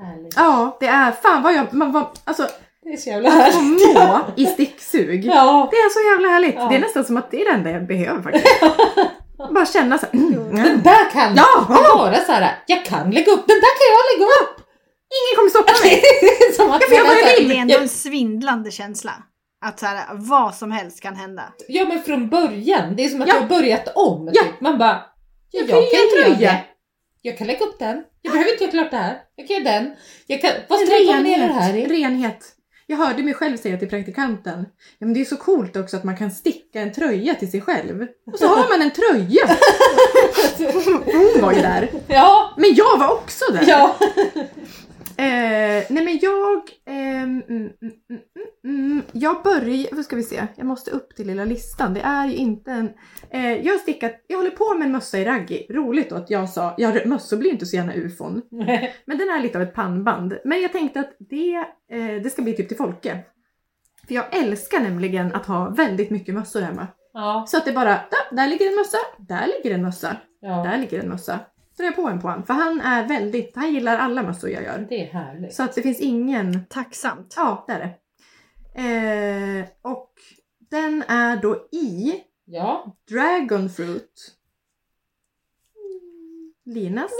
S3: härligt.
S2: ja, det är... Fan vad jag... Man, vad, alltså,
S4: Det är så jävla härligt.
S2: må i sticksug.
S4: Ja.
S2: Det är så jävla härligt.
S4: Ja.
S2: Det är nästan som att det är det enda jag behöver faktiskt. Bara känna så här, mm, mm.
S4: Den där kan
S2: Ja!
S4: jag bara så här, jag kan lägga upp, den där kan jag lägga upp!
S2: Ingen kommer stoppa mig!
S4: Det är som att
S2: Jag får göra
S4: man är
S2: vad jag
S4: så här-
S2: vill.
S1: Det är ändå en svindlande känsla. Att så här, vad som helst kan hända.
S4: Ja men från början, det är som att
S2: Ja.
S4: jag har börjat om.
S2: Ja.
S4: Typ. Man bara, ja,
S2: Jag
S4: jag,
S2: kan
S4: kan
S2: göra
S4: göra
S2: tröja.
S4: det. Jag kan lägga upp den. Jag behöver inte göra klart det här. Jag kan göra den. Jag kan, vad ska jag kombinera det här
S2: Renhet,
S4: i?
S2: renhet. Jag hörde mig själv säga till praktikanten, ja men det är så coolt också att man kan sticka en tröja till sig själv. Och så har man en tröja! Hon var ju där.
S4: Ja,
S2: Men jag var också där!
S4: ja.
S2: Eh, nej men jag... ehm, mm, mm, mm, mm, jag börjar... Vad ska vi se? Jag måste upp till lilla listan. Det är ju inte en... Eh, jag har stickat... Jag håller på med en mössa i raggi. Roligt då att jag sa... Ja, mössor blir inte så gärna ufon. Men den är lite av ett pannband. Men jag tänkte att det, eh, det ska bli typ till Folke. För jag älskar nämligen att ha väldigt mycket mössor hemma.
S4: ja,
S2: Så att det bara, där, där ligger en mössa, där ligger en mössa,
S4: ja.
S2: där ligger en mössa. Drar jag på en på honom. För han är väldigt, han gillar alla mössor jag gör.
S4: Det är härligt.
S2: Så att det finns ingen
S1: Tacksamt.
S2: Ja, det är det. Eh, och den är då i
S4: Ja.
S2: Dragonfruit.
S4: Mm.
S2: Linas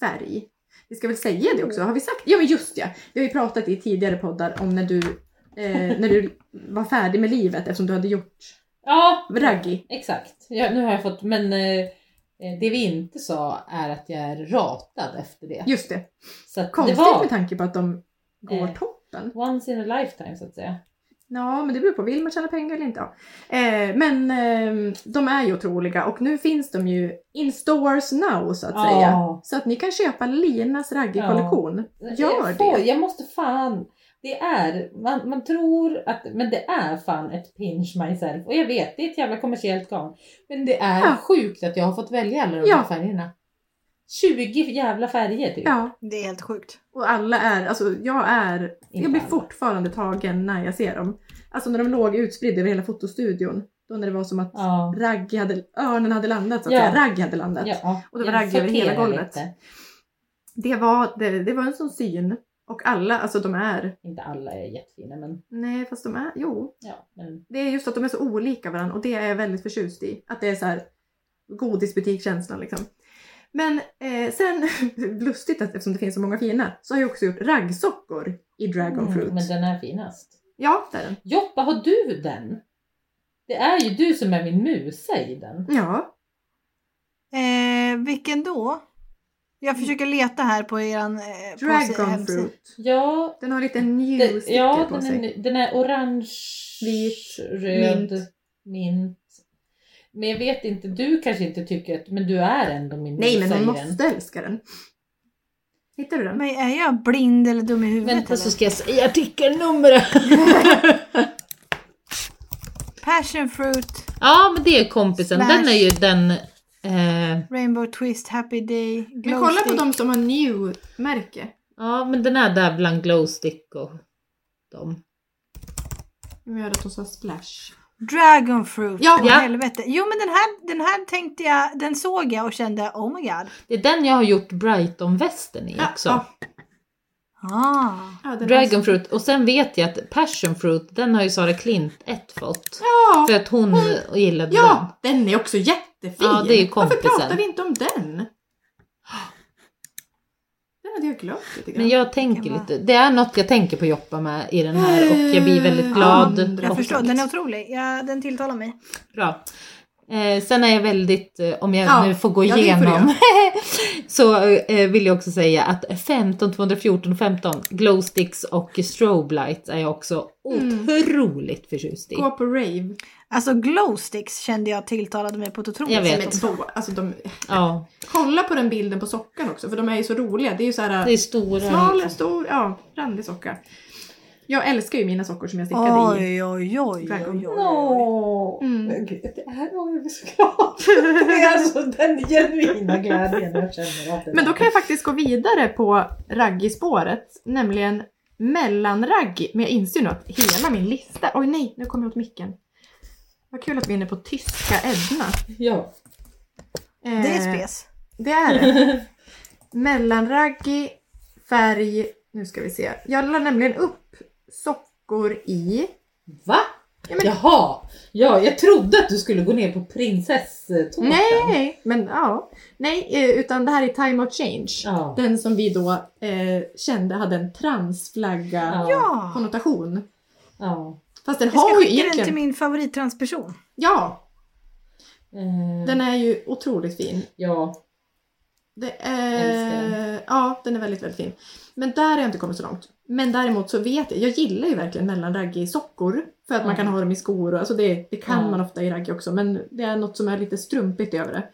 S2: färg. Vi ska väl säga det också, har vi sagt? Ja men just ja! Vi har ju pratat i tidigare poddar om när du, eh, när du var färdig med livet eftersom du hade gjort
S4: Ja,
S2: raggi.
S4: exakt. Ja, nu har jag fått, men eh, eh, det vi inte sa är att jag är ratad efter det.
S2: Just det.
S4: Så att det
S2: Konstigt med
S4: var
S2: tanke på att de går
S4: Eh.
S2: toppen.
S4: once in a lifetime så att säga.
S2: Ja, men det beror på. Vill man tjäna pengar eller inte? Ja. Eh, men ehm, de är ju otroliga och nu finns de ju in stores now så att
S4: Ja.
S2: säga. Så att ni kan köpa Linas raggig-kollektion. Gör
S4: jag, får,
S2: det!
S4: jag måste fan. Det är, man, man tror att, men det är fan ett pinch myself. Och jag vet, det är ett jävla kommersiellt garn. Men det är
S2: Ja.
S4: sjukt att jag har fått välja alla de
S2: Ja.
S4: här färgerna. 20 jävla färger typ.
S2: Ja,
S1: Det är helt sjukt.
S2: och alla är, alltså jag är, jag
S4: Inte
S2: blir
S4: alla.
S2: fortfarande tagen när jag ser dem. Alltså när de låg utspridda över hela fotostudion. Då när det var som att
S4: Ja.
S2: ragg hade, örnen hade landat så att
S4: Ja.
S2: säga. Ragg hade landat.
S4: ja.
S2: Och det var
S4: Jag
S2: ragg över hela
S4: sorterar
S2: golvet.
S4: lite.
S2: Det, var, det, det var en sån syn. Och alla, alltså de är,
S4: Inte alla är jättefina men
S2: nej fast de är, jo.
S4: ja. Men,
S2: Det är just att de är så olika varandra och det är jag väldigt förtjust i. Att det är så här godisbutikkänslan liksom. Men eh, sen, lustigt att, eftersom det finns så många fina, så har jag också gjort raggsockor i Dragonfruit.
S4: Mm, men den är finast.
S2: Ja, det är den.
S4: Joppa, har du den? Det är ju du som är min musa i den.
S2: Ja.
S1: Eh, vilken då? Jag
S2: Mm.
S1: försöker leta här på eran... Eh, på hemsida.
S2: Dragonfruit.
S4: Ja,
S2: Den har lite new
S4: Den,
S2: sticker
S4: ja,
S2: på
S4: den
S2: sig.
S4: är, ny- den är orange,
S2: Vit,
S4: röd,
S2: mint.
S4: mint. Men jag vet inte, du kanske inte tycker att, men du är ändå min
S2: Nej, men
S4: musa
S2: man
S4: i
S2: måste älska den. Hittar du den?
S1: Men är jag blind eller dum i huvudet
S4: Vänta så
S1: eller?
S4: ska jag säga artikelnumret.
S1: Passion fruit,
S3: Ja men det är kompisen, den är ju den... Eh,
S1: rainbow twist, happy day, glow
S2: Men kolla på
S1: stick.
S2: de som har new-märke.
S3: ja men den är där bland glowstick och dem.
S2: Som gör att de sa splash.
S1: Dragon fruit,
S2: Ja,
S1: åh,
S3: ja.
S1: helvete. Jo men den här, den här tänkte jag, den såg jag och kände oh my god.
S3: Det är den jag har gjort Brighton-västen i
S2: Ja,
S3: också.
S2: ja.
S1: Ah.
S2: Ja, den har-
S3: Dragonfruit och sen vet jag att passionfruit den har ju Sara Klint ett fått.
S2: Ja.
S3: För att hon, gillade
S2: Ja, den är också jättefin!
S3: Ja, det är ju
S2: Varför
S3: kompisen.
S2: pratar vi inte om den? Den hade jag glömt lite
S3: den.
S2: grann.
S3: Men jag tänker
S1: Kan vara-
S3: lite, det är något jag tänker på att jobba med i den här och jag blir
S2: Eh,
S3: väldigt glad.
S2: Andra
S1: Jag
S3: och
S1: förstår, den är otrolig. Ja, den tilltalar mig.
S3: Bra. Eh, sen är jag väldigt, eh, om jag
S2: Ja,
S3: nu får gå
S2: ja, det får
S3: igenom, så eh, vill jag också säga att 15, 214 och 15 glowsticks och strobe lights är jag också
S2: Mm.
S3: otroligt förtjust i.
S2: Gå på rave.
S1: Alltså glowsticks kände jag tilltalade mig på ett otroligt
S3: Jag vet.
S1: sätt.
S2: Med två. Alltså, de...
S3: Ja,
S2: Kolla på den bilden på sockan också för de är ju så roliga. Det är ju så här
S3: det är stora.
S2: smal, stor, ja, randig socka. Jag älskar ju mina sockor som jag stickade i.
S1: Oj, oj, oj, oj, oj, oj.
S4: Åh,
S2: Mm.
S4: men gud, Det här var jag blir så glad. Det är alltså den genuina glädjen jag känner. Att det
S2: Men då kan jag faktiskt gå vidare på raggispåret, nämligen mellanraggi. Men jag inser nu att hela min lista... Oj nej, nu kommer jag åt micken. Vad kul att vi är inne på tyska Edna.
S4: Ja.
S1: Det är
S2: Eh,
S1: spes.
S2: Det är det. Mellanraggi, färg, nu ska vi se. Jag la nämligen upp sockor dockor i.
S3: Va?
S2: Ja, men-
S3: Jaha! Ja, jag trodde att du skulle gå ner på prinsesstårtan.
S2: Nej, men ja. Nej, eh, utan det här är Time of Change.
S3: Ja.
S2: Den som vi då eh, kände hade en transflagga
S3: Ja.
S1: Ja!
S2: konnotation.
S3: ja.
S2: Fast den
S1: Jag ska
S2: har ju
S1: skicka den till
S2: egentligen...
S1: min favorittransperson.
S2: Ja,
S3: Eh,
S2: den är ju otroligt fin.
S3: ja.
S2: Det är...
S3: Älskar
S2: Ja, den är väldigt, väldigt fin. Men där har jag inte kommit så långt. Men däremot så vet jag, jag gillar ju verkligen mellanraggig sockor. För att man
S3: Mm.
S2: kan ha dem i skor och alltså det, det kan
S3: Mm.
S2: man ofta i ragg också. Men det är något som är lite strumpigt över det.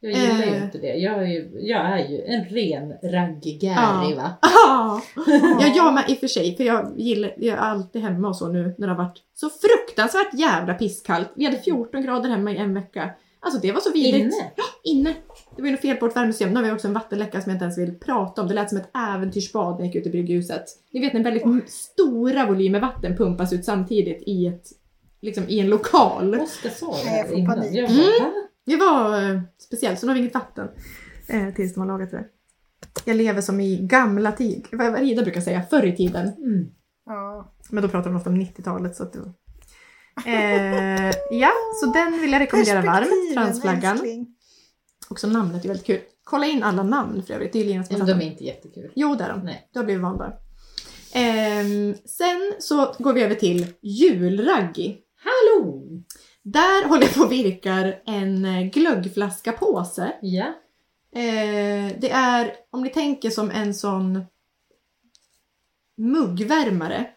S3: Jag gillar ju
S2: Eh.
S3: inte det. Jag är ju, jag är ju en ren
S2: Ja.
S3: raggigäri va?
S2: Ah! Ja, jag med i och för sig. För jag gillar, jag är alltid hemma och så nu när det har varit så fruktansvärt jävla pisskallt. Vi hade 14 grader hemma i en vecka. Alltså det var så vidrigt.
S3: Inne?
S2: Inne. Det var ju något fel på vårt värmesystem. Nu har vi också en vattenläcka som jag inte ens vill prata om. Det lät som ett äventyrsbad när jag gick ut i brygghuset. Ni vet när väldigt m- stora volymer vatten pumpas ut samtidigt i ett liksom i en lokal.
S3: Oskar sa det
S1: Nej, jag
S3: här
S1: får
S3: innan.
S1: panik.
S3: Jag
S2: Mm.
S3: bara, va?
S2: Det var eh, speciellt, så nu har vi inget vatten. Eh, tills de har lagat det. Jag lever som i gamla tid. Vad vad Ida brukar säga, förr i tiden.
S3: Mm.
S1: Ja.
S2: Men då pratar de ofta om 90-talet. Så att det... eh, ja, så den vill jag rekommendera varmt.
S1: Perspektiven,
S2: Transflaggan.
S1: älskling.
S2: Också namnet är väldigt kul. Kolla in alla namn för övrigt. Det är Lina som
S3: Men
S2: har
S3: de
S2: satt
S3: är
S2: dem.
S3: inte jättekul.
S2: Jo, det är de.
S3: Nej.
S2: Du har blivit van bara. Ehm, sen så går vi över till julraggi.
S3: Hallå!
S2: Där håller jag på och virkar en eh, glöggflaska påse.
S3: Ja.
S2: Eh, det är, om ni tänker som en sån muggvärmare.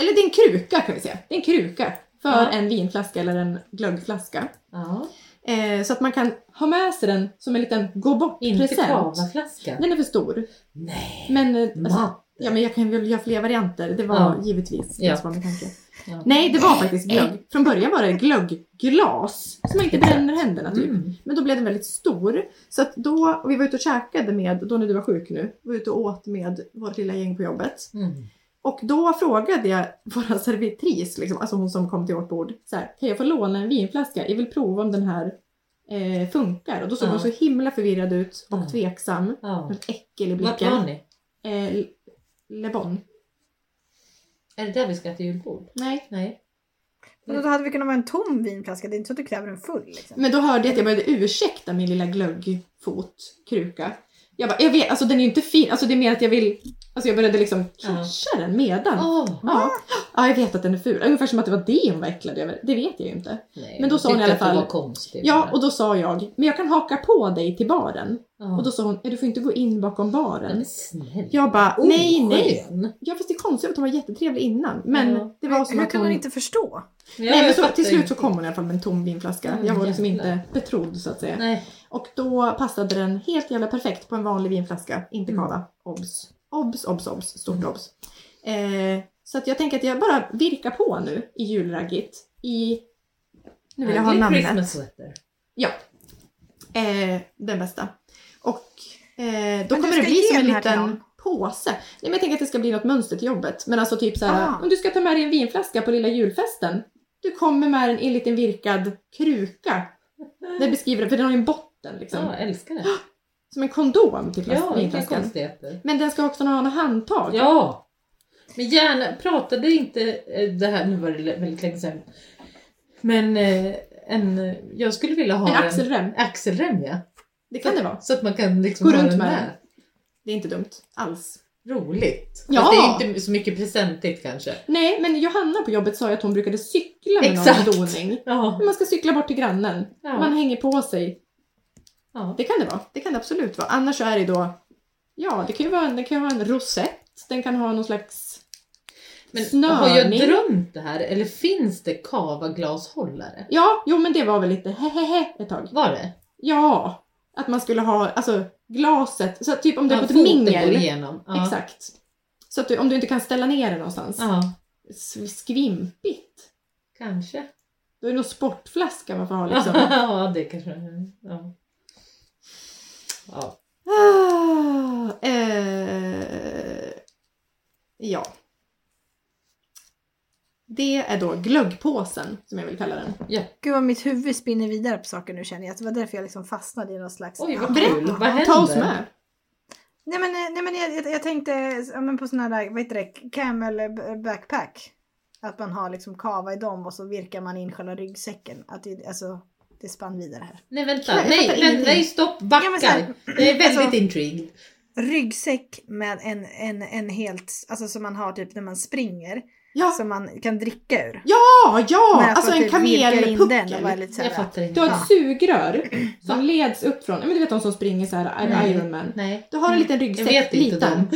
S2: Eller det är en kruka kan vi säga. Det är en kruka för
S3: Ja.
S2: en vinflaska eller en glöggflaska.
S3: ja.
S2: Eh, så att man kan ha med sig den som en liten gå
S3: Inte
S2: bort-present.
S3: kavaflaska.
S2: Den är för stor.
S3: Nej.
S2: Men, eh, alltså,
S3: Ma.
S2: ja, men jag kan väl göra fler varianter. Det var
S3: Ja.
S2: givetvis det
S3: Ja.
S2: som var min tanke.
S3: Ja.
S2: Nej, det var faktiskt glögg. Från början var det glöggglas. Så man inte bränner händerna typ.
S3: Mm.
S2: Men då blev den väldigt stor. Så att då, och vi var ute och käkade med, då när du var sjuk nu, var ute och åt med vårt lilla gäng på jobbet.
S3: Mm.
S2: Och då frågade jag vår servitris, liksom, alltså hon som kom till vårt bord, så här, kan jag få låna en vinflaska? Jag vill prova om den här eh, funkar. Och då såg
S3: Ja.
S2: hon så himla förvirrad ut och
S3: Ja.
S2: tveksam.
S3: Ja.
S2: Med ett äckel i
S3: Vart
S2: blicken.
S3: var ni?
S2: Eh, Le- Le Bon.
S3: Är det där vi ska till julbord?
S2: Nej.
S3: Nej.
S1: Men då hade vi kunnat vara en tom vinflaska. Det är inte så att du kräver en full. Liksom.
S2: Men då hörde jag att jag började ursäkta min lilla glöggfotkruka. Jag bara, jag vet, alltså den är ju inte fin, alltså det är mer att jag vill, alltså jag började liksom casha den medan.
S3: Åh,
S2: Ja. ja, jag vet att den är ful. Ungefär som att det var det hon var äcklad över. Det vet jag ju inte.
S3: nej.
S2: Men då sa
S3: Tyckte
S2: hon i alla
S3: att det
S2: fall-
S3: var konstigt.
S2: Ja, och då sa jag, men jag kan haka på dig till baren.
S3: Ja.
S2: Och då sa hon, "Ja, du får inte gå in bakom baren.
S3: Men snälla.
S2: Jag bara, nej, nej.
S3: Oskön.
S2: Ja, fast det är konstigt att hon var jättetrevlig innan. Men
S3: Ja.
S2: det var som
S1: Hur
S2: att
S1: kan
S2: hon...
S1: man inte förstå?
S3: Ja,
S2: Nej, men
S3: jag
S2: så,
S3: fattar
S2: till slut så
S3: ingenting.
S2: kom hon i alla fall med en tom vinflaska.
S3: Mm,
S2: Jag var liksom
S3: jävlar.
S2: inte betrodd så att säga.
S3: Nej.
S2: Och då passade den helt jävla perfekt på en vanlig vinflaska. Inte
S3: Mm.
S2: kava. Obs. Obs, obs, obs. Stort
S1: Mm.
S2: obs. Eh, så att jag tänker att jag bara virkar på nu i julraggigt. I... Nu vill jag ha
S3: Ugly
S2: namnet.
S3: Christmas sweater.
S2: Ja. Eh, den bästa. Och eh, då
S1: du
S2: kommer
S1: ska
S2: det bli
S1: ge
S2: som en
S1: den här till
S2: liten
S1: någon?
S2: påse. Nej, men jag tänker att det ska bli något mönster till jobbet. Men alltså typ så här,
S1: Ah.
S2: om du ska ta med dig en vinflaska på lilla julfesten. Du kommer med den i en liten virkad kruka. Det beskriver det, för den har ju en botten liksom.
S3: Ja, jag älskar det.
S2: Som en kondom typ, till
S3: Ja,
S2: flas-
S3: vilka
S2: vinflaskan.
S3: konstigheter.
S2: men den ska också ha några handtag.
S3: Ja! Men gärna, pratade inte eh, det här, nu var det lä- väldigt länge sedan. Men eh, en, eh, jag skulle vilja ha
S2: en axelrem.
S3: axelrem ja.
S2: Det kan det vara.
S3: Så att man kan liksom
S2: Gå
S3: ha
S2: runt
S3: den
S2: med
S3: där.
S2: Det är inte dumt alls.
S3: Roligt.
S2: Ja.
S3: Fast det är ju inte så mycket presentigt kanske.
S2: Nej, men Johanna på jobbet sa ju att hon brukade cykla med
S3: Exakt.
S2: någon doning.
S3: Ja.
S2: Men Man ska cykla bort till grannen.
S3: Ja.
S2: Man hänger på sig.
S3: Ja.
S2: Det kan det vara. Det kan det absolut vara. Annars så är det då... Ja, det kan ju vara en, det kan ju vara en rosett. Den kan ha någon slags...
S3: Men
S2: Snörning.
S3: har jag drömt det här eller finns det kava-glashållare?
S2: Ja, jo men det var väl lite hehehe ett tag.
S3: Var det?
S2: Ja, att man skulle ha alltså glaset. Så att typ om det är på ett
S3: foten går
S2: mingel.
S3: igenom. Ja.
S2: Exakt. Så att du, om du inte kan ställa ner det någonstans.
S3: Ja,
S2: S- Skvimpigt.
S3: kanske.
S2: Då är det nog sportflaska man får ha liksom.
S3: ja, det kanske ja. ja.
S2: Ah, eh, ja. Det är då glöggpåsen som jag vill kalla den.
S1: Gud vad mitt huvud spinner vidare på saker nu känner jag. Det var därför jag liksom fastnade i någon slags...
S3: Oj, vad
S1: Ja.
S3: kul. Vad händer?
S2: Ta oss med.
S1: Nej men, eh, nej, men jag, jag- jag tänkte ja, men på sådana där, vad heter det, camel eh, backpack. Att man har liksom kava i dem och så virkar man in själva ryggsäcken. Att det, alltså, det spann vidare här.
S3: Nej vänta,
S2: Jag
S3: nej,
S2: fattar
S3: nej,
S2: ingenting.
S3: nej stopp, backa!
S1: Ja, men så här-
S3: jag är väldigt
S1: Alltså-
S3: intrigued.
S1: Ryggsäck med en, en, en helt, alltså som man har typ när man springer.
S2: Ja,
S1: Som man kan dricka ur.
S2: ja,
S1: Men
S2: ja!
S1: att
S2: Alltså
S1: man
S2: en
S1: typ virkar in den och bara
S2: kamelpuckel.
S1: lite så
S3: Jag
S1: här,
S3: fattar inte.
S2: Du har
S1: Ja.
S2: ett sugrör som leds upp från, ja, men du vet de som springer så här
S1: Mm.
S3: Nej.
S2: Ironman.
S3: Nej.
S2: Du har en liten
S3: Jag
S2: ryggsäck,
S3: vet inte
S2: liten.
S3: dem.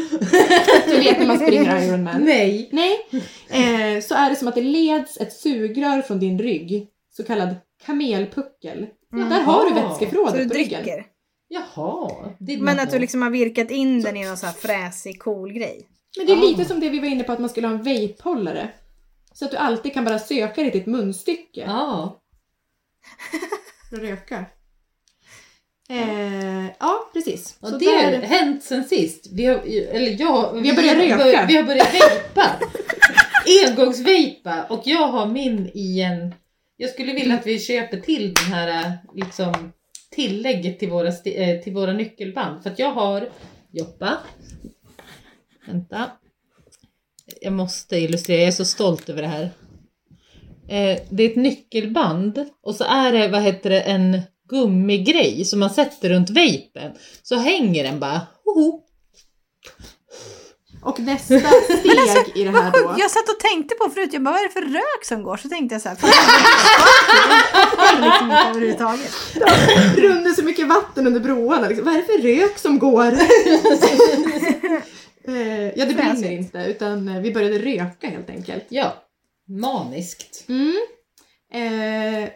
S2: Du vet när man springer Ironman.
S3: Nej.
S2: Nej, eh, så är det som att det leds ett sugrör från din rygg, så kallad kamelpuckel.
S1: Mm.
S2: Där har du
S3: Jaha.
S1: Så du
S2: vätskeförrådet på ryggen.
S1: dricker.
S3: Jaha. did
S1: Men
S3: not
S1: att du
S3: know.
S1: liksom har virkat in den i någon sån här fräsig cool grej.
S2: Men det är
S3: Ah.
S2: lite som det vi var inne på att man skulle ha en vapehållare. Så att du alltid kan bara söka i ditt munstycke
S3: Ja.
S2: för att röka. Eh, ja, precis.
S3: Och
S2: Så
S3: det har
S2: där-
S3: hänt sen sist. Vi har, eller jag,
S2: Vi har börjat
S3: vi
S2: röka.
S3: vi har börjat vejpa. Engångsvejpa. Och jag har min i en... Jag skulle vilja att vi köper till den här eh, liksom, tillägget till våra, sti- eh, till våra nyckelband. För att jag har... Joppa. Vänta. Jag måste illustrera, jag är så stolt över det här. Eh, det är ett nyckelband och så är det, vad heter det, en gummigrej som man sätter runt vejpen. Så hänger den bara. Hoho.
S2: Och nästa steg i det här
S1: Vad
S2: då.
S1: sjukt, jag satt och tänkte på förut, jag bara vad är det för rök som går? Så tänkte jag så här, fan, jag vet inte överhuvudtaget.
S2: Runder så mycket vatten under broarna. Liksom. Vad är det för rök som går? eh, ja, det brinner
S1: Fräsigt.
S2: inte, utan eh, vi började röka helt enkelt.
S3: Ja, maniskt.
S2: Mm. Eh,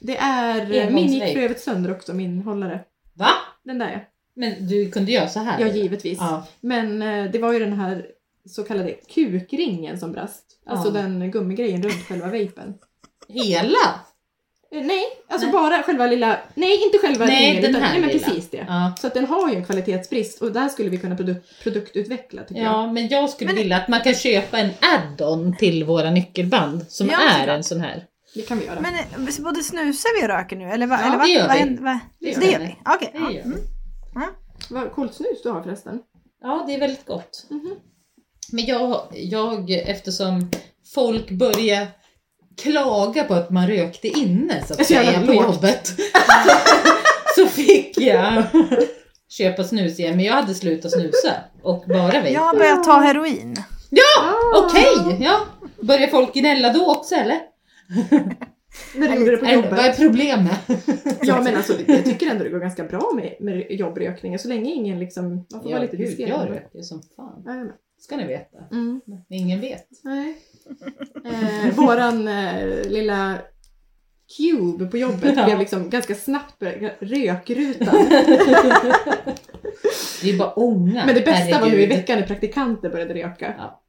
S2: det är... eh, Min gick för övrigt sönder också, min hållare.
S3: Va?
S2: Den där ja.
S3: Men du kunde göra så här?
S2: Ja, givetvis.
S3: Ja.
S2: Men eh, det var ju den här så kallade kukringen som brast. Alltså
S3: Ja.
S2: den gummigrejen runt själva vapen.
S3: Hela?
S2: Eh, nej, alltså
S3: Nej.
S2: bara själva lilla... Nej, inte själva
S3: Nej,
S2: ringen.
S3: den
S2: utan,
S3: här
S2: nej, men
S3: lilla.
S2: precis det.
S3: Ja.
S2: Så att den har ju en kvalitetsbrist och där skulle vi kunna produ- produktutveckla tycker jag.
S3: Ja, men jag skulle
S1: Men-
S3: vilja att man kan köpa en add-on till våra nyckelband som
S1: Ja,
S3: är
S1: såklart.
S3: en sån här.
S2: Det kan vi göra.
S1: Men eh, både snusar vi och röker nu? Eller vad?
S3: Ja,
S1: eller
S3: det
S1: vad,
S3: gör
S1: vad
S3: vi.
S1: händer- vad-
S3: Det gör
S1: Det gör
S3: vi.
S1: vi? Okej.
S3: Det
S1: ja.
S3: gör
S1: Mm.
S2: Vad coolt snus du har förresten.
S3: Ja, det är väldigt gott.
S2: Mhm.
S3: Men jag, jag, eftersom folk börjar klaga på att man rökte inne så
S2: Det är
S3: att
S2: så jävla
S3: säga på
S2: lågt.
S3: jobbet. så fick jag köpa snus igen, men jag hade slutat snusa och bara vejpa.
S1: Jag har börjat ta heroin.
S3: Ja!
S2: Ah!
S3: Okej! Ja. Börjar folk gnälla då också eller?
S2: När du gjorde det på
S3: Eller, vad
S2: jobbet.
S3: är problemet?
S2: Ja men alltså jag tycker ändå det går ganska bra med, med jobbrökningen så länge ingen liksom... Man får vara lite
S3: gud,
S2: diskret.
S3: jag röker ju som fan.
S2: Ja, jag med.
S3: ska ni veta.
S2: Mm.
S3: Men Ingen vet.
S2: Nej. Eh, våran eh, lilla cube på jobbet
S3: Ja.
S2: blev liksom ganska snabbt började- rökrutan.
S3: Det är bara ånga.
S2: Men det bästa var nu i
S3: herregud.
S2: veckan när praktikanter började röka.
S3: Ja.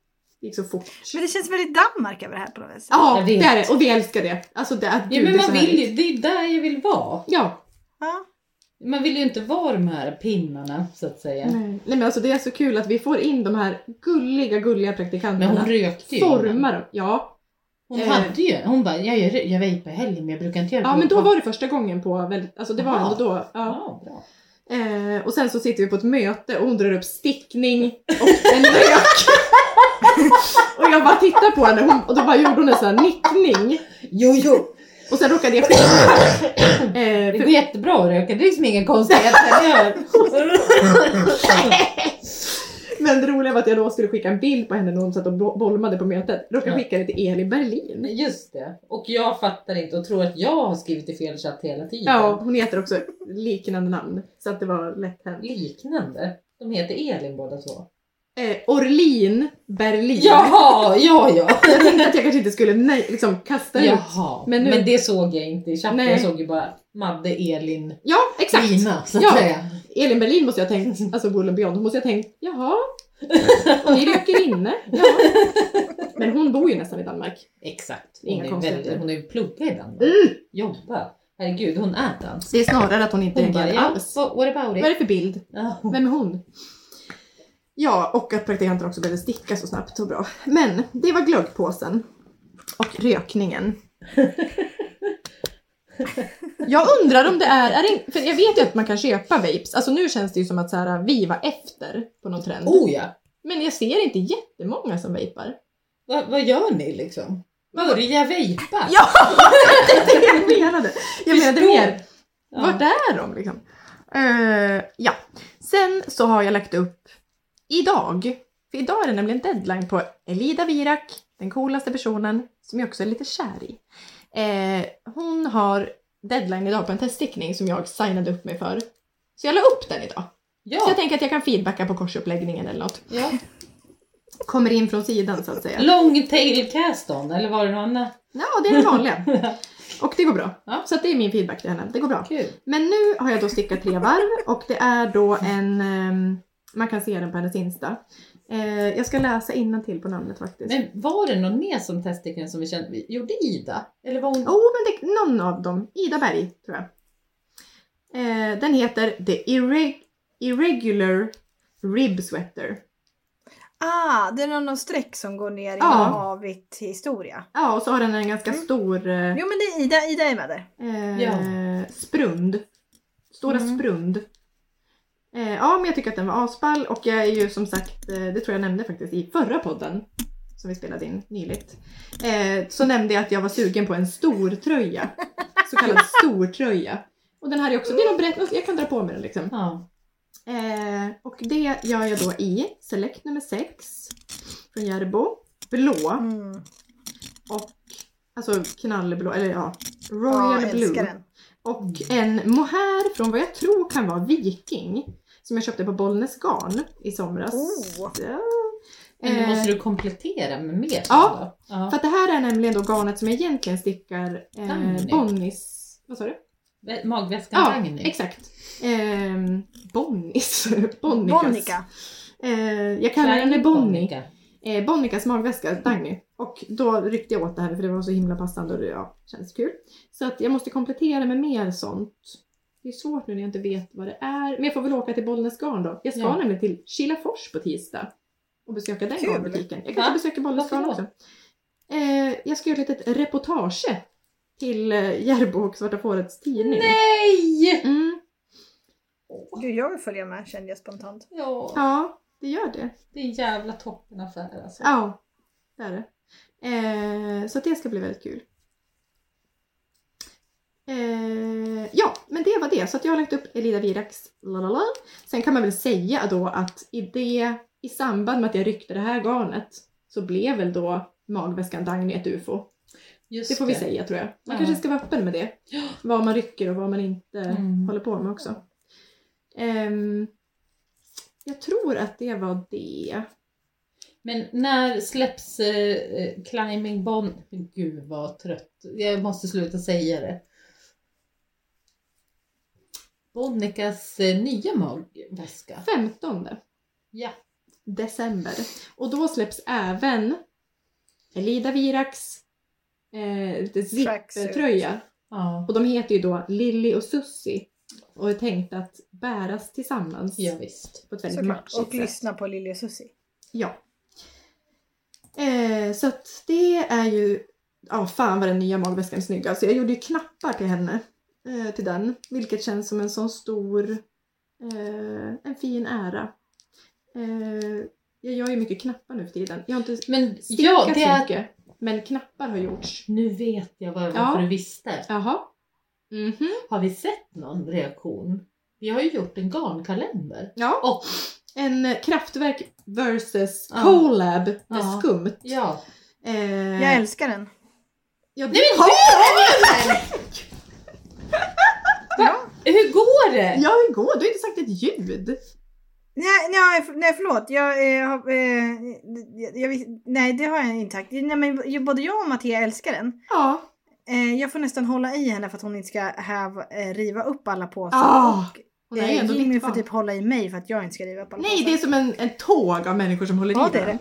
S2: Det gick så fort.
S1: Men det känns väldigt Danmark över det här på något vis.
S2: Ja,
S3: Jag vet.
S2: det är det. Och vi älskar det. Alltså det är,
S3: Ja,
S2: gud,
S3: men
S2: det är
S3: man
S2: så
S3: vill
S2: härligt.
S3: ju, det är där jag vill vara.
S2: Ja.
S1: Ja.
S3: Man vill ju inte vara de här pinnarna så att säga.
S2: Nej men alltså det är så kul att vi får in de här gulliga, gulliga
S3: Men hon
S2: praktikanterna.
S3: rökte ju. innan.
S2: Formar dem. Ja.
S3: Hon
S2: Eh.
S3: hade ju, hon bara, jag, jag, jag vejpar i helgen men jag brukar inte göra det.
S2: ja, men då var det första gången på väldigt, alltså det var
S3: Jaha.
S2: ändå då. Ja.
S3: Ja, bra.
S2: Eh, och sen så sitter vi på ett möte och hon drar upp stickning och en rök. och jag bara tittar på henne hon, och då bara gjorde hon en sån här nickning.
S3: Jo, jo.
S2: Och sen råkade jag skicka. Eh,
S3: Det
S2: för,
S3: går jättebra att röka, det är liksom inga konstigheter. det gör.
S2: men det roliga var att jag då skulle skicka en bild på henne när hon satt och bo- bolmade på mötet. Råkade
S3: Ja.
S2: skicka det till Elin Berlin.
S3: Just det. Och jag fattar inte och tror att jag har skrivit i fel chatt hela tiden.
S2: Ja, hon heter också liknande namn. Så att det var lätt hänt.
S3: Liknande. De heter Elin båda två.
S2: Eh, Orlin Berlin.
S3: Jaha, ja, ja.
S2: Jag tänkte att jag kanske inte skulle nej, liksom, kasta ut.
S3: Jaha. Men,
S2: Men nu-
S3: det såg jag inte i chatten.
S2: Nej.
S3: Jag såg ju bara Madde, Elin,
S2: Ja, exakt.
S3: Lina så att
S2: Ja.
S3: säga.
S2: Elin Berlin måste jag ha tänkt, alltså Bull Beyond, måste jag ha tänkt, jaha, ni röker inne. Jaha. Men hon bor ju nästan i Danmark.
S3: Exakt.
S2: Inga
S3: Hon är,
S2: konstigheter.
S3: väldigt, hon är ju plugga i Danmark.
S2: Mm.
S3: Jobba. Herregud, hon är dans.
S2: Det är snarare att hon inte
S3: Hon bara,
S2: reagerar
S3: ja,
S2: alls.
S3: what, what about
S2: Vad är
S3: it?
S2: det för bild?
S3: Ja.
S2: Vem är hon? Ja, och att praktikanten också började sticka så snabbt och bra. Men det var glöggpåsen och rökningen. Jag undrar om det är, är det, för jag vet ju att man kan köpa vapes, alltså nu känns det ju som att så här, vi var efter på någon trend.
S4: Oh ja!
S2: Men jag ser inte jättemånga som vapar.
S4: Va, vad gör ni liksom? Börja vejpa?
S2: Ja, det är det jag menade! Jag menade
S4: Förstår.
S2: mer,
S4: Ja.
S2: vart är de liksom? Eh, ja, sen så har jag lagt upp idag, för idag är det nämligen deadline på Elida Virak, den coolaste personen som jag också är lite kär i. Eh, hon har deadline idag på en teststickning som jag signade upp mig för. Så jag la upp den idag. Så
S4: Ja.
S2: jag tänker att jag kan feedbacka på korsuppläggningen eller något.
S4: ja.
S2: Kommer in från sidan så att säga.
S4: Long tail cast on, eller var det något annat?
S2: Ja, det är det vanliga. Och det går bra.
S4: Ja.
S2: Så att det är min feedback till henne. Det går bra.
S4: Kul.
S2: Men nu har jag då stickat tre varv och det är då en... ehm, man kan se den på hennes Insta. Eh, jag ska läsa till på namnet faktiskt.
S4: Men var det någon mer som testade som vi kände? Gjorde Ida? Eller var hon...
S2: Jo, oh, men det, någon av dem. Ida Berg, tror jag. Eh, den heter The Irre- Irregular Rib Sweater.
S1: Ah, det är någon, någon streck som går ner i
S2: Ja.
S1: havigt historia.
S2: Ja, och så har den en ganska
S1: Mm.
S2: stor eh,
S1: Jo men det är Ida, Ida är med där.
S2: eh,
S4: Ja.
S2: sprund. Stora
S1: Mm.
S2: sprund. Eh, ja, men jag tycker att den var asball och jag är ju som sagt, eh, det tror jag nämnde faktiskt i förra podden som vi spelade in nyligt. Eh, så nämnde jag att jag var sugen på en stor tröja. Så kallad stor tröja. Och den här är också, det är någon brett, jag kan dra på mig den liksom.
S4: Ja.
S2: Eh, och det gör jag då i Select nummer 6 från Järbo. Blå
S1: Mm.
S2: och alltså knallblå, eller ja,
S1: Ja,
S2: Royal
S1: jag
S2: Blue.
S1: älskar den.
S2: Och en mohair från vad jag tror kan vara viking. Som jag köpte på Bollnäs garn i somras.
S1: Oh.
S2: Ja.
S4: Men då måste
S2: Eh,
S4: du komplettera med mer sen
S2: ja.
S4: då. Ja.
S2: Eh, för att det här är nämligen då garnet som jag egentligen stickar eh,
S4: Tangny.
S2: Bonnies... Vad sa du?
S4: Vä- Magväskan
S2: Ja,
S4: Dagny.
S2: exakt. Eh, Bonnies. Bonnikas.
S1: Bonnica.
S2: Eh, jag kallar
S4: Klein
S2: henne Bonnie.
S4: Bonnica.
S2: eh, Bonnikas magväska, Dagny. Och då ryckte jag åt det här för det var så himla passande och det ja, känns kul. Så att jag måste komplettera med mer sånt. Det är svårt nu när jag inte vet vad det är. Men jag får väl åka till Bollnäs garn då. Jag ska
S4: Ja.
S2: nämligen till Kilafors på tisdag och besöka den
S1: Kul.
S2: garnbutiken.
S4: Va?
S2: Jag kanske besöker Bollnäs
S4: Varför
S2: garn
S4: då?
S2: också. Eh, jag ska göra ett litet reportage till eh, Järbo och Svarta Fårets tidning.
S4: Nej!
S2: Mm,
S1: Gud, jag vill följa med kände jag spontant.
S4: Ja,
S2: ja, det gör det.
S4: det är en jävla toppenaffär alltså.
S2: Ja, det är det. Eh, så att det ska bli väldigt kul. Eh, ja, men det var det. Så att jag har lagt upp Elida Viraks lalala. Sen kan man väl säga då att i, det, i samband med att jag ryckte det här garnet så blev väl då magväskan Dagny ett ufo.
S4: Just
S2: Det får vi säga tror jag. Man
S4: Ja.
S2: kanske ska vara öppen med det. Vad man rycker och vad man inte
S4: Mm.
S2: håller på med också. Ehm, jag tror att det var det.
S4: Men när släpps eh, eh, Climbing Bond? Gud vad trött. Jag måste sluta säga det. Bonnikas eh, nya magväska.
S2: 15
S4: Ja.
S2: december. Och då släpps även Elida Viraks eh, lite
S1: Tracksuit.
S2: zippertröja.
S4: Ja,
S2: Och de heter ju då Lilly och Sussi och är tänkt att bäras tillsammans
S4: ja visst.
S2: på ett väldigt
S1: Såklart.
S2: matchigt
S1: Och
S2: sätt.
S1: lyssna på Lili och Susie.
S2: Ja. Eh, så att det är ju, ja fan vad den nya magväskan är snygg. Alltså jag gjorde ju knappar till henne, eh, till den. Vilket känns som en sån stor, eh, en fin ära. Eh, jag gör ju mycket knappar nu för tiden. Jag har inte
S4: Men
S2: stickat
S4: ja, det
S2: så
S4: är...
S2: mycket, men knappar har gjorts.
S4: Nu vet jag vad, varför
S2: Ja.
S4: du visste.
S2: Jaha. Mhm.
S4: Har vi sett någon reaktion? Vi har ju gjort en garnkalender.
S2: Ja.
S4: Och-
S2: En eh, kraftverk versus
S4: Ja.
S2: collab med
S4: Ja.
S2: skumt.
S4: Ja.
S2: Eh,
S1: Jag älskar den.
S2: ja,
S4: Nej men
S1: Ja.
S4: hur går det?
S2: Ja, hur går det? Du har inte sagt ett ljud.
S1: Nej, nej, för- nej förlåt. Jag, eh, har- eh, jag, jag, vis- nej, det har jag inte sagt. Nej, men ju- både jag och Mattia älskar den.
S2: Ja.
S1: Eh, jag får nästan hålla i henne för att hon inte ska häv, eh, riva upp alla påsar.
S2: Ah,
S1: Och, eh, Jimmy får typ hålla i mig för att jag inte ska riva upp alla
S2: Nej,
S1: påsar.
S2: det är som en, en tåg av människor som håller
S1: Ja,
S2: i
S1: det är
S2: den.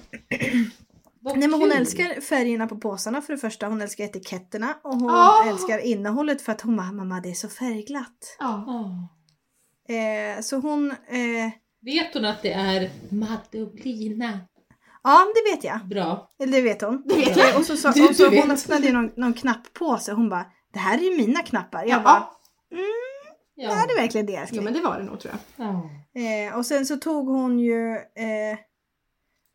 S4: Vad
S1: Nej men hon
S4: kul.
S1: älskar färgerna på påsarna för det första, hon älskar etiketterna och hon
S2: Ah!
S1: älskar innehållet för att hon bara “mamma det är så färgglatt”.
S2: Ja.
S4: Ah.
S1: Eh, så hon, eh,
S4: Vet hon att det är Madolina?
S1: ja det vet jag.
S4: Bra.
S1: Eller det vet hon.
S2: Det vet
S1: Eh, Och så, sa,
S4: Du-
S1: och så
S4: du
S1: hon
S4: vet.
S1: öppnade ju någon, någon knapppåse och hon bara det här är ju mina knappar. Jag
S2: Ja.
S1: bara,
S3: Ja.
S1: är det verkligen det älskling?
S2: Jo men det var det nog tror jag.
S3: Ja.
S1: Eh, och sen så tog hon ju... Eh,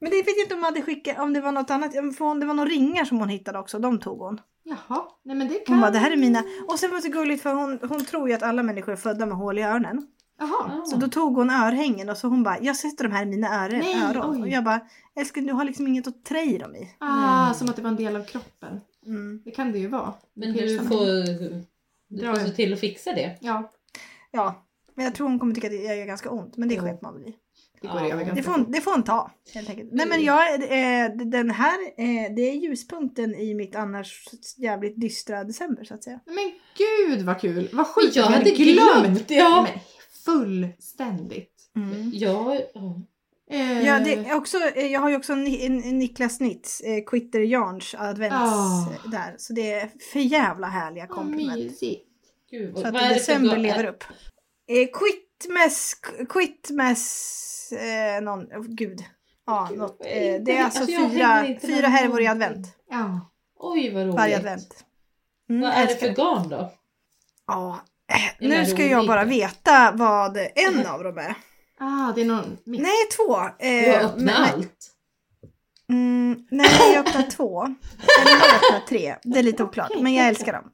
S1: men det vet jag inte om, hon hade skickat, om det var något annat. För hon, det var några ringar som hon hittade också. De tog hon.
S2: Jaha, nej men det kan...
S1: Hon bara, det här är mina. Och sen var det så gulligt för hon, hon tror ju att alla människor är födda med hål i öronen.
S2: Jaha.
S3: Ah,
S1: Så då tog hon örhängen och så hon bara, jag sätter de här i mina öre,
S2: Nej,
S1: öron.
S2: oj.
S1: Och jag bara, älskling du har liksom inget att trä i dem i.
S2: Ah, som att det var en del av kroppen.
S1: Mm.
S2: Det kan det ju vara.
S3: Men du får, du
S2: Dra
S3: får se
S2: ut.
S3: till att fixa det.
S2: Ja,
S1: Ja, men jag tror hon kommer tycka att det gör ganska ont. Men det
S3: Jo.
S1: sket man väl i.
S2: det går
S3: Ja.
S2: över
S1: Det
S2: ganska
S1: får, hon, det får hon ta helt enkelt. Nej men jag, eh, den här, eh, det är ljuspunkten i mitt annars jävligt dystra december så att säga.
S2: Nej, Men gud vad kul! Vad
S3: Men
S2: sjukt
S3: jag
S2: att vi
S3: hade glömt!
S2: Nej,
S3: Ja.
S2: Men fullständigt.
S1: Mm.
S3: Ja, ja.
S2: Mm. Eh,
S1: Ja, det är också, eh, jag har ju också Ni- en- en Niklas Snitts eh, Quitter Jarns advents
S2: Ah.
S1: eh, där. Så det är för jävla härliga
S2: vad
S1: komplement.
S2: mysigt.
S3: Gud,
S1: Så
S3: vad,
S1: att
S3: vad är det för
S1: december
S3: dag?
S1: lever upp. Eh, Quitmes, Quitmes, eh, någon, oh, gud. Ja,
S3: Gud,
S1: något.
S3: vad är
S1: Eh,
S3: det?
S1: det är alltså
S3: Alltså, jag
S1: fyra,
S3: hänger inte med
S1: fyra härvor i
S3: någonting.
S1: advent.
S2: Ja.
S3: Oj vad roligt.
S1: Varje advent. Mm,
S3: Vad är det
S1: älskar
S3: för garn då?
S1: Ja, eh,
S3: Eller
S1: nu ska jag
S3: roligt. Mm.
S1: bara veta vad en av dem är.
S2: Ah, det är någon mix.
S1: Nej, två.
S3: Du
S1: Eh,
S3: har öppnat
S1: men-
S3: allt.
S1: Mm, nej, jag öppnade två. Eller jag öppnade tre. Det är lite oklart, men jag älskar dem.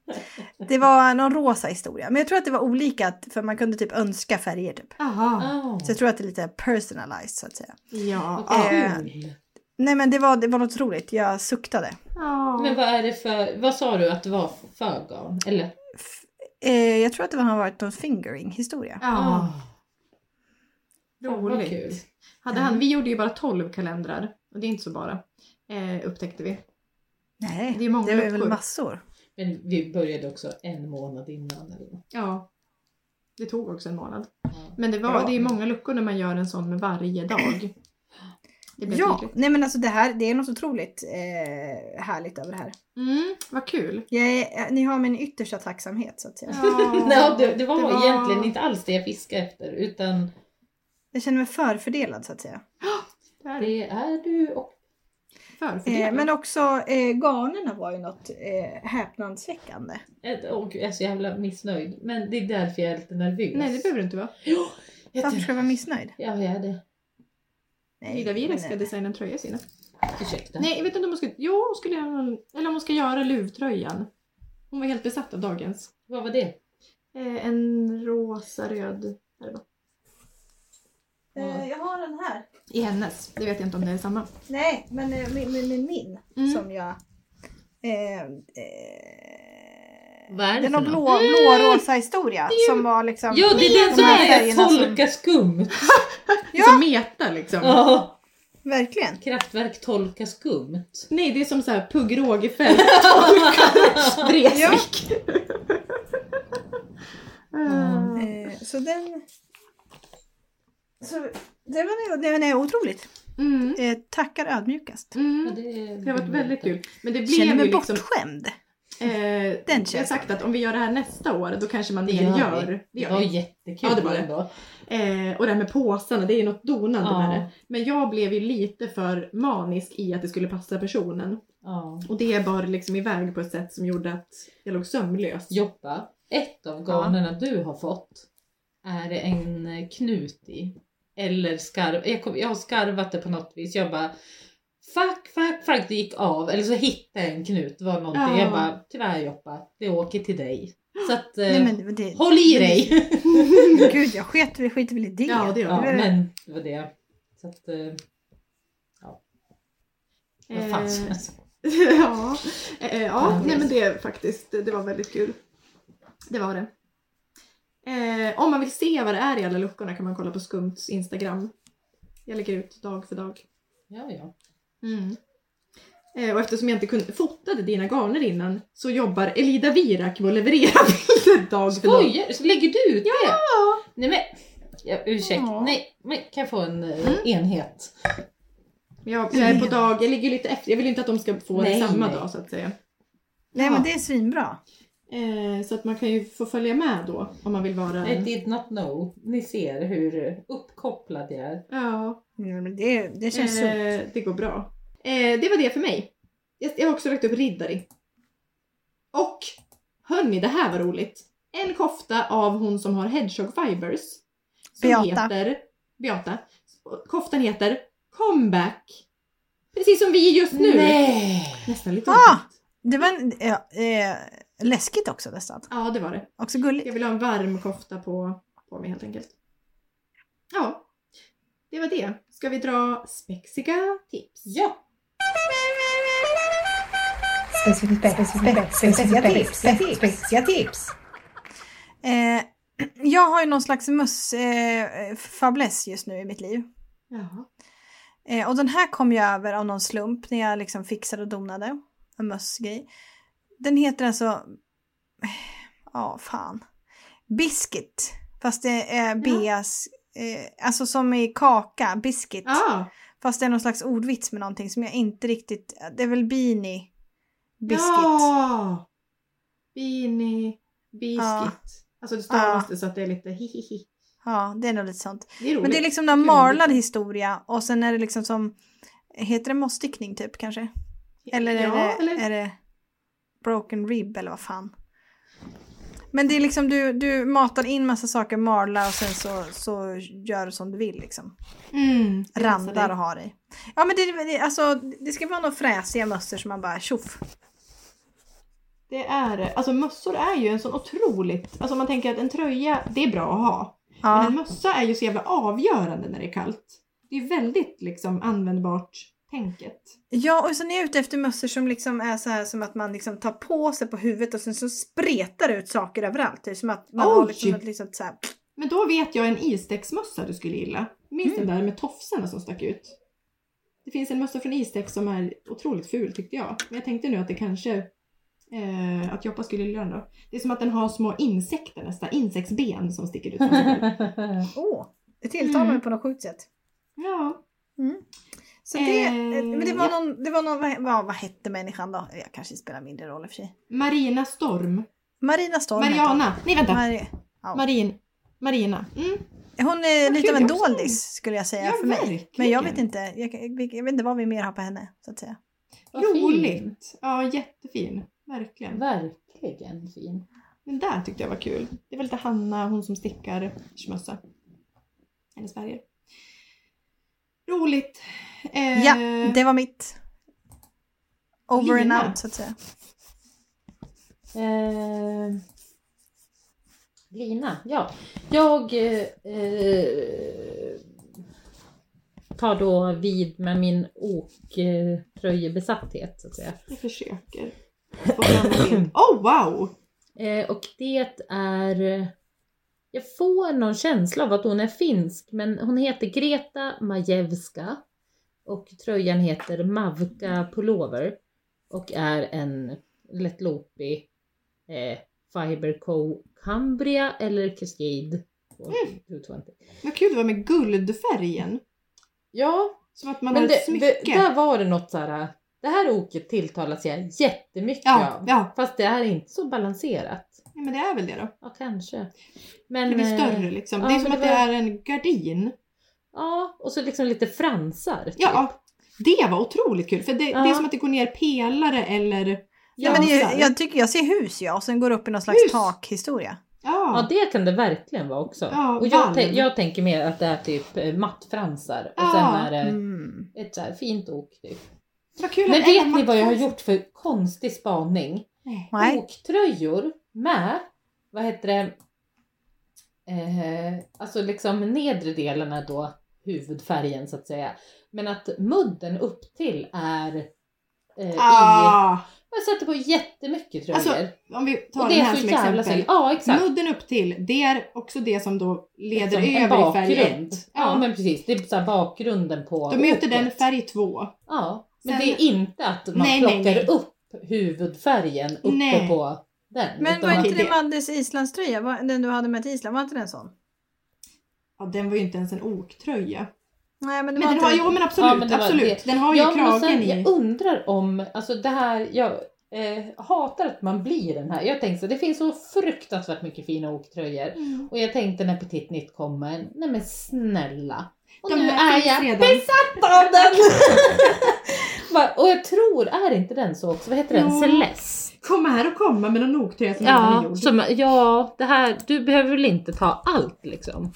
S1: Det var någon rosa historia. Men jag tror att det var olika, att- för man kunde typ önska färger. Typ.
S2: Jaha.
S3: Ah,
S1: Så jag tror att det är lite personalized så att säga.
S2: Ja.
S3: vad
S1: eh,
S3: kul.
S1: Nej men det var, det var något roligt, jag suktade.
S2: Ja.
S3: Men vad är det för, vad sa du att det var för garn? Eller?
S1: F- eh, jag tror att det har varit någon fingering historia.
S2: ja.
S3: Ah, Vad kul.
S2: Roligt. Hade han, vi gjorde ju bara 12 kalendrar. Och det är inte så bara. Eh, upptäckte vi.
S1: Nej,
S2: Det är många
S1: det var väl
S2: luckor.
S1: massor.
S3: Men vi började också en månad innan. Eller? något.
S2: Ja. Det tog också en månad.
S3: Ja.
S2: Men det, var,
S1: Ja.
S2: det är många luckor när man gör en sån med varje dag. Det blev
S1: Ja,
S2: tydligt.
S1: nej men alltså det här, det är något otroligt eh, härligt över det här.
S2: Mm, vad kul.
S1: Jag är, eh, ni har min yttersta tacksamhet så att säga.
S3: Nej, det, det var egentligen inte alls det jag fiskade efter utan
S1: Jag känner mig förfördelad så att säga.
S2: Där,
S3: det är du och
S1: Eh,
S2: förfördelat.
S1: men också eh, garnerna var ju något eh, häpnadsväckande.
S3: ett- och jag är så jävla missnöjd. Men det är därför jag är lite nervös.
S2: Nej, det behöver du inte vara.
S3: Jo, jag
S1: Varför
S3: tror-
S1: ska jag vara missnöjd?
S3: Ja, jag är det.
S2: Ida Wiereck ska
S1: nej. eh,
S2: designa en tröja sina.
S3: Ursäkta.
S2: Nej, jag vet inte om hon ska... Jo, hon skulle göra någon... Eller om hon ska göra luvtröjan. Hon var helt besatt av dagens.
S3: Vad var det?
S2: Eh, en rosa röd... där det var.
S1: Eh, jag har den här.
S2: I hennes. Det vet jag inte om det är samma.
S1: Nej, men eh, min, min, min, min
S2: Mm.
S1: som jag... Eh, eh,
S3: Vad är det
S1: den
S3: för
S1: har
S3: något?
S1: blå, blårosa historia som var liksom...
S3: Ja, det är den
S1: de
S3: som
S1: här
S3: är
S1: färgerna som-
S3: tolka skumt.
S2: Ja. Som meta liksom.
S3: Ja,
S1: Verkligen.
S3: kraftverk tolka skumt.
S2: Nej, det är som så här Pugh Rogefeldt tolkar Vreeswijk. Eh,
S1: Eh, så den... Så det var, det var otroligt.
S2: Mm.
S1: Eh, tackar ödmjukast.
S3: Ja,
S2: Mm.
S3: det,
S2: Det har varit väldigt kul. Men det blev
S1: Känner
S2: ju
S1: mig
S2: liksom...
S1: bortskämd.
S2: Eh,
S1: Den
S2: jag har
S1: känns
S2: sagt att om vi gör det här nästa år då kanske man
S3: Det gör
S2: nergör.
S3: vi.
S2: Det
S3: Det
S2: gör
S3: var
S2: vi.
S3: jättekul
S2: Ja, det var det.
S3: ändå.
S2: Eh, och det här med påsarna, det är ju något donande
S3: Ja.
S2: med det. Men jag blev ju lite för manisk i att det skulle passa personen.
S3: Ja.
S2: Och det bar liksom iväg på ett sätt som gjorde att jag låg sömnlös.
S3: Joppa, ett av garnerna du har fått är det en knut i. Eller skarv. Jag, kom, jag har skarvat det på något vis. Jag bara fuck, fuck, fuck. Det gick av. Eller så hittade jag en knut. Det var någonting.
S2: Ja.
S3: Jag bara tyvärr Joppa, det åker till dig. Så att eh,
S1: Nej, men det,
S3: håll i dig.
S1: gud, jag sket, vi skiter väl i det.
S2: Ja, det gör
S3: ja,
S2: vi.
S1: det.
S3: men det var det. Så att, eh, vad fan ska
S2: Eh,
S3: jag säga?
S2: ja, eh, ja. nej men det faktiskt, det var väldigt kul. Det var det. Eh, om man vill se vad det är i alla luckorna kan man kolla på Skumts Instagram. Jag lägger ut dag för dag.
S3: Ja, ja. Mm.
S2: Eh, och eftersom jag inte kunde fotade dina garner innan så jobbar Elida Virak med att leverera bilder dag för dag.
S3: Skojar du? Så lägger du ut det?
S2: Ja!
S3: Nej men, ja, ursäkta.
S1: Ja.
S3: Nej, men kan jag få en eh, enhet?
S2: Jag, jag är på dag, jag ligger lite efter. Jag vill inte att de ska få
S3: Nej,
S2: det samma
S3: nej.
S2: dag så att säga.
S1: Nej, men det är svinbra.
S2: Eh, så att man kan ju få följa med då om man vill vara...
S3: I did not know. Ni ser hur uppkopplad jag är.
S2: Ja.
S1: Nej, men det, det känns så.
S2: Eh, det går bra. Eh, det var det för mig. Jag, jag har också lagt upp Riddari. Och Hörni, det här var roligt. En kofta av hon som har Hedgehog Fibers. Som
S1: Beata.
S2: Heter, Beata. Koftan heter Comeback. Precis som vi är just nu.
S3: Nej!
S2: Nästan lite
S1: Ah!
S2: otäckt.
S1: Det var en, eh, eh, läskigt också nästan.
S2: Ja, det var det.
S1: Också gulligt.
S2: Jag vill ha en varm kofta på, på mig helt enkelt. Ja, det var det. Ska vi dra spexiga tips?
S4: Ja.
S1: Eh, jag har ju någon slags möss eh, fäbless just nu i mitt liv.
S2: Ja.
S1: Eh, och den här kom jag över av någon slump när jag liksom fixade och donade. En mössgrej. Den heter alltså... eh, Ja, fan. Biscuit. Fast det är Beas... Eh, alltså som i kaka, biscuit.
S2: Ja,
S1: Fast det är någon slags ordvits med någonting som jag inte riktigt... Det är väl beanie. Biscuit.
S2: Ja! Beanie, biscuit.
S1: Ja.
S2: Alltså det stavas
S1: Ja.
S2: det så att det är lite hihihi.
S1: Ja, det är nog lite sånt.
S2: Det är roligt.
S1: Men det är liksom en
S2: Kul.
S1: marlad historia och sen är det liksom som... Heter det mossstickning typ kanske? Eller, är,
S2: ja,
S1: det,
S2: eller
S1: är det broken rib eller vad fan? Men det är liksom du, du matar in massa saker, marlar och sen så, så gör du som du vill liksom.
S2: Mm, det passar
S1: Randar
S2: dig.
S1: och har i. Ja men det, det, alltså, det ska vara några fräsiga mössor som man bara tjoff.
S2: Det är det. Alltså mössor är ju en sån otroligt... Alltså man tänker att en tröja, det är bra att ha. Men en
S1: Ja.
S2: mössa är ju så jävla avgörande när det är kallt. Det är väldigt liksom användbart tänket.
S1: ja och sen är jag ute efter mössor som liksom är så här som att man liksom tar på sig på huvudet och sen så spretar det ut saker överallt. Typ som att man har
S2: Oj!
S1: liksom ett liksom så här,
S2: Men då vet jag en istäcksmössa du skulle gilla. Minns
S1: Mm.
S2: den där med tofsarna som stack ut? Det finns en mössa från Istex som är otroligt ful tyckte jag. Men jag tänkte nu att det kanske... Eh, att Joppa skulle gilla den då. Det är som att den har små insekter nästan. Insektsben som sticker ut. från sig själv.
S1: åh, det tilltalar mig
S2: Mm.
S1: på något sjukt sätt.
S2: ja.
S1: Så det,
S2: Eh,
S1: eh, men det var
S2: ja.
S1: någon, det var någon vad, vad, vad hette människan då? Jag kanske spelar mindre roll i och för sig.
S2: Marina Storm.
S1: Marina Storm heter
S2: Mariana. Nej
S1: hon.
S2: vänta.
S1: Mari- ja.
S2: Marin. Marina. Mm.
S1: Hon är lite av en
S2: kul, jag förstår.
S1: doldis skulle jag säga
S2: Ja,
S1: för mig.
S2: verkligen.
S1: Men jag vet inte, jag, jag, jag vet inte vad vi mer har på henne så att säga.
S3: Vad fin.
S2: Roligt. Ja, jättefin. Verkligen.
S3: Verkligen fin.
S2: Den där tyckte jag var kul. Det var lite Hanna, hon som stickar mössa. Hennes färger. Roligt. Eh,
S1: Ja, det var mitt. Over
S2: Lina.
S1: and out så att säga.
S3: Eh, Lina, ja. Jag eh, eh, tar då vid med min oktröjebesatthet så att säga.
S2: Jag försöker. få fram en bild. Oh wow!
S3: Eh, och det är... Jag får någon känsla av att hon är finsk, men hon heter Greta Majewska och tröjan heter Mavka Pullover och är en lättlopig eh, Fiberco Cambria eller Cascade 220.
S2: Vad kul det var med guldfärgen.
S3: Ja,
S2: Som att man
S3: men
S2: har ett
S3: det,
S2: smycke.
S3: det, där var det något såhär, det här oket tilltalas jag jättemycket
S2: ja,
S3: av.
S2: ja.
S3: Fast det är inte så balanserat.
S2: ja, men det är väl det då.
S3: Ja, kanske. Men,
S2: Det blir
S3: eh,
S2: större liksom.
S3: ja,
S2: det är
S3: men
S2: som
S3: det
S2: att det
S3: var-
S2: är en gardin.
S3: Ja, och så liksom lite fransar. typ.
S2: Ja, det var otroligt kul. För det, det är
S3: Ja.
S2: som att det går ner pelare eller...
S1: Ja, men det,
S2: fransar.
S1: är- jag tycker jag ser hus ja och sen går det upp i någon slags
S2: Hus.
S1: takhistoria.
S3: Ja,
S2: Ja,
S3: det kan det verkligen vara också.
S2: Ja,
S3: och jag,
S2: valm.
S3: tän- jag tänker mer att det är typ eh, mattfransar och
S2: Ja.
S3: sen är
S2: Eh.
S3: det
S1: Mm.
S3: ett så här fint ok. Typ.
S2: vad kul
S3: Men
S2: att det är
S3: vet
S2: en
S3: ni vad jag har
S2: mattfransar.
S3: gjort för konstig spaning?
S2: Nej.
S1: Nej.
S3: Oktröjor med, vad heter det, eh, alltså liksom nedre delen är då huvudfärgen så att säga. Men att mudden upp till är eh, i,
S2: Ah.
S3: jag sätter på jättemycket tröjor.
S2: Alltså, Om vi tar
S3: och det
S2: den
S3: är
S2: här
S3: så
S2: som
S3: jävla
S2: exempel.
S3: snyggt. Ja exakt.
S2: Mudden upp till, det är också det som då leder
S3: Liksom en
S2: över i
S3: bakgrund.
S2: färg 1.
S3: Ja.
S2: Ja.
S3: men precis, det är så här bakgrunden på
S2: Då möter
S3: oket.
S2: den färg 2.
S3: Ja, men
S2: Sen-
S3: det är inte att man
S2: Nej, nej,
S3: plockar
S2: nej.
S3: upp huvudfärgen uppe
S2: Nej.
S3: på den.
S1: Men
S3: utan
S1: var
S3: man-
S1: inte det
S2: det-
S1: Maddes islandströja, Var- den du hade med till Island, var inte den sån?
S2: Ja, den var ju inte ens en oktröja.
S1: Nej men det
S2: Men
S1: var
S2: den har,
S1: inte
S2: jo men absolut,
S3: Ja, men det var
S2: absolut.
S3: det.
S2: Den har ju
S3: ja, men och
S2: kragen
S3: sen,
S2: i.
S3: jag undrar om, alltså det här, jag eh, hatar att man blir den här. Jag tänkte så, det finns så fruktansvärt mycket fina oktröjor.
S2: Mm.
S3: Och jag tänkte när Petit Nitt kommer, nej men snälla. Och
S2: De
S3: nu
S2: här
S3: är
S2: finns
S3: jag
S2: redan.
S3: besatt av den! Bara- Och jag tror, är inte den så också? Vad heter den?
S2: Jo.
S3: Celeste?
S2: Kom här och komma med någon nogträ som redan är
S3: Ja,
S2: gjord.
S3: som, ja, det här, du behöver väl inte ta allt liksom.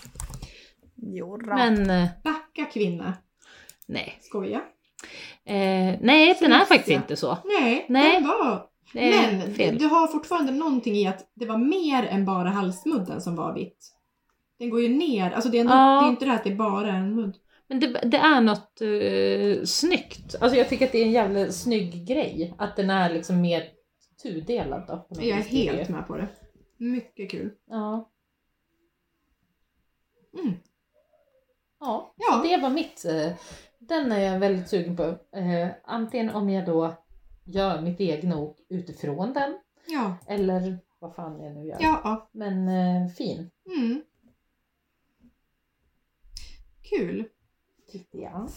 S1: Jodå.
S3: Men eh,
S2: Backa kvinna.
S3: nej.
S2: Skoja.
S3: Eh, nej, den är
S2: Celeste.
S3: faktiskt inte så.
S2: Nej,
S3: Nej.
S2: den var...
S3: Det är
S2: Men
S3: fel.
S2: du har fortfarande någonting i att det var mer än bara halsmudden som var vitt. Den går ju ner, alltså det är, ändå,
S3: Ja.
S2: det är inte det här att det bara är en mudd.
S3: Men det, det är något uh, snyggt. Alltså jag tycker att det är en jävla snygg grej. Att den är liksom mer tudelad då. på något
S2: Jag är
S3: vis. Det
S2: helt
S3: ju-
S2: med på det. Mycket kul.
S3: Ja.
S2: Mm.
S3: Ja,
S2: Ja.
S3: det var mitt. eh, Den är jag väldigt sugen på. Eh, antingen om jag då gör mitt egna ok utifrån den.
S2: Ja,
S3: Eller vad fan jag nu gör.
S2: ja, ja.
S3: Men eh, fin.
S2: Mm. Kul.
S3: tyckte jag.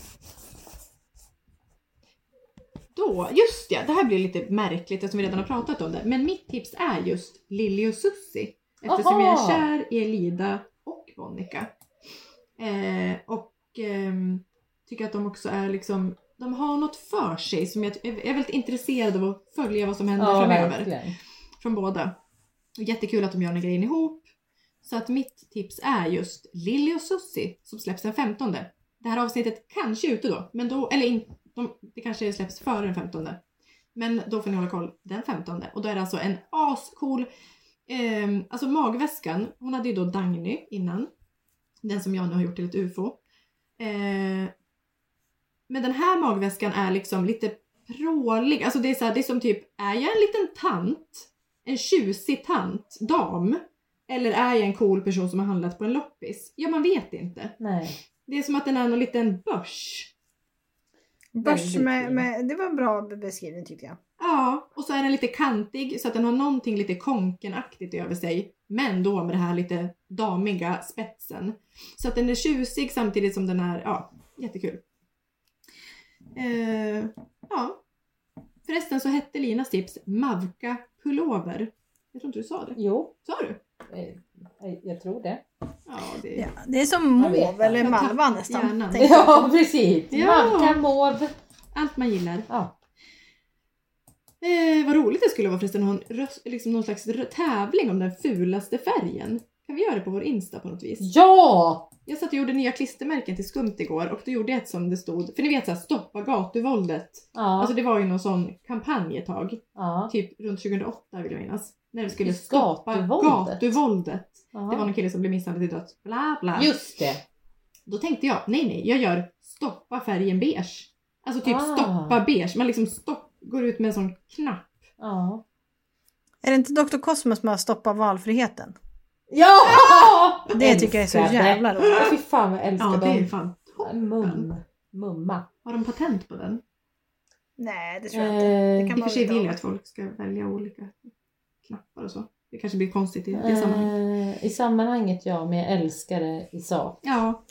S2: Då, just ja, det här blir lite märkligt eftersom vi redan har pratat om det. Men mitt tips är just Lilly och Susie. Eftersom
S3: Aha!
S2: jag är kär i Elida och Monica. Eh, och ehm, tycker att de också är liksom, de har något för sig som jag jag är väldigt intresserad av att följa vad som händer
S3: Ja,
S2: framöver.
S3: verkligen.
S2: Från båda. Och jättekul att de gör den grejen ihop. Så att mitt tips är just Lilly och Susie som släpps den 15. Det här avsnittet kanske är ute då, men då, eller in, de, det kanske släpps före den 15. Men då får ni hålla koll den 15. Och då är det alltså en ascool, ehm, alltså magväskan, hon hade ju då Dagny innan. Den som jag nu har gjort till ett UFO. Eh, men den här magväskan är liksom lite prålig, alltså det är, så här, det är som typ, är jag en liten tant? en tjusig tant, dam? Eller är jag en cool person som har handlat på en loppis? Ja, man vet inte.
S3: Nej.
S2: Det är som att den är någon liten börs.
S1: Börs med,
S3: fin.
S1: med, det var en bra beskrivning tyckte jag.
S2: Ja, och så är den lite kantig så att den har någonting lite konkenaktigt över sig. Men då med det här lite damiga spetsen. Så att den är tjusig samtidigt som den är, ja, jättekul. Eh, ja. Förresten så hette Linas tips Mavka Pullover. Jag tror inte du sa det.
S3: Jo,
S2: Sa du?
S3: eh, jag tror det.
S2: Ja, det
S1: Ja, det är som
S3: Man vet
S1: mauve eller
S2: Jag tappar
S1: malva nästan.
S2: hjärnan.
S1: tänkte jag.
S3: Ja, precis.
S2: Ja.
S3: Mavka, mauve.
S2: allt man gillar.
S3: Ja.
S2: Eh, vad roligt det skulle vara förresten att ha en röst, liksom någon slags rö- tävling om den fulaste färgen. Kan vi göra det på vår Insta på något vis?
S3: Ja!
S2: Jag satt och gjorde nya klistermärken till skumt igår och då gjorde jag ett som det stod, för ni vet såhär stoppa gatuvåldet.
S3: Ja.
S2: Alltså det var ju någon sån kampanj ett tag,
S3: ja.
S2: typ runt 2008 vill jag minnas. När vi skulle
S3: Just
S2: stoppa
S3: gatuvåldet.
S2: gatuvåldet. gatuvåldet. Det var
S3: ja.
S2: någon kille som blev misshandlad till döds, bla bla.
S3: Just det.
S2: Då tänkte jag, nej nej, jag gör stoppa färgen beige. Alltså typ
S3: Ah.
S2: stoppa beige, man liksom stopp, går ut med en sån knapp.
S3: Ja.
S1: Är det inte Dr. Cosmos som har stoppat valfriheten?
S3: Ja!
S1: Det tycker jag är så
S3: Älskade.
S1: jävla roligt.
S3: Fy fan vad jag älskar
S2: Ja, det är
S3: dem.
S2: fan
S3: Mum. Mumma.
S2: Har de patent på den?
S1: Nej, det tror jag inte.
S3: Eh,
S1: Det kan
S2: I och
S1: man
S2: för sig
S1: väl
S2: vill jag
S1: ta.
S2: att folk ska välja olika knappar och så. Det kanske blir konstigt i det sammanhanget.
S3: eh, I sammanhanget ja, men jag älskar det i sak.
S2: Ja.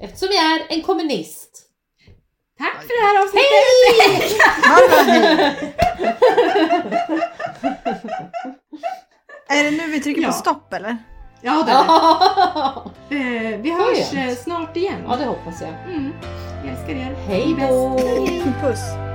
S3: Eftersom jag är en kommunist.
S2: Tack för det här avsnittet!
S1: Ja, men- Är det nu vi trycker
S2: Ja.
S1: på stopp eller?
S2: Ja, det är
S3: Ja,
S2: det. Eh, Vi hörs
S3: Skönt.
S2: eh, snart igen.
S3: det hoppas jag.
S2: Mm. Jag älskar er.
S3: Hej då!
S1: Puss!